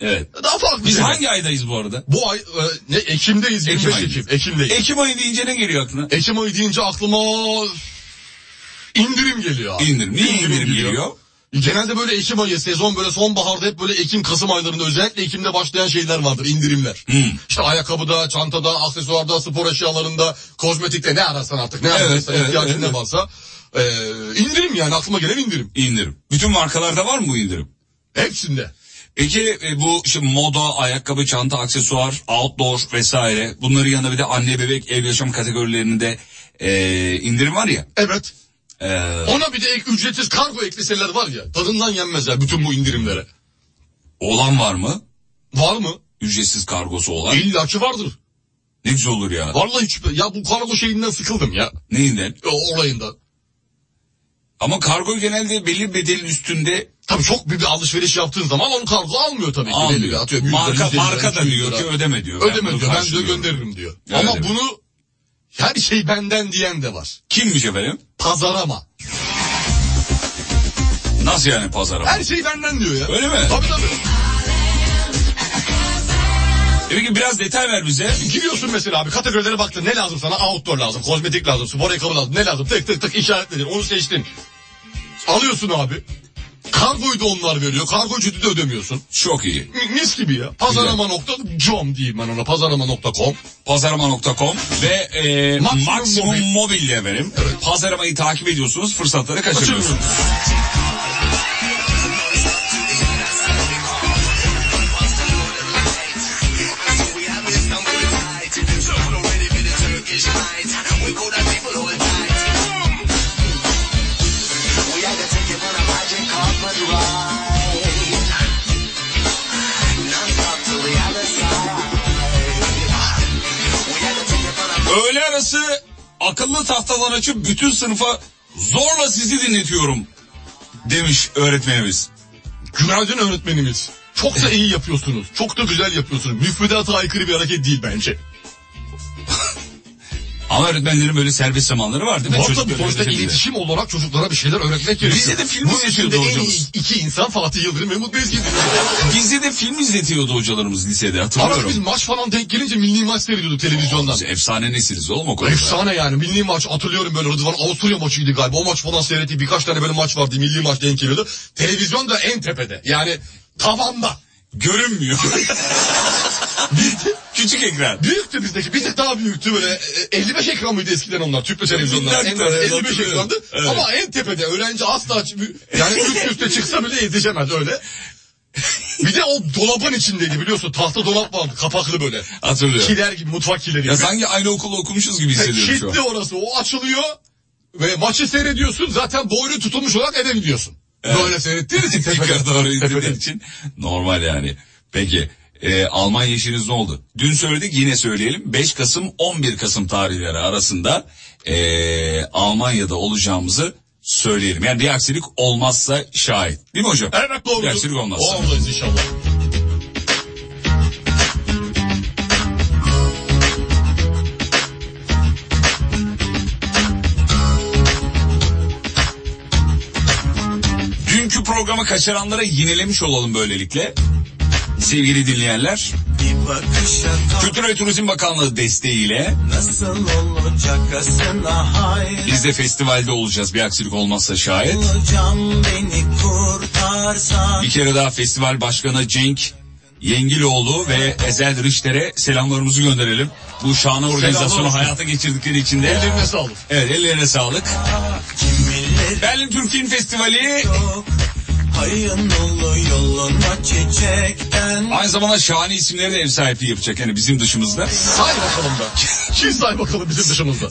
[SPEAKER 3] Evet.
[SPEAKER 4] Daha farklı.
[SPEAKER 3] Biz
[SPEAKER 4] şeyler.
[SPEAKER 3] hangi aydayız bu arada?
[SPEAKER 4] Bu ay e, ne Ekim'deyiz.
[SPEAKER 3] Ekim
[SPEAKER 4] 25
[SPEAKER 3] ayı.
[SPEAKER 4] Ekim. Ekim'deyiz.
[SPEAKER 3] Ekim ayı deyince ne geliyor aklına?
[SPEAKER 4] Ekim ayı deyince aklıma indirim geliyor. abi.
[SPEAKER 3] İndirim. Niye indirim geliyor?
[SPEAKER 4] Genelde böyle Ekim ayı sezon böyle sonbaharda hep böyle Ekim Kasım aylarında özellikle Ekim'de başlayan şeyler vardır indirimler. İşte ayakkabıda, çantada, aksesuarda, spor eşyalarında, kozmetikte ne ararsan artık ne ararsan
[SPEAKER 3] evet,
[SPEAKER 4] ihtiyacın
[SPEAKER 3] evet.
[SPEAKER 4] ne varsa. E, indirim yani aklıma gelen indirim.
[SPEAKER 3] İndirim. Bütün markalarda var mı bu indirim?
[SPEAKER 4] Hepsinde.
[SPEAKER 3] Peki e, bu işte moda, ayakkabı, çanta, aksesuar, outdoor vesaire. Bunların yanında bir de anne, bebek, ev yaşam kategorilerinde e, indirim var ya.
[SPEAKER 4] Evet.
[SPEAKER 3] E,
[SPEAKER 4] Ona bir de ek, ücretsiz kargo ekleseler var ya tadından yenmezler bütün bu indirimlere.
[SPEAKER 3] olan var mı?
[SPEAKER 4] Var mı?
[SPEAKER 3] Ücretsiz kargosu olan.
[SPEAKER 4] İlla ki vardır.
[SPEAKER 3] Ne güzel olur ya.
[SPEAKER 4] Vallahi hiç ya bu kargo şeyinden sıkıldım ya.
[SPEAKER 3] Neyinden?
[SPEAKER 4] E, olayından.
[SPEAKER 3] Ama kargo genelde belli bir bedelin üstünde
[SPEAKER 4] Tabii çok büyük bir alışveriş yaptığın zaman onu kargo almıyor tabii ki. Belli bir
[SPEAKER 3] almıyor.
[SPEAKER 4] atıyor. 100 lira,
[SPEAKER 3] Marka,
[SPEAKER 4] 150 lira,
[SPEAKER 3] marka da
[SPEAKER 4] 200
[SPEAKER 3] diyor
[SPEAKER 4] lira.
[SPEAKER 3] ki ödeme diyor. bunu
[SPEAKER 4] Ödeme diyor ben diyor
[SPEAKER 3] karşılıyorum.
[SPEAKER 4] gönderirim diyor.
[SPEAKER 3] Evet,
[SPEAKER 4] Ama
[SPEAKER 3] evet.
[SPEAKER 4] bunu her şey benden diyen de var.
[SPEAKER 3] Kimmiş efendim?
[SPEAKER 4] Pazarama.
[SPEAKER 3] Nasıl yani pazara?
[SPEAKER 4] [laughs] Her şey benden diyor ya.
[SPEAKER 3] Öyle mi?
[SPEAKER 4] Tabii tabii.
[SPEAKER 3] Demek ki biraz detay ver bize.
[SPEAKER 4] Giriyorsun mesela abi kategorilere baktın ne lazım sana outdoor lazım kozmetik lazım spor ayakkabı lazım ne lazım tık tık tık işaretledin onu seçtin. Alıyorsun abi kargoyu da onlar veriyor kargo ücreti de ödemiyorsun.
[SPEAKER 3] Çok iyi.
[SPEAKER 4] Mi- Mis gibi ya pazarama.com diyeyim ben ona pazarama.com.
[SPEAKER 3] Pazarama.com ve e,
[SPEAKER 4] Maximum
[SPEAKER 3] Maximum,
[SPEAKER 4] Mobil.
[SPEAKER 3] Mobil ile benim. Pazaramayı takip ediyorsunuz, fırsatları kaçırmıyorsunuz. Öğle arası akıllı tahtadan açıp bütün sınıfa zorla sizi dinletiyorum demiş öğretmenimiz.
[SPEAKER 4] Günaydın öğretmenimiz. Çok da iyi yapıyorsunuz. Çok da güzel yapıyorsunuz. Müfredata aykırı bir hareket değil bence.
[SPEAKER 3] Ama öğretmenlerin böyle serbest zamanları var değil mi?
[SPEAKER 4] Var tabii
[SPEAKER 3] Çocukları
[SPEAKER 4] sonuçta
[SPEAKER 3] yönetebilirler.
[SPEAKER 4] iletişim olarak çocuklara bir şeyler öğretmek gerekiyor.
[SPEAKER 3] Bize de film
[SPEAKER 4] Bu
[SPEAKER 3] izletiyordu
[SPEAKER 4] ülkede en
[SPEAKER 3] hocamız.
[SPEAKER 4] iyi iki insan Fatih Yıldırım ve Mutlu Ezgi.
[SPEAKER 3] Bizde de film izletiyordu hocalarımız lisede
[SPEAKER 4] Arada biz
[SPEAKER 3] hatırlıyorum.
[SPEAKER 4] maç falan denk gelince milli maç seyrediyorduk televizyondan.
[SPEAKER 3] Biz efsane nesiliz oğlum o konuda.
[SPEAKER 4] Efsane yani milli maç hatırlıyorum böyle Rıdvan Avusturya maçıydı galiba o maç falan seyrettik birkaç tane böyle maç vardı milli maç denk geliyordu. Televizyon da en tepede yani tavanda.
[SPEAKER 3] Görünmüyor. [laughs] Küçük ekran.
[SPEAKER 4] Büyüktü bizdeki. Bir tık daha büyüktü böyle. e, 55 ekran mıydı eskiden onlar? Tüplü televizyonlar.
[SPEAKER 3] Binler
[SPEAKER 4] En
[SPEAKER 3] bir tane,
[SPEAKER 4] az 55
[SPEAKER 3] hatırlıyorum.
[SPEAKER 4] ekrandı.
[SPEAKER 3] Evet.
[SPEAKER 4] Ama en tepede öğrenci asla yani üst üste çıksa bile yetişemez öyle. [laughs] Bir de o dolabın içindeydi biliyorsun. Tahta dolap vardı kapaklı böyle.
[SPEAKER 3] Hatırlıyorum.
[SPEAKER 4] Kiler gibi mutfak kileri gibi.
[SPEAKER 3] Ya sanki aynı okulda okumuşuz gibi hissediyorum şu
[SPEAKER 4] Kilitli
[SPEAKER 3] an.
[SPEAKER 4] orası. O açılıyor ve maçı seyrediyorsun. Zaten boynu tutulmuş olarak eve gidiyorsun. Böyle seyrettiğin için
[SPEAKER 3] Yukarı doğru
[SPEAKER 4] tepeden.
[SPEAKER 3] indiğin
[SPEAKER 4] tepeden.
[SPEAKER 3] için normal yani. Peki e, Almanya işiniz ne oldu? Dün söyledik yine söyleyelim. 5 Kasım 11 Kasım tarihleri arasında e, Almanya'da olacağımızı söyleyelim. Yani bir aksilik olmazsa şahit. Değil mi hocam?
[SPEAKER 4] Evet doğru.
[SPEAKER 3] Bir aksilik olmazsa.
[SPEAKER 4] Olmaz inşallah.
[SPEAKER 3] Dünkü programı kaçıranlara yinelemiş olalım böylelikle. Sevgili dinleyenler,
[SPEAKER 2] Bir bakışa kal
[SPEAKER 3] Kültür ve Turizm Bakanlığı desteğiyle
[SPEAKER 2] nasıl olacakasına hayran
[SPEAKER 3] biz de festivalde olacağız bir aksilik olmazsa şayet.
[SPEAKER 2] olacağım beni kurtarsan
[SPEAKER 3] Bir kere daha festival başkanı Cenk Yengiloğlu ve Ezel Richter'e selamlarımızı gönderelim. Bu şahane organizasyonu
[SPEAKER 4] olsun.
[SPEAKER 3] hayata geçirdikleri için de
[SPEAKER 4] Ellerine sağlık.
[SPEAKER 3] evet ellerine sağlık.
[SPEAKER 2] kim bilir
[SPEAKER 3] Berlin Türk Film Festivali
[SPEAKER 2] çok hayın dolu yoluna çiçekten
[SPEAKER 3] aynı zamanda şahane isimlere de ev sahipliği yapacak yani bizim dışımızda.
[SPEAKER 4] Say bakalım
[SPEAKER 3] [laughs]
[SPEAKER 4] da. Kim say bakalım bizim dışımızda?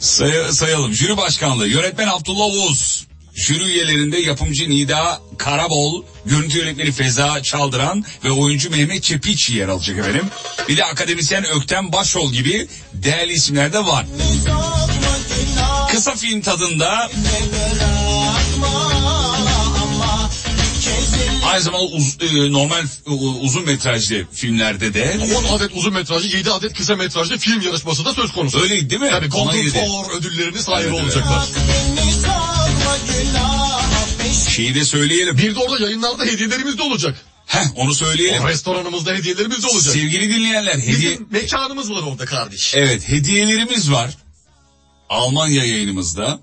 [SPEAKER 3] Say- sayalım. Jüri başkanlığı yönetmen Abdullah Oğuz. Jüri üyelerinde yapımcı Nida Karabol, görüntü yönetmeni Feza Çaldıran ve oyuncu Mehmet Çepiç yer alacak efendim. Bir de akademisyen Ökten Başol gibi değerli isimler de var.
[SPEAKER 2] Uzatma günah
[SPEAKER 3] Kısa film tadında aynı zamanda uz- e, normal e, uzun metrajlı filmlerde de
[SPEAKER 4] 10 adet uzun metrajlı, 7 adet kısa metrajlı film yarışması da söz konusu.
[SPEAKER 3] öyle değil mi?
[SPEAKER 4] Tabii
[SPEAKER 3] Ona
[SPEAKER 4] Golden
[SPEAKER 3] girdi.
[SPEAKER 4] Tower ödüllerinin sahibi
[SPEAKER 3] Evet, evet.
[SPEAKER 4] olacaklar.
[SPEAKER 2] Beni sorma günah
[SPEAKER 3] Şeyi de söyleyelim.
[SPEAKER 4] Bir de orada yayınlarda hediyelerimiz de olacak.
[SPEAKER 3] Heh, onu söyleyelim.
[SPEAKER 4] O restoranımızda hediyelerimiz de olacak.
[SPEAKER 3] Sevgili dinleyenler Şey, hediye
[SPEAKER 4] Bizim mekanımız var orada kardeş.
[SPEAKER 3] Evet hediyelerimiz var. Almanya yayınımızda.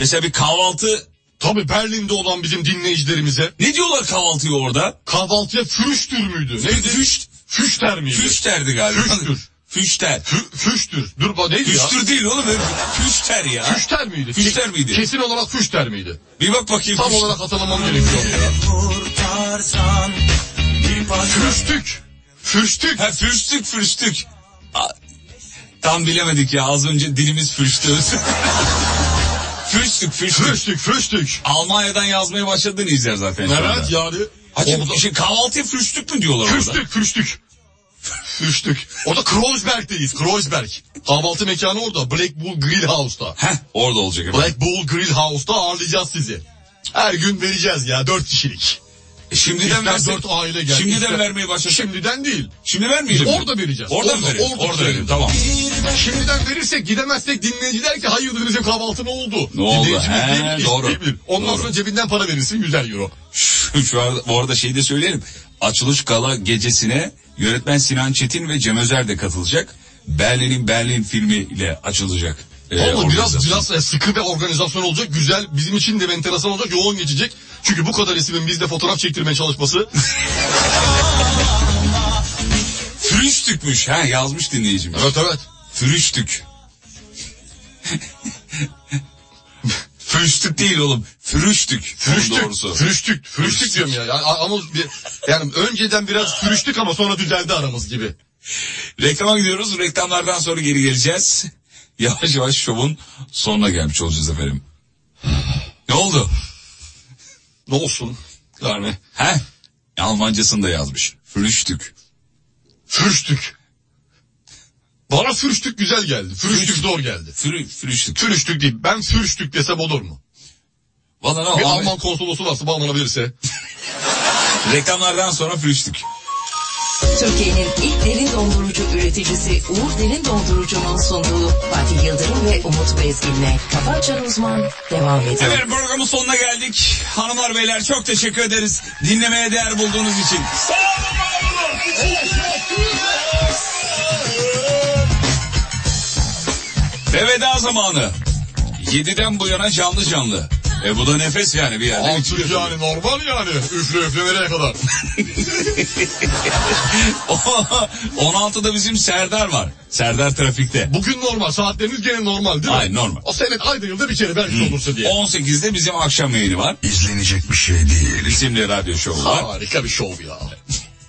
[SPEAKER 3] Mesela bir kahvaltı
[SPEAKER 4] Tabii Berlin'de olan bizim dinleyicilerimize
[SPEAKER 3] ne diyorlar kahvaltıyı orada?
[SPEAKER 4] kahvaltıya fürüştür müydü? Neydi?
[SPEAKER 3] Füş,
[SPEAKER 4] Füşter miydi?
[SPEAKER 3] füşterdi galiba.
[SPEAKER 4] Füştür.
[SPEAKER 3] Füşter.
[SPEAKER 4] Fü- füştür. Dur ba- neydi ya?
[SPEAKER 3] Füştür değil oğlum. Füşter ya.
[SPEAKER 4] Füşter miydi?
[SPEAKER 3] Füşter miydi?
[SPEAKER 4] Kesin olarak füşter miydi?
[SPEAKER 3] Bir bak bakayım.
[SPEAKER 4] Tam
[SPEAKER 3] füşter.
[SPEAKER 4] olarak hatırlamam gerekiyor.
[SPEAKER 2] kurtarsan bir bakış
[SPEAKER 4] Fürstük. Fürstük.
[SPEAKER 3] Ha fürstük fürstük. A- Tam bilemedik ya az önce dilimiz fürstü. [laughs] fürstük fürstük.
[SPEAKER 4] Fürstük. Fürstük.
[SPEAKER 3] Almanya'dan yazmaya başladığını izler zaten. şu anda.
[SPEAKER 4] Evet yani.
[SPEAKER 3] Hacı,
[SPEAKER 4] Orada-
[SPEAKER 3] şey, kahvaltıya fürstük mü diyorlar orada?
[SPEAKER 4] Fürstük, fürstük. Fürstük. Orada Kreuzberg'deyiz. Kreuzberg. Kahvaltı mekanı orada. Black Bull Grill House'ta.
[SPEAKER 3] Heh, orada olacak efendim.
[SPEAKER 4] Black Bull Grill House'ta ağırlayacağız sizi. Her gün vereceğiz ya dört kişilik.
[SPEAKER 3] E, Şimdiden
[SPEAKER 4] İster
[SPEAKER 3] versek.
[SPEAKER 4] dört aile gel.
[SPEAKER 3] Şimdiden
[SPEAKER 4] ister-
[SPEAKER 3] vermeye başlasak.
[SPEAKER 4] Şimdiden değil.
[SPEAKER 3] Şimdi vermeyelim. mi?
[SPEAKER 4] Orada vereceğiz.
[SPEAKER 3] Orada, mı
[SPEAKER 4] Orada,
[SPEAKER 3] verelim?
[SPEAKER 4] orada
[SPEAKER 3] Orada, verelim
[SPEAKER 4] verelim.
[SPEAKER 3] tamam.
[SPEAKER 4] Şimdiden verirsek gidemezsek dinleyiciler ki hayırdır bizim kahvaltı ne oldu?
[SPEAKER 3] Ne oldu?
[SPEAKER 4] Dinleyicimiz
[SPEAKER 3] He,
[SPEAKER 4] diyebilir,
[SPEAKER 3] doğru.
[SPEAKER 4] isteyebilir. Ondan
[SPEAKER 3] Doğru.
[SPEAKER 4] sonra cebinden para verirsin 100 euro.
[SPEAKER 3] Şu, şu arada, bu arada şeyi de söyleyelim. Açılış gala gecesine Yönetmen Sinan Çetin ve Cem Özer de katılacak. Berlin'in Berlin filmiyle açılacak. e,
[SPEAKER 4] Vallahi
[SPEAKER 3] organizasyon.
[SPEAKER 4] biraz biraz sıkı bir organizasyon olacak. Güzel. Bizim için de enteresan olacak. Yoğun geçecek. Çünkü bu kadar ismin bizde fotoğraf çektirmeye çalışması.
[SPEAKER 3] Früştükmüş ha yazmış dinleyicim.
[SPEAKER 4] evet evet.
[SPEAKER 3] [laughs] Früştük. Früştük değil oğlum. Früştük. Früştük. Doğrusu.
[SPEAKER 4] Fürüştük. Fürüştük. Fürüştük diyorum ya. Yani, a- ama bir, yani önceden biraz fürüştük ama sonra düzeldi aramız gibi.
[SPEAKER 3] Reklama gidiyoruz. Reklamlardan sonra geri geleceğiz. [laughs] Yavaş yavaş şovun sonuna gelmiş olacağız efendim. ne oldu?
[SPEAKER 4] Ne olsun? Yani
[SPEAKER 3] He? Almancasını da yazmış. Früştük.
[SPEAKER 4] fürüştük. Bana fürüştük güzel geldi. Fürüştük zor geldi.
[SPEAKER 3] Frü, früştük.
[SPEAKER 4] Fürüştük değil. Ben fürüştük desem olur mu?
[SPEAKER 3] Valla ne
[SPEAKER 4] Bir
[SPEAKER 3] Alman-
[SPEAKER 4] Alman konsolosu varsa bağlanabilirse.
[SPEAKER 3] Reklamlardan sonra früştük.
[SPEAKER 1] Türkiye'nin ilk derin dondurucu üreticisi Uğur Derin Dondurucu'nun sunduğu Fatih Yıldırım ve Umut Bezgin'le Kafa Açan Uzman devam ediyor.
[SPEAKER 3] Evet programın sonuna geldik. Hanımlar beyler çok teşekkür ederiz. Dinlemeye değer bulduğunuz için. Ve veda zamanı. 7'den bu yana canlı canlı. E bu da nefes yani bir yerde.
[SPEAKER 4] Altı
[SPEAKER 3] [laughs]
[SPEAKER 4] yani normal yani. Üfle üfle nereye kadar?
[SPEAKER 3] 16'da bizim Serdar var. Serdar trafikte.
[SPEAKER 4] Bugün normal. Saatleriniz gene normal değil mi?
[SPEAKER 3] Hayır, normal.
[SPEAKER 4] O senet ayda yılda bir kere belki olursa diye.
[SPEAKER 3] 18'de bizim akşam yayını var.
[SPEAKER 4] İzlenecek bir şey değil.
[SPEAKER 3] İsimli radyo şovu var.
[SPEAKER 4] Harika bir şov [laughs] ya.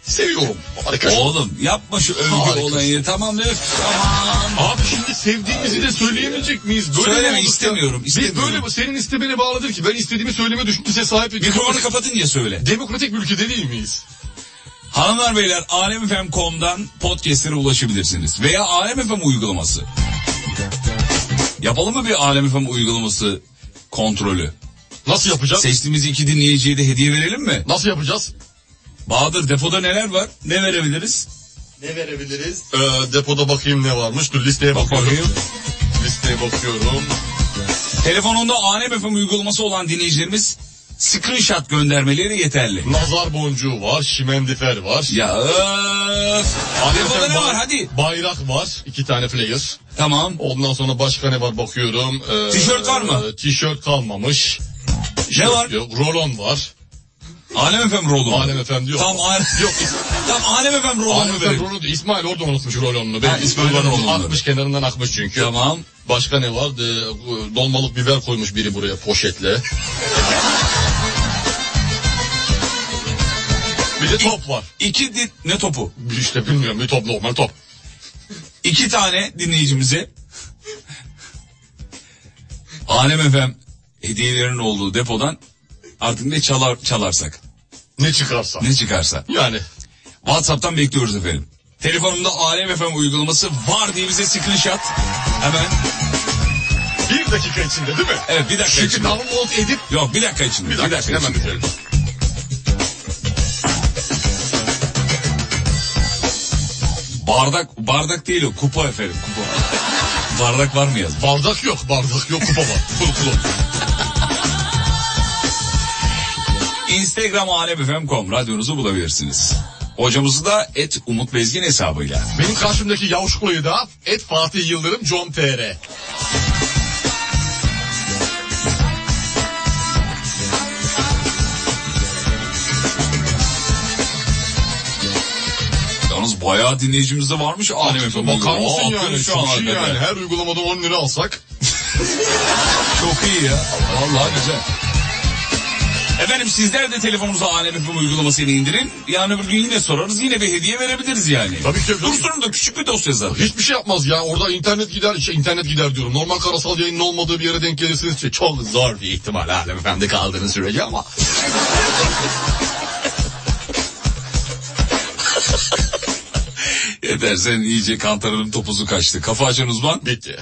[SPEAKER 4] Seviyorum. Harika şov.
[SPEAKER 3] Oğlum yapma şu övgü
[SPEAKER 4] Harikasın.
[SPEAKER 3] olayını. Tamam öf. Aman.
[SPEAKER 4] Abi şimdi sevdiğimizi de söyleyemeyecek miyiz? Böyle
[SPEAKER 3] Söyleme,
[SPEAKER 4] mi olduk ya?
[SPEAKER 3] istemiyorum,
[SPEAKER 4] Biz
[SPEAKER 3] istemiyorum.
[SPEAKER 4] böyle mi? Senin istemene bağlıdır ki ben istediğimi söyleme düşüncesine sahip bir
[SPEAKER 3] Mikrofonu kapatınca söyle.
[SPEAKER 4] [laughs] Demokratik bir ülkede değil miyiz?
[SPEAKER 3] Hanımlar beyler alemfm.com'dan podcastlere ulaşabilirsiniz. Veya alemfm uygulaması. Yapalım mı bir alemfm uygulaması kontrolü?
[SPEAKER 4] Nasıl yapacağız?
[SPEAKER 3] Seçtiğimiz iki dinleyiciye de hediye verelim mi?
[SPEAKER 4] Nasıl yapacağız?
[SPEAKER 3] Bahadır depoda neler var? Ne verebiliriz?
[SPEAKER 4] Ne verebiliriz? Ee, depoda bakayım ne varmış. Dur listeye
[SPEAKER 3] Bak
[SPEAKER 4] bakıyorum.
[SPEAKER 3] bakayım.
[SPEAKER 4] Listeye bakıyorum.
[SPEAKER 3] Telefonunda alemfm uygulaması olan dinleyicilerimiz screenshot göndermeleri yeterli.
[SPEAKER 4] Nazar boncuğu var, şimendifer var.
[SPEAKER 3] Ya öf. Depoda ne
[SPEAKER 4] Bay-
[SPEAKER 3] var hadi.
[SPEAKER 4] Bayrak var. iki tane player.
[SPEAKER 3] Tamam.
[SPEAKER 4] Ondan sonra başka ne var bakıyorum. Ee,
[SPEAKER 3] Tişört var mı?
[SPEAKER 4] e, Tişört kalmamış.
[SPEAKER 3] Ne var?
[SPEAKER 4] Yok, rolon var.
[SPEAKER 3] Alemfm rolü. mü?
[SPEAKER 4] Alem efendi yok.
[SPEAKER 3] Tamam Alem.
[SPEAKER 4] [laughs] Yok.
[SPEAKER 3] Tamam Alemfm rolü mü
[SPEAKER 4] Alem
[SPEAKER 3] verelim?
[SPEAKER 4] rolonu İsmail orada unutmuş rolonunu.
[SPEAKER 3] Ha,
[SPEAKER 4] Benim
[SPEAKER 3] İsmail
[SPEAKER 4] İsmail
[SPEAKER 3] rolonunu.
[SPEAKER 4] rolonu akmış kenarından akmış çünkü.
[SPEAKER 3] Tamam.
[SPEAKER 4] Başka ne var? Ee, Dolmalık biber koymuş biri buraya poşetle. bir de top var.
[SPEAKER 3] İki di- ne topu?
[SPEAKER 4] İşte bilmiyorum bir top normal top.
[SPEAKER 3] İki tane dinleyicimize Alem Efem hediyelerin olduğu depodan artık ne çalar, çalarsak
[SPEAKER 4] Ne çıkarsa.
[SPEAKER 3] ne çıkarsa.
[SPEAKER 4] Yani
[SPEAKER 3] Whatsapp'tan bekliyoruz efendim. Telefonumda Alem Efem uygulaması var diye bize screenshot. Hemen
[SPEAKER 4] bir dakika içinde değil mi?
[SPEAKER 3] evet bir dakika
[SPEAKER 4] Çünkü
[SPEAKER 3] içinde.
[SPEAKER 4] download edip
[SPEAKER 3] Yok bir dakika içinde.
[SPEAKER 4] bir dakika, hemen
[SPEAKER 3] içinde.
[SPEAKER 4] bitirelim.
[SPEAKER 3] Bardak bardak değil o kupa efendim kupa. [laughs] bardak var mı yazmış?
[SPEAKER 4] Bardak yok, bardak yok, kupa var. [laughs] Kul kul.
[SPEAKER 3] Instagram alemfm.com radyonuzu bulabilirsiniz. Hocamızı da et Umut Bezgin hesabıyla.
[SPEAKER 4] Benim karşımdaki yavuşkulayı da et Fatih Yıldırım John TR.
[SPEAKER 3] Yalnız bayağı dinleyicimiz de varmış Alem FM.
[SPEAKER 4] Bakar mısın
[SPEAKER 3] Aa, akıyor
[SPEAKER 4] yani?
[SPEAKER 3] Şu an
[SPEAKER 4] Çok iyi
[SPEAKER 3] hakikaten.
[SPEAKER 4] yani. Her uygulamadan 10 lira alsak.
[SPEAKER 3] Çok iyi ya. Vallahi güzel. Efendim sizler de telefonunuza Alem FM uygulamasını indirin. Yarın öbür gün yine sorarız. Yine bir hediye verebiliriz yani.
[SPEAKER 4] Tabii ki.
[SPEAKER 3] Dursun'un da küçük bir dosya zaten.
[SPEAKER 4] Hiçbir şey yapmaz ya. Orada internet gider, şey, internet gider diyorum. Normal karasal yayının olmadığı bir yere denk gelirsiniz. Şey, çok zor bir ihtimal Alem Efendi kaldığınız sürece ama.
[SPEAKER 3] Edersen iyice kantarının topuzu kaçtı. Kafa açan uzman.
[SPEAKER 4] Bitti.